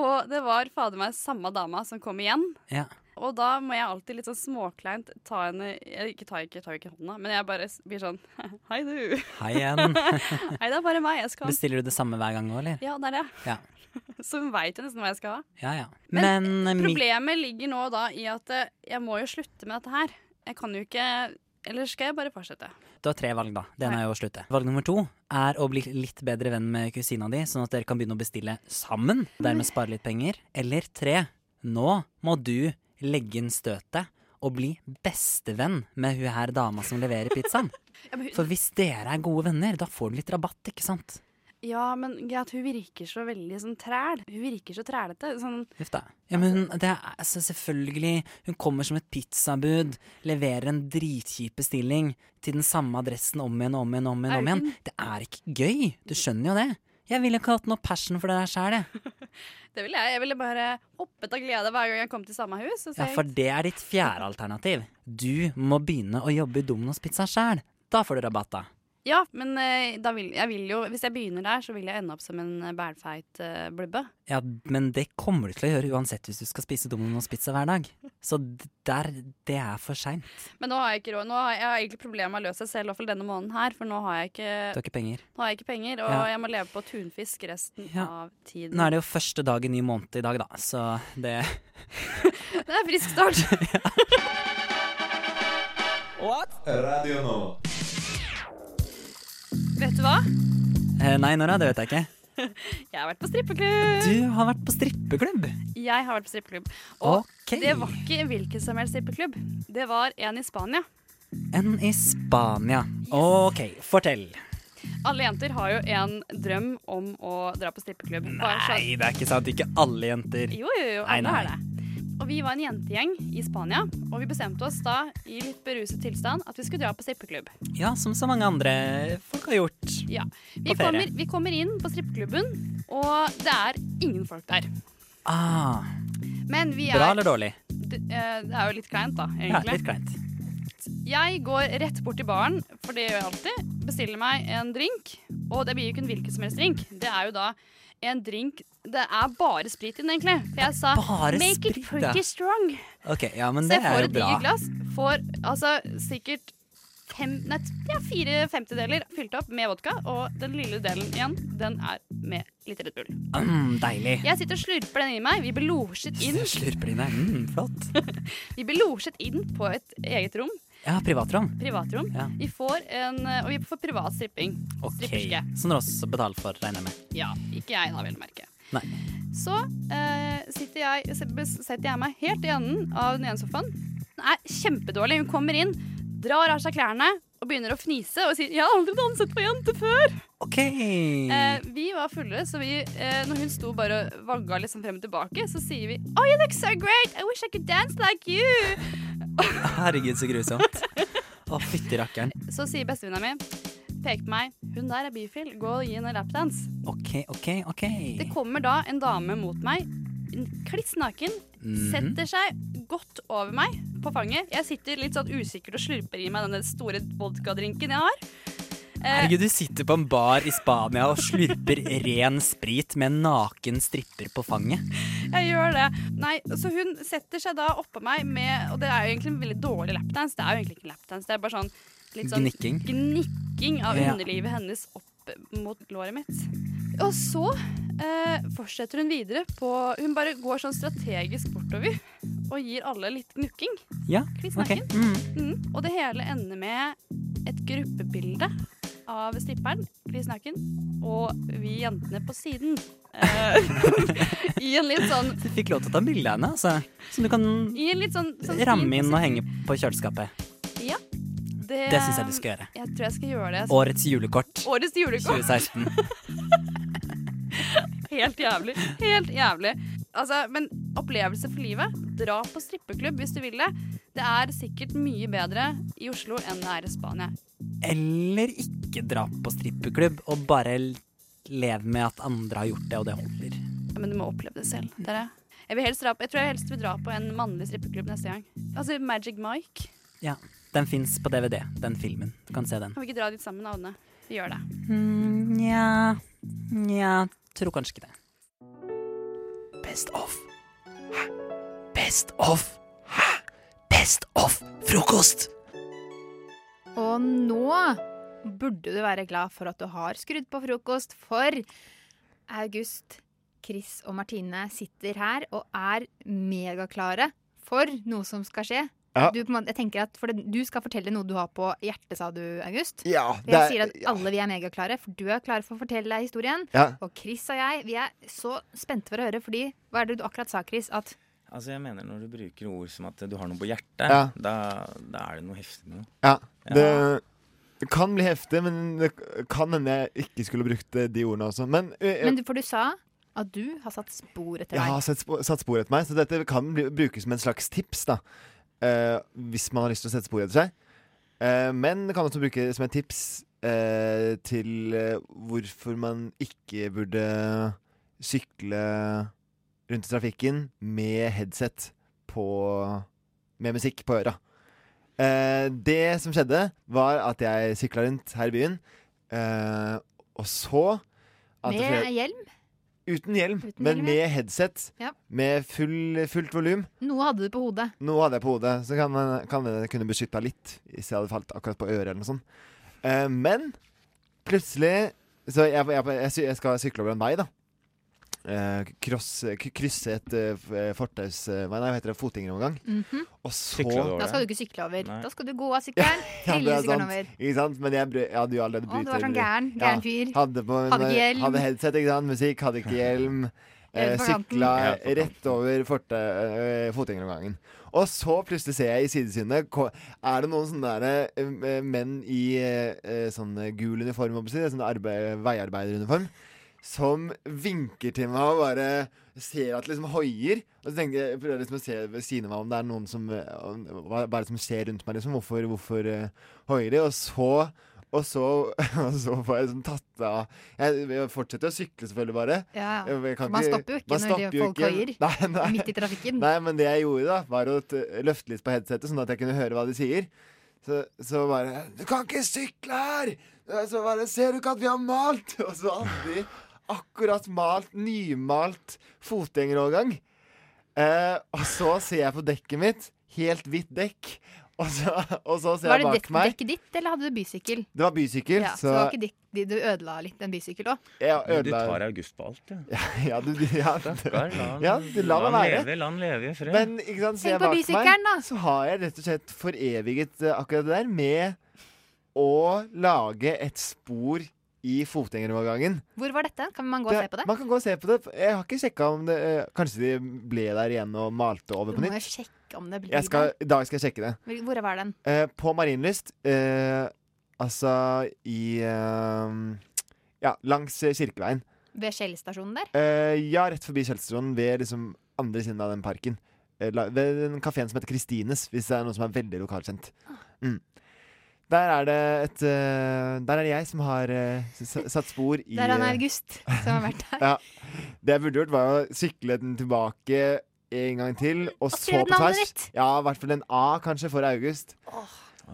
[SPEAKER 4] Og det var fader meg samme dama som kom igjen.
[SPEAKER 22] Ja.
[SPEAKER 4] Og da må jeg alltid litt sånn småkleint ta henne jeg- Ikke ta ikke, tar ikke hånda, men jeg bare s- blir sånn Hei, du.
[SPEAKER 22] Hei igjen.
[SPEAKER 4] Hei, det er bare meg. Jeg skal ha en-
[SPEAKER 22] Bestiller du det samme hver gang nå, eller?
[SPEAKER 4] Ja, det er det.
[SPEAKER 22] Ja,
[SPEAKER 4] Så hun veit jo nesten hva jeg skal ha.
[SPEAKER 22] ja. ja. Men, eh, mi-
[SPEAKER 4] Problemet ligger nå da i at eh, jeg må jo slutte med dette her. Jeg kan jo ikke Eller skal jeg bare fortsette?
[SPEAKER 22] Du har tre valg, da. Det ene er jo å slutte. Valg nummer to er å bli litt bedre venn med kusina di, sånn at dere kan begynne å bestille sammen. Dermed spare litt penger. Eller tre, nå må du legge inn støtet og bli bestevenn med hun her dama som leverer pizzaen.
[SPEAKER 4] Ja, men hun-
[SPEAKER 22] For hvis dere er gode venner, da får du litt rabatt, ikke sant?
[SPEAKER 4] Ja, men greit, hun virker så veldig sånn træl. Hun virker så trælete. Sånn
[SPEAKER 22] Huff da. Ja, men hun, det er altså selvfølgelig Hun kommer som et pizzabud, leverer en dritkjip bestilling til den samme adressen om igjen og om igjen. om igjen, om
[SPEAKER 4] Er
[SPEAKER 22] igjen.
[SPEAKER 4] hun-
[SPEAKER 22] Det er ikke gøy. Du skjønner jo det. Jeg ville ikke hatt noe passion for det der sjæl, jeg.
[SPEAKER 4] Det ville jeg. Jeg ville bare hoppet av glede hver gang jeg kom til samme hus. Og
[SPEAKER 22] Ja,
[SPEAKER 4] sagt,
[SPEAKER 22] for det er ditt fjerde alternativ. Du må begynne å jobbe i Domino's Pizza sjæl. Da får du rabatt, da.
[SPEAKER 4] Ja, men eh, da vil, jeg vil jo, hvis jeg begynner der, så vil jeg ende opp som en eh, bælfeit eh, blubbe.
[SPEAKER 22] Ja, men det kommer du til å gjøre uansett hvis du skal spise Domino's Pizza hver dag. Så d- der, det er for seint.
[SPEAKER 4] Men nå har jeg ikke råd. Nå har jeg, jeg har egentlig problemer med å løse det selv, i hvert fall denne måneden her, for nå har jeg ikke,
[SPEAKER 22] Du har ikke penger.
[SPEAKER 4] nå har jeg ikke penger, og
[SPEAKER 22] Ja.
[SPEAKER 4] jeg må leve på tunfisk resten av tiden.
[SPEAKER 22] Nå er det jo første dag i ny måned i dag, da, så det
[SPEAKER 4] Det er en frisk start. What?
[SPEAKER 6] Radio Nova.
[SPEAKER 4] Vet du hva?
[SPEAKER 22] Eh, Nei, Nora, det vet jeg ikke.
[SPEAKER 4] Jeg har vært på strippeklubb.
[SPEAKER 22] Du har vært på strippeklubb.
[SPEAKER 4] Jeg har vært på strippeklubb. Og
[SPEAKER 22] Ok.
[SPEAKER 4] det var ikke hvilken som helst strippeklubb. Det var en i Spania.
[SPEAKER 22] En i Spania. OK, fortell.
[SPEAKER 4] Alle jenter har jo en drøm om å dra på strippeklubb. Bare sånn-
[SPEAKER 22] Nei, det er ikke sant. Ikke alle jenter.
[SPEAKER 4] Jo, jo, jo.
[SPEAKER 22] Nei,
[SPEAKER 4] Alle
[SPEAKER 22] nei.
[SPEAKER 4] har det. Og vi var en jentegjeng i Spania, og vi bestemte oss da i litt beruset tilstand at vi skulle dra på strippeklubb.
[SPEAKER 22] Ja, som så mange andre folk har gjort.
[SPEAKER 4] Ja. Vi,
[SPEAKER 22] På ferie.
[SPEAKER 4] kommer, vi kommer inn på strippeklubben, og det er ingen folk der.
[SPEAKER 22] Ah,
[SPEAKER 4] Men vi er
[SPEAKER 22] bra eller dårlig?
[SPEAKER 4] Det, eh, det er jo litt kleint, da,
[SPEAKER 22] Ja,
[SPEAKER 4] egentlig.
[SPEAKER 22] litt kleint.
[SPEAKER 4] Jeg går rett bort til baren, for det gjør jeg alltid. Bestiller meg en drink. Og det blir jo ikke en hvilken som helst drink. Det er jo da en drink Det er bare sprit i den, egentlig. For jeg sa
[SPEAKER 22] Bare
[SPEAKER 4] make it
[SPEAKER 22] sprit, ja.
[SPEAKER 4] pretty strong.
[SPEAKER 22] OK, ja, men
[SPEAKER 4] Så
[SPEAKER 22] det
[SPEAKER 4] jeg
[SPEAKER 22] er
[SPEAKER 4] får
[SPEAKER 22] jo
[SPEAKER 4] et
[SPEAKER 22] bra.
[SPEAKER 4] digert glass. Får altså sikkert fem, nei, ja, fire femtedeler fylt opp med vodka, og den lille delen igjen, den er med litt Red Bull.
[SPEAKER 22] Mm, deilig.
[SPEAKER 4] Jeg sitter og slurper den i meg. Vi blir losjet inn.
[SPEAKER 22] Slurper dine. Mm, flott.
[SPEAKER 4] Vi blir losjet inn på et eget rom.
[SPEAKER 22] Ja, privatrom.
[SPEAKER 4] Privatrom.
[SPEAKER 22] Ja.
[SPEAKER 4] Vi får en, eh, og vi får privat stripping.
[SPEAKER 22] OK.
[SPEAKER 4] Stripperske.
[SPEAKER 22] Som dere også betaler for, regner jeg med.
[SPEAKER 4] Ja, ikke jeg da, vel å merke.
[SPEAKER 22] Nei.
[SPEAKER 4] Så eh, sitter jeg, setter jeg meg helt i enden av den ene sofaen. Den er kjempedårlig. Hun kommer inn, drar av seg klærne og begynner å fnise og sier 'Jeg har aldri danset på jente før'.
[SPEAKER 22] OK.
[SPEAKER 4] Eh, vi var fulle, så vi, eh, når hun sto bare og vagga liksom frem og tilbake, så sier vi 'Oh, you look so great! I wish I could dance like you!'
[SPEAKER 22] Herregud, så grusomt. Å, fytti rakkeren.
[SPEAKER 4] Så sier bestevenninna mi, peker på meg, 'Hun der er bifil. Gå og gi henne lapdance'.
[SPEAKER 22] OK, OK, OK.
[SPEAKER 4] Det kommer da en dame mot meg, en kliss naken,
[SPEAKER 22] Mhm.
[SPEAKER 4] setter seg godt over meg på fanget. Jeg sitter litt sånn usikkert og slurper i meg denne store vodkadrinken jeg har. Eh,
[SPEAKER 22] Herregud, du sitter på en bar i Spania og slurper ren sprit med en naken stripper på fanget.
[SPEAKER 4] jeg gjør det. Nei, så hun setter seg da oppå meg med Og det er jo egentlig en veldig dårlig lapdance. Det er jo egentlig ikke en lapdance, det er bare sånn litt sånn
[SPEAKER 22] Gnikking.
[SPEAKER 4] gnikking av
[SPEAKER 22] Ja.
[SPEAKER 4] underlivet hennes opp mot låret mitt. Og så eh, fortsetter hun videre på Hun bare går sånn strategisk bortover og gir alle litt gnukking.
[SPEAKER 22] Ja,
[SPEAKER 4] Kliss
[SPEAKER 22] ok.
[SPEAKER 4] naken.
[SPEAKER 22] Mm.
[SPEAKER 4] Mm. Og det hele ender med et gruppebilde av stripperen, kliss naken, og vi jentene på siden. Eh, I en litt sånn
[SPEAKER 22] Du fikk lov til å ta bilde av henne, altså. Som du kan
[SPEAKER 4] I en litt sånn, sånn fin-
[SPEAKER 22] ramme inn og henge på kjøleskapet.
[SPEAKER 4] Ja. Det,
[SPEAKER 22] Det syns jeg du skal gjøre.
[SPEAKER 4] Jeg tror jeg skal gjøre det. altså?
[SPEAKER 22] Årets julekort
[SPEAKER 4] Årets julekort.
[SPEAKER 22] 2016.
[SPEAKER 4] Helt jævlig. Helt jævlig. Altså, men opplevelse for livet. Dra på strippeklubb hvis du vil det. Det er sikkert mye bedre i Oslo enn det er i Spania.
[SPEAKER 22] Eller ikke dra på strippeklubb og bare l- leve med at andre har gjort det, og det holder.
[SPEAKER 4] Ja, Men du må oppleve det selv. Dere. Jeg, vil helst dra på, jeg tror jeg helst vil dra på en mannlig strippeklubb neste gang. Altså Magic Mike.
[SPEAKER 22] Ja, Den fins på DVD, den filmen. Du kan se den.
[SPEAKER 4] Kan vi ikke dra dit sammen, Avne? Vi gjør det. Mm,
[SPEAKER 22] Nja Nja, tror kanskje ikke det. Best of. Best of. Best of frokost!
[SPEAKER 5] Og nå burde du være glad for at du har skrudd på frokost, for August, Chris og Martine sitter her og er megaklare for noe som skal skje.
[SPEAKER 11] Ja.
[SPEAKER 5] Du, på en måte, jeg tenker at for det, du skal fortelle noe du har på hjertet, sa du, August.
[SPEAKER 11] Ja,
[SPEAKER 5] Og
[SPEAKER 11] det
[SPEAKER 5] jeg
[SPEAKER 11] er-
[SPEAKER 5] sier at alle vi er megaklare, for du er klar for å fortelle deg historien.
[SPEAKER 11] Ja.
[SPEAKER 5] Og Chris og jeg, vi er så spente for å høre, fordi hva er det du akkurat sa, Chris? At
[SPEAKER 9] Altså, jeg mener når du bruker ord som at du har noe på hjertet,
[SPEAKER 10] Ja.
[SPEAKER 9] da, da er det noe heftig med det.
[SPEAKER 10] Ja,
[SPEAKER 9] Ja.
[SPEAKER 10] det, det kan bli heftig, men det kan hende jeg ikke skulle brukt eh, de ordene også. Men, eh,
[SPEAKER 5] Men du, for du sa at du har satt spor etter
[SPEAKER 10] jeg har
[SPEAKER 5] deg.
[SPEAKER 10] satt spor, satt spor etter meg, så dette kan bli, brukes som en slags tips, da. Eh, hvis man har lyst til å sette spor etter seg. Eh, men det kan også brukes som et tips eh, til eh, hvorfor man ikke burde sykle rundt i trafikken med headset på Med musikk på øra. Eh, det som skjedde, var at jeg sykla rundt her i byen, eh, og så ante
[SPEAKER 5] Med
[SPEAKER 10] flere-
[SPEAKER 5] hjelm.
[SPEAKER 10] Uten hjelm,
[SPEAKER 5] Uten
[SPEAKER 10] men
[SPEAKER 5] hjelm, ja.
[SPEAKER 10] med headset.
[SPEAKER 5] Ja.
[SPEAKER 10] Med full, fullt volum.
[SPEAKER 5] Noe hadde du på hodet.
[SPEAKER 10] Noe hadde jeg på hodet, så kan, man, kan det kunne beskytte meg litt hvis jeg hadde falt akkurat på øret eller noe sånt. Eh, men plutselig Så jeg, jeg, jeg, sy- jeg skal sykle over en vei, da. Eh, kross, k- krysse et eh, f- eh, fortausvei, nei, hva heter det, fotgjengerovergang.
[SPEAKER 5] Mhm.
[SPEAKER 10] Og så
[SPEAKER 9] Syklet over
[SPEAKER 5] Da skal du ikke sykle over. Da skal du gå av sykkelen,
[SPEAKER 10] Ja, det
[SPEAKER 5] trille
[SPEAKER 10] er
[SPEAKER 5] sykkelen
[SPEAKER 10] sant.
[SPEAKER 5] over.
[SPEAKER 10] sånn, Ikke sant? Men jeg, bry- jeg hadde jo allerede
[SPEAKER 5] Å, du
[SPEAKER 10] brytet
[SPEAKER 5] var sånn gæren,
[SPEAKER 10] Ja,
[SPEAKER 5] gæren fyr.
[SPEAKER 10] Hadde, på en,
[SPEAKER 5] Hadde ikke hjelm.
[SPEAKER 10] Hadde headset, ikke sant? Musikk, hadde ikke hjelm. Eh,
[SPEAKER 5] Helt på kanten.
[SPEAKER 10] sykla
[SPEAKER 5] Helt på kanten.
[SPEAKER 10] rett over forte- eh, fotgjengerovergangen. Og så plutselig ser jeg i sidesynet ko- Er det noen sånne der, eh, menn i eh, sånn gul uniform, må jeg si, sånn arbeid, veiarbeideruniform, som vinker til meg og bare ser at det liksom hoier. Og så tenker jeg, jeg prøver liksom å se ved siden av meg om det er noen som eh, om- Hva hva er det som skjer rundt meg, liksom? Hvorfor, hvorfor eh, hoier de? Og så og så, og så får jeg liksom tatt av Jeg, jeg fortsetter å sykle, selvfølgelig, bare.
[SPEAKER 5] Ja, ja.
[SPEAKER 10] Jeg- jeg kan
[SPEAKER 5] Man stopper jo ikke
[SPEAKER 10] man
[SPEAKER 5] når de-
[SPEAKER 10] stopper jo
[SPEAKER 5] folk
[SPEAKER 10] ikke.
[SPEAKER 5] hoier
[SPEAKER 10] Nei, nei.
[SPEAKER 5] midt i trafikken.
[SPEAKER 10] Nei, men det jeg gjorde, da, var å t- løfte litt på headsetet, sånn at jeg kunne høre hva de sier. Så, så bare Du kan ikke sykle her! Eh, Så bare Ser du ikke at vi har malt? Og så hadde de akkurat malt, nymalt fotgjengerovergang. Eh, og så ser jeg på dekket mitt. Helt hvitt dekk. Og så, og så ser
[SPEAKER 5] Var
[SPEAKER 10] jeg
[SPEAKER 5] det
[SPEAKER 10] bak
[SPEAKER 5] dekk-
[SPEAKER 10] meg.
[SPEAKER 5] dekket ditt, eller hadde du bysykkel?
[SPEAKER 10] Det var bysykkel,
[SPEAKER 5] Ja, så,
[SPEAKER 10] så,
[SPEAKER 5] det var ikke dekk, de- du ødela litt en bysykkel òg?
[SPEAKER 10] jeg
[SPEAKER 9] Men Du
[SPEAKER 10] ødela
[SPEAKER 9] tar August på alt, ja.
[SPEAKER 10] ja, du, ja,
[SPEAKER 9] Stakkar, la han-
[SPEAKER 10] ja, du, la meg
[SPEAKER 9] la han
[SPEAKER 10] være.
[SPEAKER 9] leve, la han leve i fred.
[SPEAKER 10] Men ikke sant, ser
[SPEAKER 5] Tenk
[SPEAKER 10] jeg
[SPEAKER 5] på
[SPEAKER 10] bak
[SPEAKER 5] bysykkelen,
[SPEAKER 10] meg, så har jeg rett og slett foreviget eh, akkurat det der med å lage et spor i fotgjengerovergangen.
[SPEAKER 5] Hvor var dette? Kan man gå og se på det?
[SPEAKER 10] Man kan gå og se på det. Jeg har ikke sjekka om det eh, Kanskje de ble der igjen og malte over
[SPEAKER 5] Du
[SPEAKER 10] på
[SPEAKER 5] må jo
[SPEAKER 10] nytt.
[SPEAKER 5] sjekke om det blir
[SPEAKER 10] Jeg skal,
[SPEAKER 5] der.
[SPEAKER 10] I dag skal jeg sjekke det.
[SPEAKER 5] Hvor- Hvor var den?
[SPEAKER 10] Eh, på Marienlyst, eh, altså i eh, Ja, langs eh, Kirkeveien.
[SPEAKER 5] Ved Skjell-stasjonen der?
[SPEAKER 10] Eh, ja, rett forbi Kjelstroen, ved liksom andre siden av den parken. Eh, la- ved den kafeen som heter Kristines, hvis det er noe som er veldig lokalkjent.
[SPEAKER 5] Ah.
[SPEAKER 10] Mm. Der er det et eh, Der er det jeg som har eh, s- s- satt spor i
[SPEAKER 5] Der er han
[SPEAKER 10] eh,
[SPEAKER 5] August, som har vært der.
[SPEAKER 10] ja. Det jeg burde gjort, var å sykle den tilbake en gang til, og, så
[SPEAKER 5] skrive
[SPEAKER 10] på
[SPEAKER 5] navnet
[SPEAKER 10] tvers.
[SPEAKER 5] ditt.
[SPEAKER 10] Ja, i hvert fall en A, kanskje, for August.
[SPEAKER 9] Ja,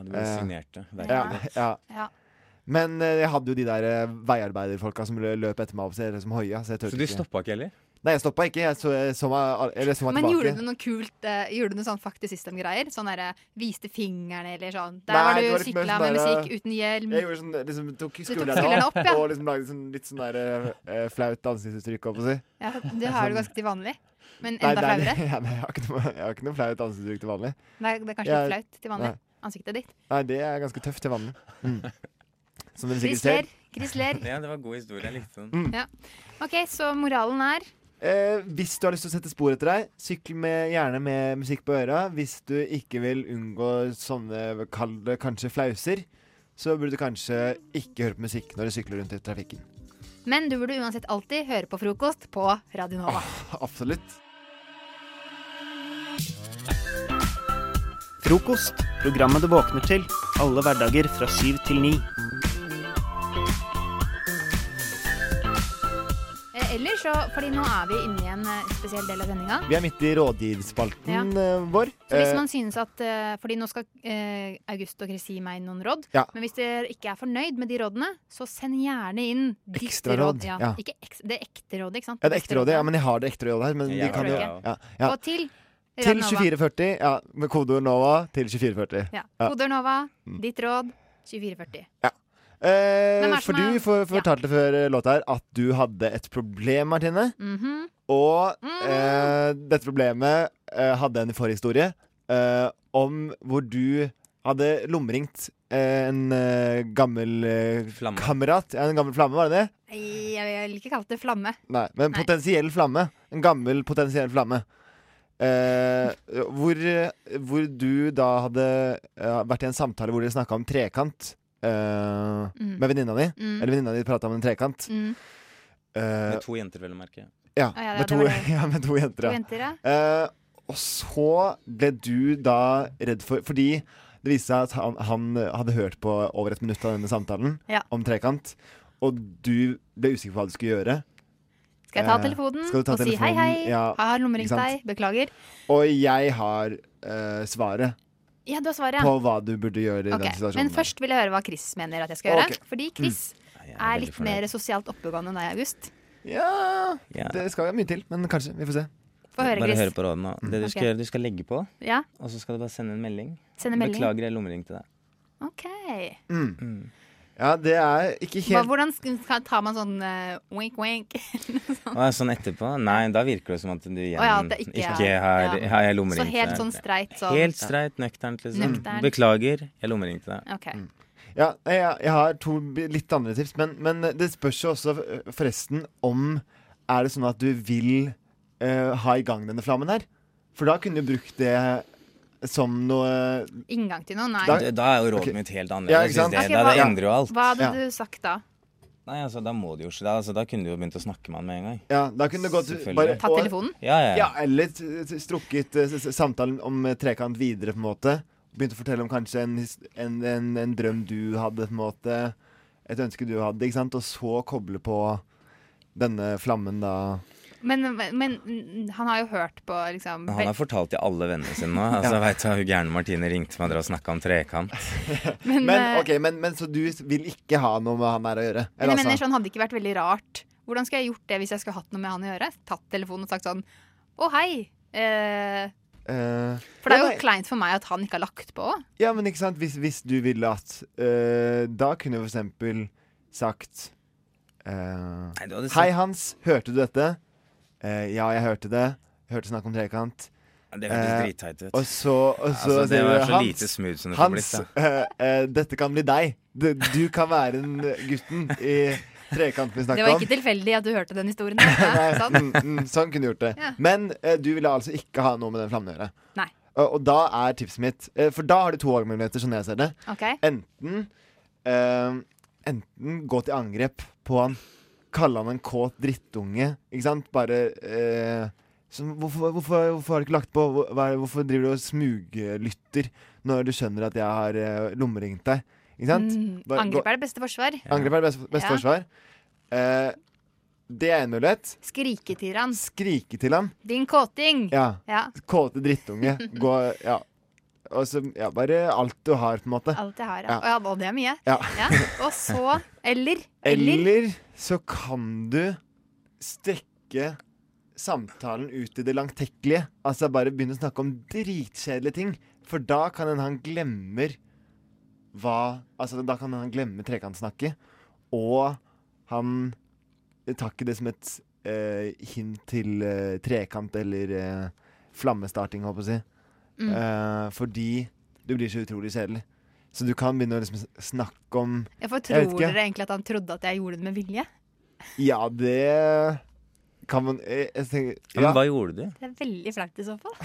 [SPEAKER 9] det ble
[SPEAKER 10] Eh,
[SPEAKER 9] signert, det. Verket
[SPEAKER 10] Ja,
[SPEAKER 9] ditt.
[SPEAKER 10] ja.
[SPEAKER 5] Ja.
[SPEAKER 10] Men eh, jeg hadde jo de der eh, veiarbeiderfolka som lø- løp etter meg opp, så jeg liksom hoia. Så, jeg tørte
[SPEAKER 9] Så du
[SPEAKER 10] ikke.
[SPEAKER 9] stoppa ikke heller?
[SPEAKER 10] Nei, jeg stoppa ikke. Jeg så, jeg så meg, al- eller så meg
[SPEAKER 5] Men gjorde
[SPEAKER 10] tilbake.
[SPEAKER 5] du noe kult eh, Gjorde du noe sånn fuck the system-greier? Sånn derre viste fingeren eller sånn Der
[SPEAKER 10] Nei,
[SPEAKER 5] var
[SPEAKER 10] det
[SPEAKER 5] du
[SPEAKER 10] var litt mer
[SPEAKER 5] sykla
[SPEAKER 10] sånn
[SPEAKER 5] med
[SPEAKER 10] der,
[SPEAKER 5] musikk uten hjelm.
[SPEAKER 10] Jeg gjorde sånn, liksom, tok
[SPEAKER 5] tok
[SPEAKER 10] skuldrene
[SPEAKER 5] skuldrene
[SPEAKER 10] opp,
[SPEAKER 5] opp, ja.
[SPEAKER 10] og liksom lagde sånn, litt sånn der, eh, flaut ansiktsuttrykk. Opp, si.
[SPEAKER 5] Ja, det har du ganske til vanlig. Men
[SPEAKER 10] sånn- Nei,
[SPEAKER 5] enda
[SPEAKER 10] det er-
[SPEAKER 5] flauere.
[SPEAKER 10] Ja, nei, jeg, har ikke noe, jeg har ikke noe flaut ansiktsuttrykk til vanlig.
[SPEAKER 5] Det er, det er kanskje
[SPEAKER 10] Jeg-
[SPEAKER 5] litt flaut til vanlig.
[SPEAKER 10] Nei.
[SPEAKER 5] Ansiktet ditt.
[SPEAKER 10] Nei, det er ganske tøft til vanlig. Mm. Som dere sikkert
[SPEAKER 5] Chris
[SPEAKER 10] ser.
[SPEAKER 5] ler. Chris ler.
[SPEAKER 9] Ja, det var en god historie. Jeg likte den.
[SPEAKER 10] Mm.
[SPEAKER 5] Ja. OK, så moralen er
[SPEAKER 10] Eh, hvis du har lyst til å sette spor etter deg, sykl med, gjerne med musikk på øra. Hvis du ikke vil unngå sånne, kall det kanskje flauser, så burde du kanskje ikke høre på musikk når du sykler rundt i trafikken.
[SPEAKER 5] Men du burde uansett alltid høre på frokost på Radio Nova.
[SPEAKER 10] Absolutt.
[SPEAKER 1] Frokost, programmet du våkner til. Alle hverdager fra syv til ni.
[SPEAKER 5] Eh, Eller så, fordi nå er vi inne i en eh, spesiell del av sendinga.
[SPEAKER 10] Vi er midt i rådgivsspalten eh, vår.
[SPEAKER 5] Så hvis
[SPEAKER 10] Eh,
[SPEAKER 5] man synes at, eh, fordi Nå skal eh, August og Chris gi meg noen råd.
[SPEAKER 10] Ja.
[SPEAKER 5] Men hvis dere ikke er fornøyd med de rådene, så send gjerne inn ditt
[SPEAKER 10] Ekstra råd,
[SPEAKER 5] Ja.
[SPEAKER 10] ja.
[SPEAKER 5] Ikke eks- det er ekte rådet, ikke sant?
[SPEAKER 10] ja, det er ekte rådet. Ja, men jeg har det ekte rådet her. Men
[SPEAKER 5] Jeg
[SPEAKER 10] de
[SPEAKER 5] har
[SPEAKER 10] kan
[SPEAKER 5] det,
[SPEAKER 10] jo
[SPEAKER 5] ja.
[SPEAKER 10] ja, ja.
[SPEAKER 5] Og til
[SPEAKER 10] Til
[SPEAKER 5] Radionova.
[SPEAKER 10] 2440. Ja, med kodeord NOVA til 2440.
[SPEAKER 5] Ja. Kode Nova,
[SPEAKER 10] Mm.
[SPEAKER 5] ditt råd 2440. Hvem er
[SPEAKER 10] Eh,
[SPEAKER 5] som
[SPEAKER 10] for
[SPEAKER 5] er-
[SPEAKER 10] du for, fortalte før eh, låta her at du hadde et problem, Martine.
[SPEAKER 5] Mhm.
[SPEAKER 10] Og eh, dette problemet eh, hadde en forhistorie eh, om hvor du hadde lomringt eh, en eh, gammel eh, kamerat. Ja, en gammel flamme, var det det?
[SPEAKER 5] Nei, Jeg jeg vil ikke kalle det flamme.
[SPEAKER 10] Nei, men
[SPEAKER 5] Nei.
[SPEAKER 10] potensiell flamme. En gammel potensiell flamme. Eh, hvor, hvor du da hadde eh, vært i en samtale hvor dere snakka om trekant eh,
[SPEAKER 17] Mm.
[SPEAKER 10] med venninna di.
[SPEAKER 17] Mm.
[SPEAKER 10] Eller venninna di prata om en trekant.
[SPEAKER 5] Mm.
[SPEAKER 10] Eh,
[SPEAKER 9] Med to jenter, vel å merke.
[SPEAKER 10] ja,
[SPEAKER 5] Å, ja,
[SPEAKER 10] med
[SPEAKER 5] det
[SPEAKER 10] to,
[SPEAKER 5] var det.
[SPEAKER 10] ja, med to jenter.
[SPEAKER 5] To jenter, ja.
[SPEAKER 10] Eh, og så ble du da redd for Fordi det viste seg at han, han hadde hørt på over et minutt av denne samtalen
[SPEAKER 5] Ja.
[SPEAKER 10] om trekant, og du ble usikker på hva du skulle gjøre.
[SPEAKER 5] Skal jeg ta
[SPEAKER 10] Eh,
[SPEAKER 5] telefonen
[SPEAKER 10] skal du ta
[SPEAKER 5] og si hei,
[SPEAKER 10] telefonen?
[SPEAKER 5] hei?
[SPEAKER 10] Ja,
[SPEAKER 5] jeg har lommeringt
[SPEAKER 10] ikke
[SPEAKER 5] deg.
[SPEAKER 10] sant?
[SPEAKER 5] Beklager.
[SPEAKER 10] Og jeg har eh, svaret
[SPEAKER 5] Ja, du har svaret.
[SPEAKER 10] på hva du burde gjøre i
[SPEAKER 5] Ok,
[SPEAKER 10] den situasjonen.
[SPEAKER 5] Men først vil jeg høre hva Chris mener at jeg skal gjøre.
[SPEAKER 10] Ok. Mm.
[SPEAKER 5] Fordi Chris er litt
[SPEAKER 10] fornøyd.
[SPEAKER 5] mer sosialt oppegående enn deg, August.
[SPEAKER 10] Ja, Det skal mye til, men kanskje. Vi får se.
[SPEAKER 5] Få høre,
[SPEAKER 9] Bare
[SPEAKER 5] Chris.
[SPEAKER 9] høre på rådene. nå. Det du skal
[SPEAKER 5] Ok.
[SPEAKER 9] gjøre, du skal legge på,
[SPEAKER 5] Ja.
[SPEAKER 9] og så skal du bare sende en melding.
[SPEAKER 5] Sende en melding?
[SPEAKER 9] Beklager, jeg lommeringte deg.
[SPEAKER 5] OK.
[SPEAKER 10] Mm. Ja, det er ikke
[SPEAKER 5] Hva,
[SPEAKER 9] helt
[SPEAKER 5] hvordan sk- skal, tar man sånn eh, wink, wink?
[SPEAKER 9] Å, ja, Sånn etterpå? Nei, da virker det som at du igjen
[SPEAKER 5] ja, at det ikke
[SPEAKER 9] ikke,
[SPEAKER 5] er-
[SPEAKER 9] har,
[SPEAKER 5] ja.
[SPEAKER 9] har jeg lommeringt
[SPEAKER 5] Så helt
[SPEAKER 9] deg.
[SPEAKER 5] sånn streit, sånn.
[SPEAKER 9] Helt streit, nøkternt, liksom.
[SPEAKER 5] Nøkternt.
[SPEAKER 9] Beklager, jeg lommeringte deg.
[SPEAKER 5] OK.
[SPEAKER 10] Mm. Ja, nei, jeg, jeg har to bi- litt andre tips, men, men det spørs jo også eh, forresten om Er det sånn at du vil eh, ha i gang denne flammen her? For da kunne du brukt det som noe
[SPEAKER 5] Inngang til noe? Nei.
[SPEAKER 9] Da, da er jo rådet
[SPEAKER 10] Ok.
[SPEAKER 9] mitt helt
[SPEAKER 10] Ja,
[SPEAKER 9] annerledes.
[SPEAKER 10] ikke
[SPEAKER 9] synes
[SPEAKER 10] sant?
[SPEAKER 9] det,
[SPEAKER 10] Ok,
[SPEAKER 9] da,
[SPEAKER 10] hva-
[SPEAKER 9] det endrer jo alt.
[SPEAKER 5] Hva hadde
[SPEAKER 9] Ja.
[SPEAKER 5] du sagt da?
[SPEAKER 9] Nei, altså, da må du jo ikke da, altså, da kunne du jo begynt å snakke med han med en gang.
[SPEAKER 10] Ja, da kunne det gått
[SPEAKER 9] Selvfølgelig.
[SPEAKER 10] bare-
[SPEAKER 5] Tatt
[SPEAKER 10] og-
[SPEAKER 5] telefonen?
[SPEAKER 9] Ja, ja, ja.
[SPEAKER 10] eller t- t- strukket eh, s- s- samtalen om eh, trekant videre, på en måte. Begynt å fortelle om kanskje en, his- en, en, en drøm du hadde, på en måte. Et ønske du hadde, ikke sant. Og så koble på denne flammen, da.
[SPEAKER 5] Men, men mm, han har jo hørt på liksom
[SPEAKER 9] Men Han har fortalt til alle vennene sine nå. Altså,
[SPEAKER 10] Ja.
[SPEAKER 9] Veit du hva hun gærne Martine ringte meg og snakka om trekant?
[SPEAKER 10] Men,
[SPEAKER 5] eh,
[SPEAKER 10] ok, men, men så du vil ikke ha noe med han her å gjøre?
[SPEAKER 5] Men jeg
[SPEAKER 10] Eller
[SPEAKER 5] mener
[SPEAKER 10] altså-
[SPEAKER 5] sånn hadde det ikke vært veldig rart. Hvordan skulle jeg gjort det hvis jeg skulle hatt noe med han å gjøre? Tatt telefonen og sagt sånn Å, hei. Eh,
[SPEAKER 10] Eh,
[SPEAKER 5] for det er
[SPEAKER 10] ja,
[SPEAKER 5] jo
[SPEAKER 10] nei,
[SPEAKER 5] kleint for meg at han ikke har lagt på.
[SPEAKER 10] Ja, men ikke sant, hvis, hvis du ville at eh, Da kunne du for eksempel sagt eh,
[SPEAKER 9] hadde sagt-
[SPEAKER 10] Hei, Hans, hørte du dette? Eh, ja, jeg hørte det. Hørte snakk om trekant.
[SPEAKER 9] Ja, det hørtes
[SPEAKER 10] Eh,
[SPEAKER 9] dritteit ut.
[SPEAKER 10] Og så, og så
[SPEAKER 9] Altså, det
[SPEAKER 10] sier
[SPEAKER 9] var
[SPEAKER 10] du,
[SPEAKER 9] så
[SPEAKER 10] Hans,
[SPEAKER 9] lite smooth som det får
[SPEAKER 10] Hans,
[SPEAKER 9] blitt,
[SPEAKER 10] eh, eh, dette kan bli deg. Du, du kan være den gutten i trekant vi
[SPEAKER 5] Det
[SPEAKER 10] snakker
[SPEAKER 5] var
[SPEAKER 10] om.
[SPEAKER 5] ikke tilfeldig at du hørte den historien. Ikke sant?
[SPEAKER 10] Mm, mm, sånn kunne du gjort det.
[SPEAKER 5] Ja.
[SPEAKER 10] Men eh, du ville altså ikke ha noe med den flammen å gjøre.
[SPEAKER 5] Nei.
[SPEAKER 10] Og, og da er tipset mitt eh, For da har du to valgmuligheter, sånn jeg ser det.
[SPEAKER 5] Ok.
[SPEAKER 10] Enten eh, Enten gå til angrep på han, kalle han en kåt drittunge, ikke sant? Bare eh, som, hvorfor, hvorfor, hvorfor har du ikke lagt på? Hvor- Hva, er- hvorfor driver du og smuglytter når du skjønner at jeg har eh, lommeringt deg? Ikke sant?
[SPEAKER 5] Mm,
[SPEAKER 10] Bare gå-
[SPEAKER 5] angrep er det beste forsvar.
[SPEAKER 10] Angrep er det beste, beste
[SPEAKER 5] Ja.
[SPEAKER 10] forsvar. Eh, det er en mulighet.
[SPEAKER 5] Skrike til han.
[SPEAKER 10] Skrike til han.
[SPEAKER 5] Din kåting!
[SPEAKER 10] Ja.
[SPEAKER 5] Ja.
[SPEAKER 10] Kåte drittunge. Gå, ja. Og så ja, bare alt du har, på en måte.
[SPEAKER 5] Alt jeg har. Ja.
[SPEAKER 10] Ja.
[SPEAKER 5] Og, ja, og det er mye.
[SPEAKER 10] Ja.
[SPEAKER 5] Ja. Og så Eller. Eller.
[SPEAKER 10] Eller så kan du strekke samtalen ut i det langtekkelige. Altså bare begynne å snakke om dritkjedelige ting. For da kan en han glemmer hva Altså da kan han glemme trekantsnakket. Og han tar ikke det som et eh, hint til eh, trekant eller eh, flammestarting, håper jeg å si.
[SPEAKER 5] Mm.
[SPEAKER 10] Eh, fordi du blir så utrolig kjedelig. Så du kan begynne å liksom snakke om
[SPEAKER 5] Jeg får
[SPEAKER 10] vet
[SPEAKER 5] tror
[SPEAKER 10] ikke.
[SPEAKER 5] dere egentlig at han trodde at jeg gjorde det med vilje?
[SPEAKER 10] Ja, det kan man jeg, jeg tenker,
[SPEAKER 9] Ja, men hva gjorde du?
[SPEAKER 5] Det er veldig flaut i så fall.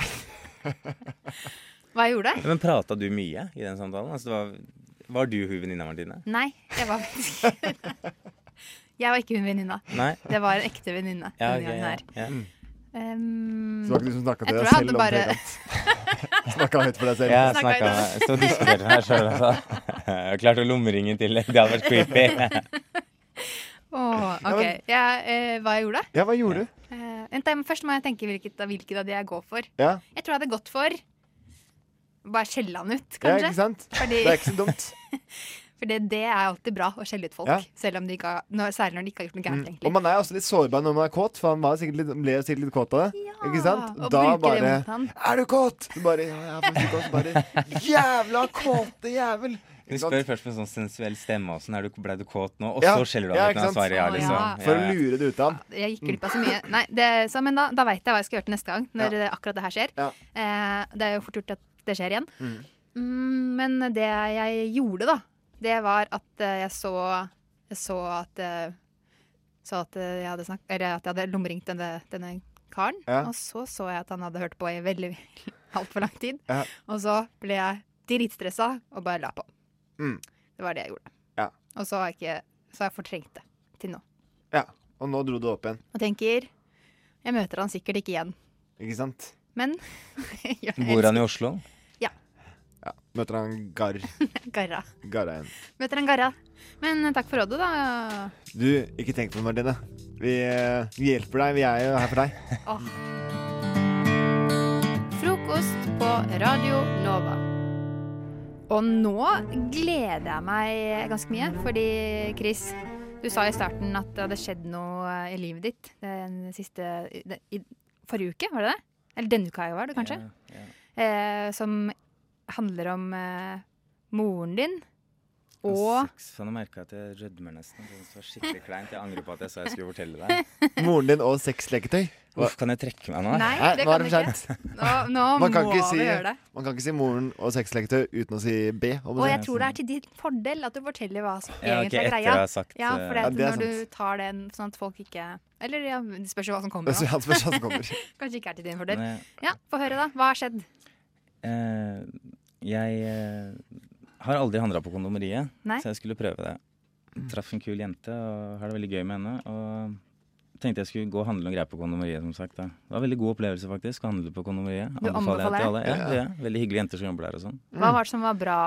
[SPEAKER 5] Hva jeg gjorde?
[SPEAKER 9] Men prata du mye i den samtalen? Altså, det var, var du hun venninna, Martine?
[SPEAKER 5] Nei, jeg var faktisk Jeg var ikke hun venninna.
[SPEAKER 9] Nei.
[SPEAKER 5] Det var en ekte venninne.
[SPEAKER 9] Ja,
[SPEAKER 5] denne
[SPEAKER 9] ok,
[SPEAKER 5] gangen her.
[SPEAKER 9] ja, ja.
[SPEAKER 5] Um,
[SPEAKER 10] Mm. Så det var ikke du som snakket til
[SPEAKER 5] jeg tror jeg
[SPEAKER 10] deg selv om
[SPEAKER 5] hadde bare-
[SPEAKER 10] Snakka høyt for deg selv.
[SPEAKER 9] Jeg snakka Jeg stod og diskuterte meg sjøl, altså. Jeg klarte å lommeringe i tillegg. Det hadde vært creepy.
[SPEAKER 5] Åh,
[SPEAKER 10] Ja,
[SPEAKER 5] OK.
[SPEAKER 10] men-
[SPEAKER 5] Ja, eh, hva jeg gjorde?
[SPEAKER 10] Ja, hva gjorde du?
[SPEAKER 5] Eh, vent, da, men først må jeg tenke hvilket, av- hvilket av de jeg går for.
[SPEAKER 10] Ja.
[SPEAKER 5] Jeg tror jeg hadde gått for Bare skjelle han ut,
[SPEAKER 10] Ja,
[SPEAKER 5] kanskje.
[SPEAKER 10] ikke sant?
[SPEAKER 5] Fordi,
[SPEAKER 10] Det er ikke så dumt.
[SPEAKER 5] fordi det er alltid bra å skjelle ut folk.
[SPEAKER 10] Ja.
[SPEAKER 5] Selv om de ikke har, når, særlig når de ikke har gjort noe gærent.
[SPEAKER 10] Mm.
[SPEAKER 5] egentlig.
[SPEAKER 10] Og man er også litt sårbar når man er kåt, for han var sikkert litt, ble sikkert litt kåt av det. Ikke sant?
[SPEAKER 5] og
[SPEAKER 10] Da
[SPEAKER 5] bruker det
[SPEAKER 10] bare
[SPEAKER 5] mot han.
[SPEAKER 10] Er du kåt? Så bare Ja, jeg er faktisk kåt. Så Bare Jævla kåte jævel.
[SPEAKER 9] Du spør først med sånn sensuell stemme åssen blei du kåt nå? Og
[SPEAKER 10] Ja,
[SPEAKER 9] så skjeller du av
[SPEAKER 10] ja,
[SPEAKER 9] når
[SPEAKER 10] ikke
[SPEAKER 9] han
[SPEAKER 10] sant?
[SPEAKER 9] svarer ja,
[SPEAKER 5] Å,
[SPEAKER 9] liksom.
[SPEAKER 5] ja.
[SPEAKER 10] For å lure det ut av han.
[SPEAKER 5] Jeg gikk glipp av så mye. Nei, det, så, men da, da veit jeg hva jeg skal gjøre til neste gang. Når eh, akkurat det her skjer. Eh, det er jo fort gjort at det skjer igjen. Mm, men det jeg gjorde, da, det var at eh, jeg så Jeg så at eh, Så at eh, jeg hadde snakk... Eller at jeg hadde lommeringt denne, denne karen.
[SPEAKER 8] Ja.
[SPEAKER 5] Og så så jeg at han hadde hørt på i veldig altfor lang tid.
[SPEAKER 10] Ja.
[SPEAKER 5] Og så ble jeg dritstressa og bare la på.
[SPEAKER 10] Mm.
[SPEAKER 5] Det var det jeg gjorde.
[SPEAKER 10] Ja.
[SPEAKER 5] Og så har jeg ikke Så har jeg fortrengt det til nå.
[SPEAKER 10] ja. Og nå dro du opp igjen.
[SPEAKER 5] Og tenker Jeg møter han sikkert ikke igjen.
[SPEAKER 10] Ikke sant?
[SPEAKER 5] Men jeg
[SPEAKER 9] Bor han i Oslo?
[SPEAKER 10] Ja. Møter han Garr.
[SPEAKER 5] elsker Garra.
[SPEAKER 10] Garra igjen.
[SPEAKER 5] Møter han Garra. Men eh, takk for rådet, da.
[SPEAKER 10] Du, ikke tenk på det, Martine. Vi eh, hjelper deg. Vi er jo her for deg.
[SPEAKER 5] Åh. Frokost på Radio Nova. Og nå gleder jeg meg ganske mye, fordi Chris, du sa i starten at det hadde skjedd noe i livet ditt den siste i- den- i, Forrige uke, var det det? Eller denne uka var det kanskje? Eh, som handler om eh, moren din og
[SPEAKER 9] Faen, jeg merka at jeg rødmer nesten. Jeg synes Det var skikkelig kleint. Jeg angrer på at jeg sa jeg skulle fortelle deg.
[SPEAKER 10] Moren din og sexleketøy.
[SPEAKER 9] Uff, kan jeg trekke meg nå?
[SPEAKER 5] Nei, det
[SPEAKER 10] nå
[SPEAKER 5] kan
[SPEAKER 10] er
[SPEAKER 5] du ikke.
[SPEAKER 10] for sent.
[SPEAKER 5] Nå- nå
[SPEAKER 10] Man kan
[SPEAKER 5] må
[SPEAKER 10] ikke
[SPEAKER 5] vi
[SPEAKER 10] si-
[SPEAKER 5] gjøre det.
[SPEAKER 10] Man kan ikke si moren og sexleketøy uten å si B. om
[SPEAKER 5] Og
[SPEAKER 10] det.
[SPEAKER 5] jeg tror det er til din fordel at du forteller hva som
[SPEAKER 10] Ja, ok,
[SPEAKER 5] egentlig er
[SPEAKER 10] etter
[SPEAKER 5] greia.
[SPEAKER 10] jeg har sagt,
[SPEAKER 5] ja, for det at
[SPEAKER 10] eh, Ja, det er
[SPEAKER 5] når du tar den sånn at folk ikke Eller ja, det spørs jo hva som kommer.
[SPEAKER 9] Ja, så ja, det spørs hva som kommer.
[SPEAKER 5] Kanskje ikke er til din fordel.
[SPEAKER 9] Nei.
[SPEAKER 5] Ja, få høre, da. Hva har skjedd?
[SPEAKER 9] Eh, jeg eh, har aldri handla på kondomeriet,
[SPEAKER 5] Nei. Mm.
[SPEAKER 9] så jeg skulle prøve det. Traff en kul jente og har det veldig gøy med henne. Og tenkte jeg skulle gå og handle noen greier på kondomeriet, som sagt. Da. Det var en veldig god opplevelse, faktisk, å handle på kondomeriet.
[SPEAKER 5] Du anbefaler
[SPEAKER 9] jeg til alle.
[SPEAKER 5] det?
[SPEAKER 9] Ja, det gjør jeg. Veldig hyggelige jenter som jobber der og sånn.
[SPEAKER 5] Hva var det som var bra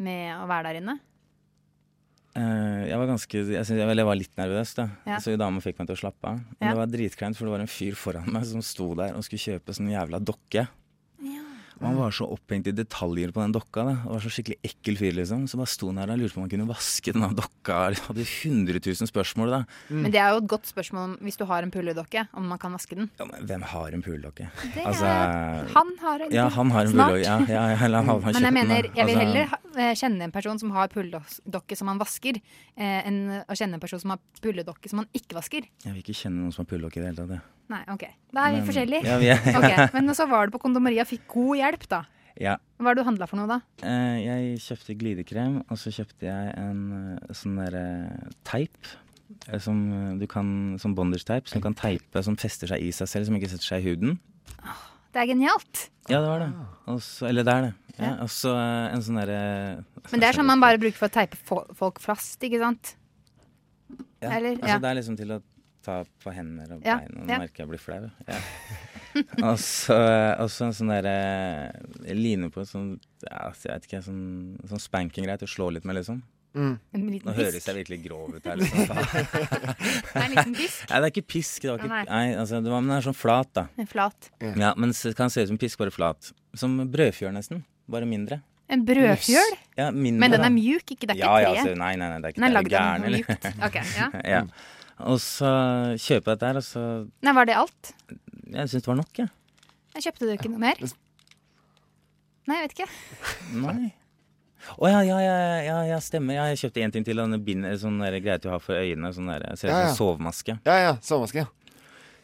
[SPEAKER 5] med å være der inne?
[SPEAKER 9] Eh, jeg var ganske jeg, synes, eller jeg var litt nervøs, da.
[SPEAKER 5] Ja.
[SPEAKER 9] Så dama fikk meg til å slappe av. Men
[SPEAKER 5] Ja.
[SPEAKER 9] det var dritkleint, for det var en fyr foran meg som sto der og skulle kjøpe sånn jævla dokke. Og han var så opphengt i detaljer på den dokka. Da. Og var så skikkelig ekkel fyr, liksom. Så bare sto han her og lurte på om han kunne vaske denne dokka. Jeg hadde 100 000 spørsmål, da.
[SPEAKER 5] Mm. Men det er jo et godt spørsmål om, hvis du har en pulledokke, om man kan vaske den.
[SPEAKER 9] Ja, men hvem har en puledokke?
[SPEAKER 5] Det er- han har en
[SPEAKER 9] Ja, han har en
[SPEAKER 5] snart.
[SPEAKER 9] puledokke. Ja, ja, ja, la han ha
[SPEAKER 5] Men jeg
[SPEAKER 9] kjøpt den, da.
[SPEAKER 5] mener, jeg vil
[SPEAKER 9] Altså-
[SPEAKER 5] heller ha, eh, kjenne en person som har pulledokke som han vasker, eh, enn å kjenne en person som har pulledokke som han ikke vasker.
[SPEAKER 9] Jeg vil ikke kjenne noen som har puledokke i det hele tatt. jeg.
[SPEAKER 5] Nei, ok. Da er vi
[SPEAKER 9] Men-
[SPEAKER 5] forskjellige.
[SPEAKER 9] Ja, vi er-
[SPEAKER 5] Ok, Men så var du på kondomeriet og fikk god hjelp, da.
[SPEAKER 9] Ja.
[SPEAKER 5] Hva har du handla for noe, da?
[SPEAKER 9] Eh, jeg kjøpte glidekrem, og så kjøpte jeg en eh, sånn derre teip. eh, Som, eh, du kan, som bondage-teip, som du kan teipe, som fester seg i seg selv, som ikke setter seg i huden.
[SPEAKER 5] Det er genialt.
[SPEAKER 9] Ja, det var det.
[SPEAKER 5] Ah.
[SPEAKER 9] Og så- eller det er det. Ja, Og så eh, en sånn derre
[SPEAKER 5] Men det er sånn man bare bruker for å teipe fo- folk fast, ikke sant?
[SPEAKER 9] ja,
[SPEAKER 5] Eller-
[SPEAKER 9] altså,
[SPEAKER 5] ja.
[SPEAKER 9] Det er liksom til å ta på hender og
[SPEAKER 5] Ja,
[SPEAKER 9] bein, og nå
[SPEAKER 5] ja.
[SPEAKER 9] merker jeg blir flau. Ja. og så og så en sånn derre line på et sånn ja, altså, Jeg vet ikke, sånn, sånn spanking-greie til å slå litt med, liksom.
[SPEAKER 10] Mm.
[SPEAKER 5] En liten
[SPEAKER 9] Nå høres
[SPEAKER 5] pisk.
[SPEAKER 9] jeg virkelig grov ut her. Liksom.
[SPEAKER 5] er en liten pisk.
[SPEAKER 9] Nei, det er ikke pisk. Det var ikke,
[SPEAKER 5] Nei.
[SPEAKER 9] nei, altså, det var, men det er sånn flat, da.
[SPEAKER 5] En flat.
[SPEAKER 9] Ja, men det kan se ut som pisk, bare flat. Som brødfjøl, nesten. Bare mindre.
[SPEAKER 5] En brødfjøl?
[SPEAKER 9] Ja, mindre,
[SPEAKER 5] Men den
[SPEAKER 9] da.
[SPEAKER 5] er mjuk, ikke? Det er ikke
[SPEAKER 9] ja, ja,
[SPEAKER 5] tre?
[SPEAKER 9] altså, nei, nei, nei, det er ikke
[SPEAKER 5] Den er
[SPEAKER 9] det.
[SPEAKER 5] lagd av
[SPEAKER 9] gæren,
[SPEAKER 5] noe
[SPEAKER 9] eller?
[SPEAKER 5] mjukt. Ok, ja.
[SPEAKER 9] ja. Og så kjøper jeg dette her, og så
[SPEAKER 5] Nei, var det alt?
[SPEAKER 9] Jeg syns det var nok, jeg.
[SPEAKER 5] Jeg kjøpte du ikke noe mer? Nei, jeg vet ikke.
[SPEAKER 9] Nei. Å ja, ja, ja, ja, ja, stemmer. Ja, jeg kjøpte en ting til. Denne bind, sånn der greie til å ha for øynene. Sånn der, ser ut som
[SPEAKER 10] Ja, ja.
[SPEAKER 9] en sovemaske.
[SPEAKER 10] Ja, ja. Sovemaske. ja.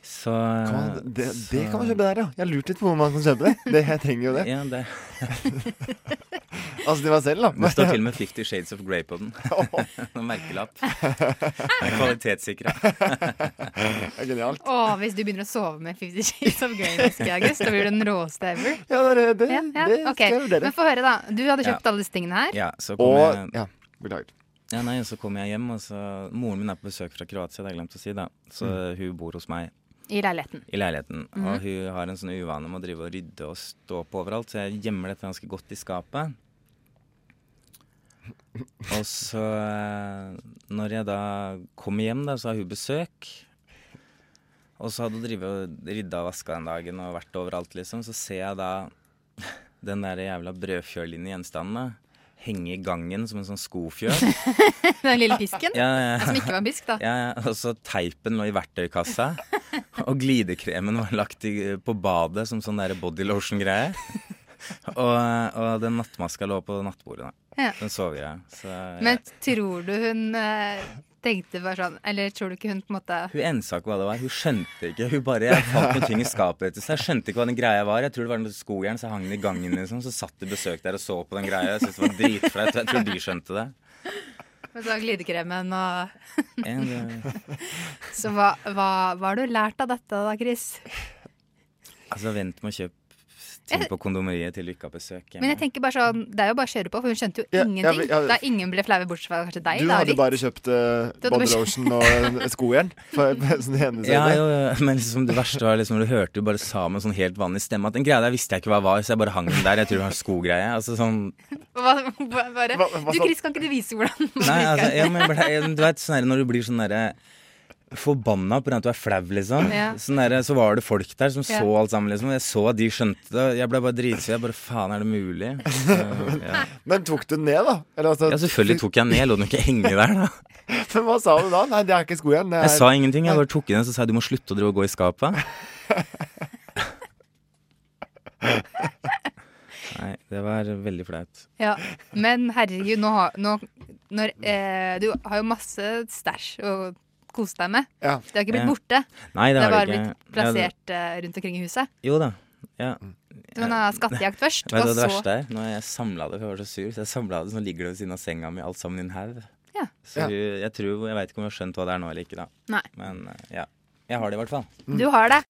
[SPEAKER 9] Så,
[SPEAKER 10] Kan man- Det, det
[SPEAKER 9] så-
[SPEAKER 10] kan man kjøpe der, ja. Jeg har lurt litt på hvor man kan kjøpe det. det jeg trenger jo det.
[SPEAKER 9] altså- Ja, det.
[SPEAKER 10] altså til meg selv, da.
[SPEAKER 9] Det står til og med 'Fifty Shades of Grey' på den. Noen merkelapp. Den er kvalitetssikra.
[SPEAKER 10] Det er genialt.
[SPEAKER 5] Å, hvis du begynner å sove med Fifty Shades of Grey neste i august, da blir du den råeste ever.
[SPEAKER 10] Ja, det, det,
[SPEAKER 5] ja, ja.
[SPEAKER 10] det skal
[SPEAKER 5] ok.
[SPEAKER 10] jeg vurdere.
[SPEAKER 5] Men få høre, da. Du hadde
[SPEAKER 9] Ja.
[SPEAKER 5] kjøpt alle disse tingene her.
[SPEAKER 9] Ja, så kom
[SPEAKER 10] Og
[SPEAKER 9] jeg,
[SPEAKER 10] Ja, beklager.
[SPEAKER 9] ja,
[SPEAKER 10] Mm.
[SPEAKER 9] nei, så kom jeg hjem, og så Moren min er på besøk fra Kroatia, det har jeg glemt å si, da. Så hun bor hos meg.
[SPEAKER 5] I leiligheten.
[SPEAKER 9] I leiligheten.
[SPEAKER 5] Mhm.
[SPEAKER 9] Og hun har en sånn uvane med å drive og rydde og stå på overalt, så jeg gjemmer dette ganske godt i skapet. Og så, eh, når jeg da kommer hjem, da, så har hun besøk. Og så hadde hun drivet og rydda og vaska den dagen og vært overalt, liksom. Så ser jeg da den der jævla brødfjøllignende gjenstandene henge i gangen som en sånn skofjøl.
[SPEAKER 5] Den lille pisken?
[SPEAKER 9] Ja, ja.
[SPEAKER 5] Som ikke var en pisk, da.
[SPEAKER 9] Ja, ja. Og så teipen lå i verktøykassa. Og glidekremen var lagt i, på badet som sånn der body lotion-greie. Og, og den nattmaska lå på nattbordet. Da.
[SPEAKER 5] Ja.
[SPEAKER 9] Den sovegreia. Så
[SPEAKER 5] Men tror du hun eh, tenkte bare sånn Eller tror du ikke hun på en måte
[SPEAKER 9] hun ensa ikke hva det var. Hun skjønte ikke. Hun bare jeg fant noen ting i skapet etter seg. Jeg Skjønte ikke hva den greia var. Jeg tror det var noe skojern, så hang den i gangen, liksom. Så satt det besøk der og så på den greia. Jeg syntes det var dritflaut. Jeg tror de skjønte det.
[SPEAKER 5] Og så glidekremen og
[SPEAKER 9] En, eh,
[SPEAKER 5] Så hva, hva, hva har du lært av dette da, Chris?
[SPEAKER 9] altså, vent med å kjøpe ting på kondomeriet til du ikke har besøk.
[SPEAKER 5] Men jeg tenker bare sånn, det er jo bare å kjøre på, for hun skjønte jo
[SPEAKER 10] Ja, ja,
[SPEAKER 5] ingenting.
[SPEAKER 10] men- ja.
[SPEAKER 5] Da ingen ble flaue, bortsett fra kanskje deg.
[SPEAKER 10] Du
[SPEAKER 5] da,
[SPEAKER 10] hadde
[SPEAKER 5] Rick.
[SPEAKER 10] bare kjøpt uh,
[SPEAKER 5] Du hadde bare
[SPEAKER 10] body
[SPEAKER 5] kjøpt-
[SPEAKER 10] lotion og en- et skojern. For, som det ene
[SPEAKER 9] Ja,
[SPEAKER 10] stedet.
[SPEAKER 9] jo, jo, men liksom det verste var liksom, du hørte jo bare sa med sånn helt vanlig stemme at den greia der visste jeg ikke hva var, så jeg bare hang den der. Jeg tror det var en skogreie. Altså sånn
[SPEAKER 5] Hva, hva- bare,
[SPEAKER 10] hva
[SPEAKER 5] du,
[SPEAKER 10] sa-
[SPEAKER 5] Chris, kan ikke du vise hvordan man
[SPEAKER 9] Nei,
[SPEAKER 5] virker?
[SPEAKER 9] altså, ja, men jeg ble, jeg- du vet sånn derre når du blir sånn derre Forbanna på grunn av at du er flau, liksom.
[SPEAKER 5] Ja.
[SPEAKER 9] Sånn derre, så var det folk der som
[SPEAKER 5] Ja.
[SPEAKER 9] så alt sammen, liksom. Jeg så at de skjønte det. Jeg ble bare dritsur. Jeg bare faen, er det mulig? Så, ja.
[SPEAKER 10] Men tok du den ned, da? Eller, altså,
[SPEAKER 9] ja, selvfølgelig tok jeg den ned. Jeg lot den jo ikke henge der, da.
[SPEAKER 10] Men hva sa du da? Nei, det er ikke skojern. det
[SPEAKER 9] Jeg
[SPEAKER 10] er-
[SPEAKER 9] sa ingenting. Jeg bare tok i den, så sa jeg du må slutte å drive og gå i skapet. Nei, det var veldig flaut.
[SPEAKER 5] Ja, men herregud, nå har, nå, når, eh, du har jo masse stæsj å kose deg med.
[SPEAKER 9] Ja.
[SPEAKER 5] Det har ikke blitt
[SPEAKER 9] Ja.
[SPEAKER 5] borte.
[SPEAKER 9] Nei, det har
[SPEAKER 5] bare
[SPEAKER 9] det ikke.
[SPEAKER 5] blitt plassert eh, rundt omkring i huset.
[SPEAKER 9] Jo da. Ja.
[SPEAKER 5] Du kan ha skattejakt først,
[SPEAKER 9] Vet du
[SPEAKER 5] og
[SPEAKER 9] hva det
[SPEAKER 5] så-
[SPEAKER 9] verste er? Nå har jeg samla det, for jeg var så sur. Så jeg samlet det, så nå ligger det ved siden av senga mi, alt sammen i en haug.
[SPEAKER 5] Ja.
[SPEAKER 9] Så
[SPEAKER 5] Ja.
[SPEAKER 9] hun- jeg tror Jeg veit ikke om hun har skjønt hva det er nå eller ikke, da.
[SPEAKER 5] Nei.
[SPEAKER 9] Men eh, ja. Jeg har det i hvert fall.
[SPEAKER 5] Du har det.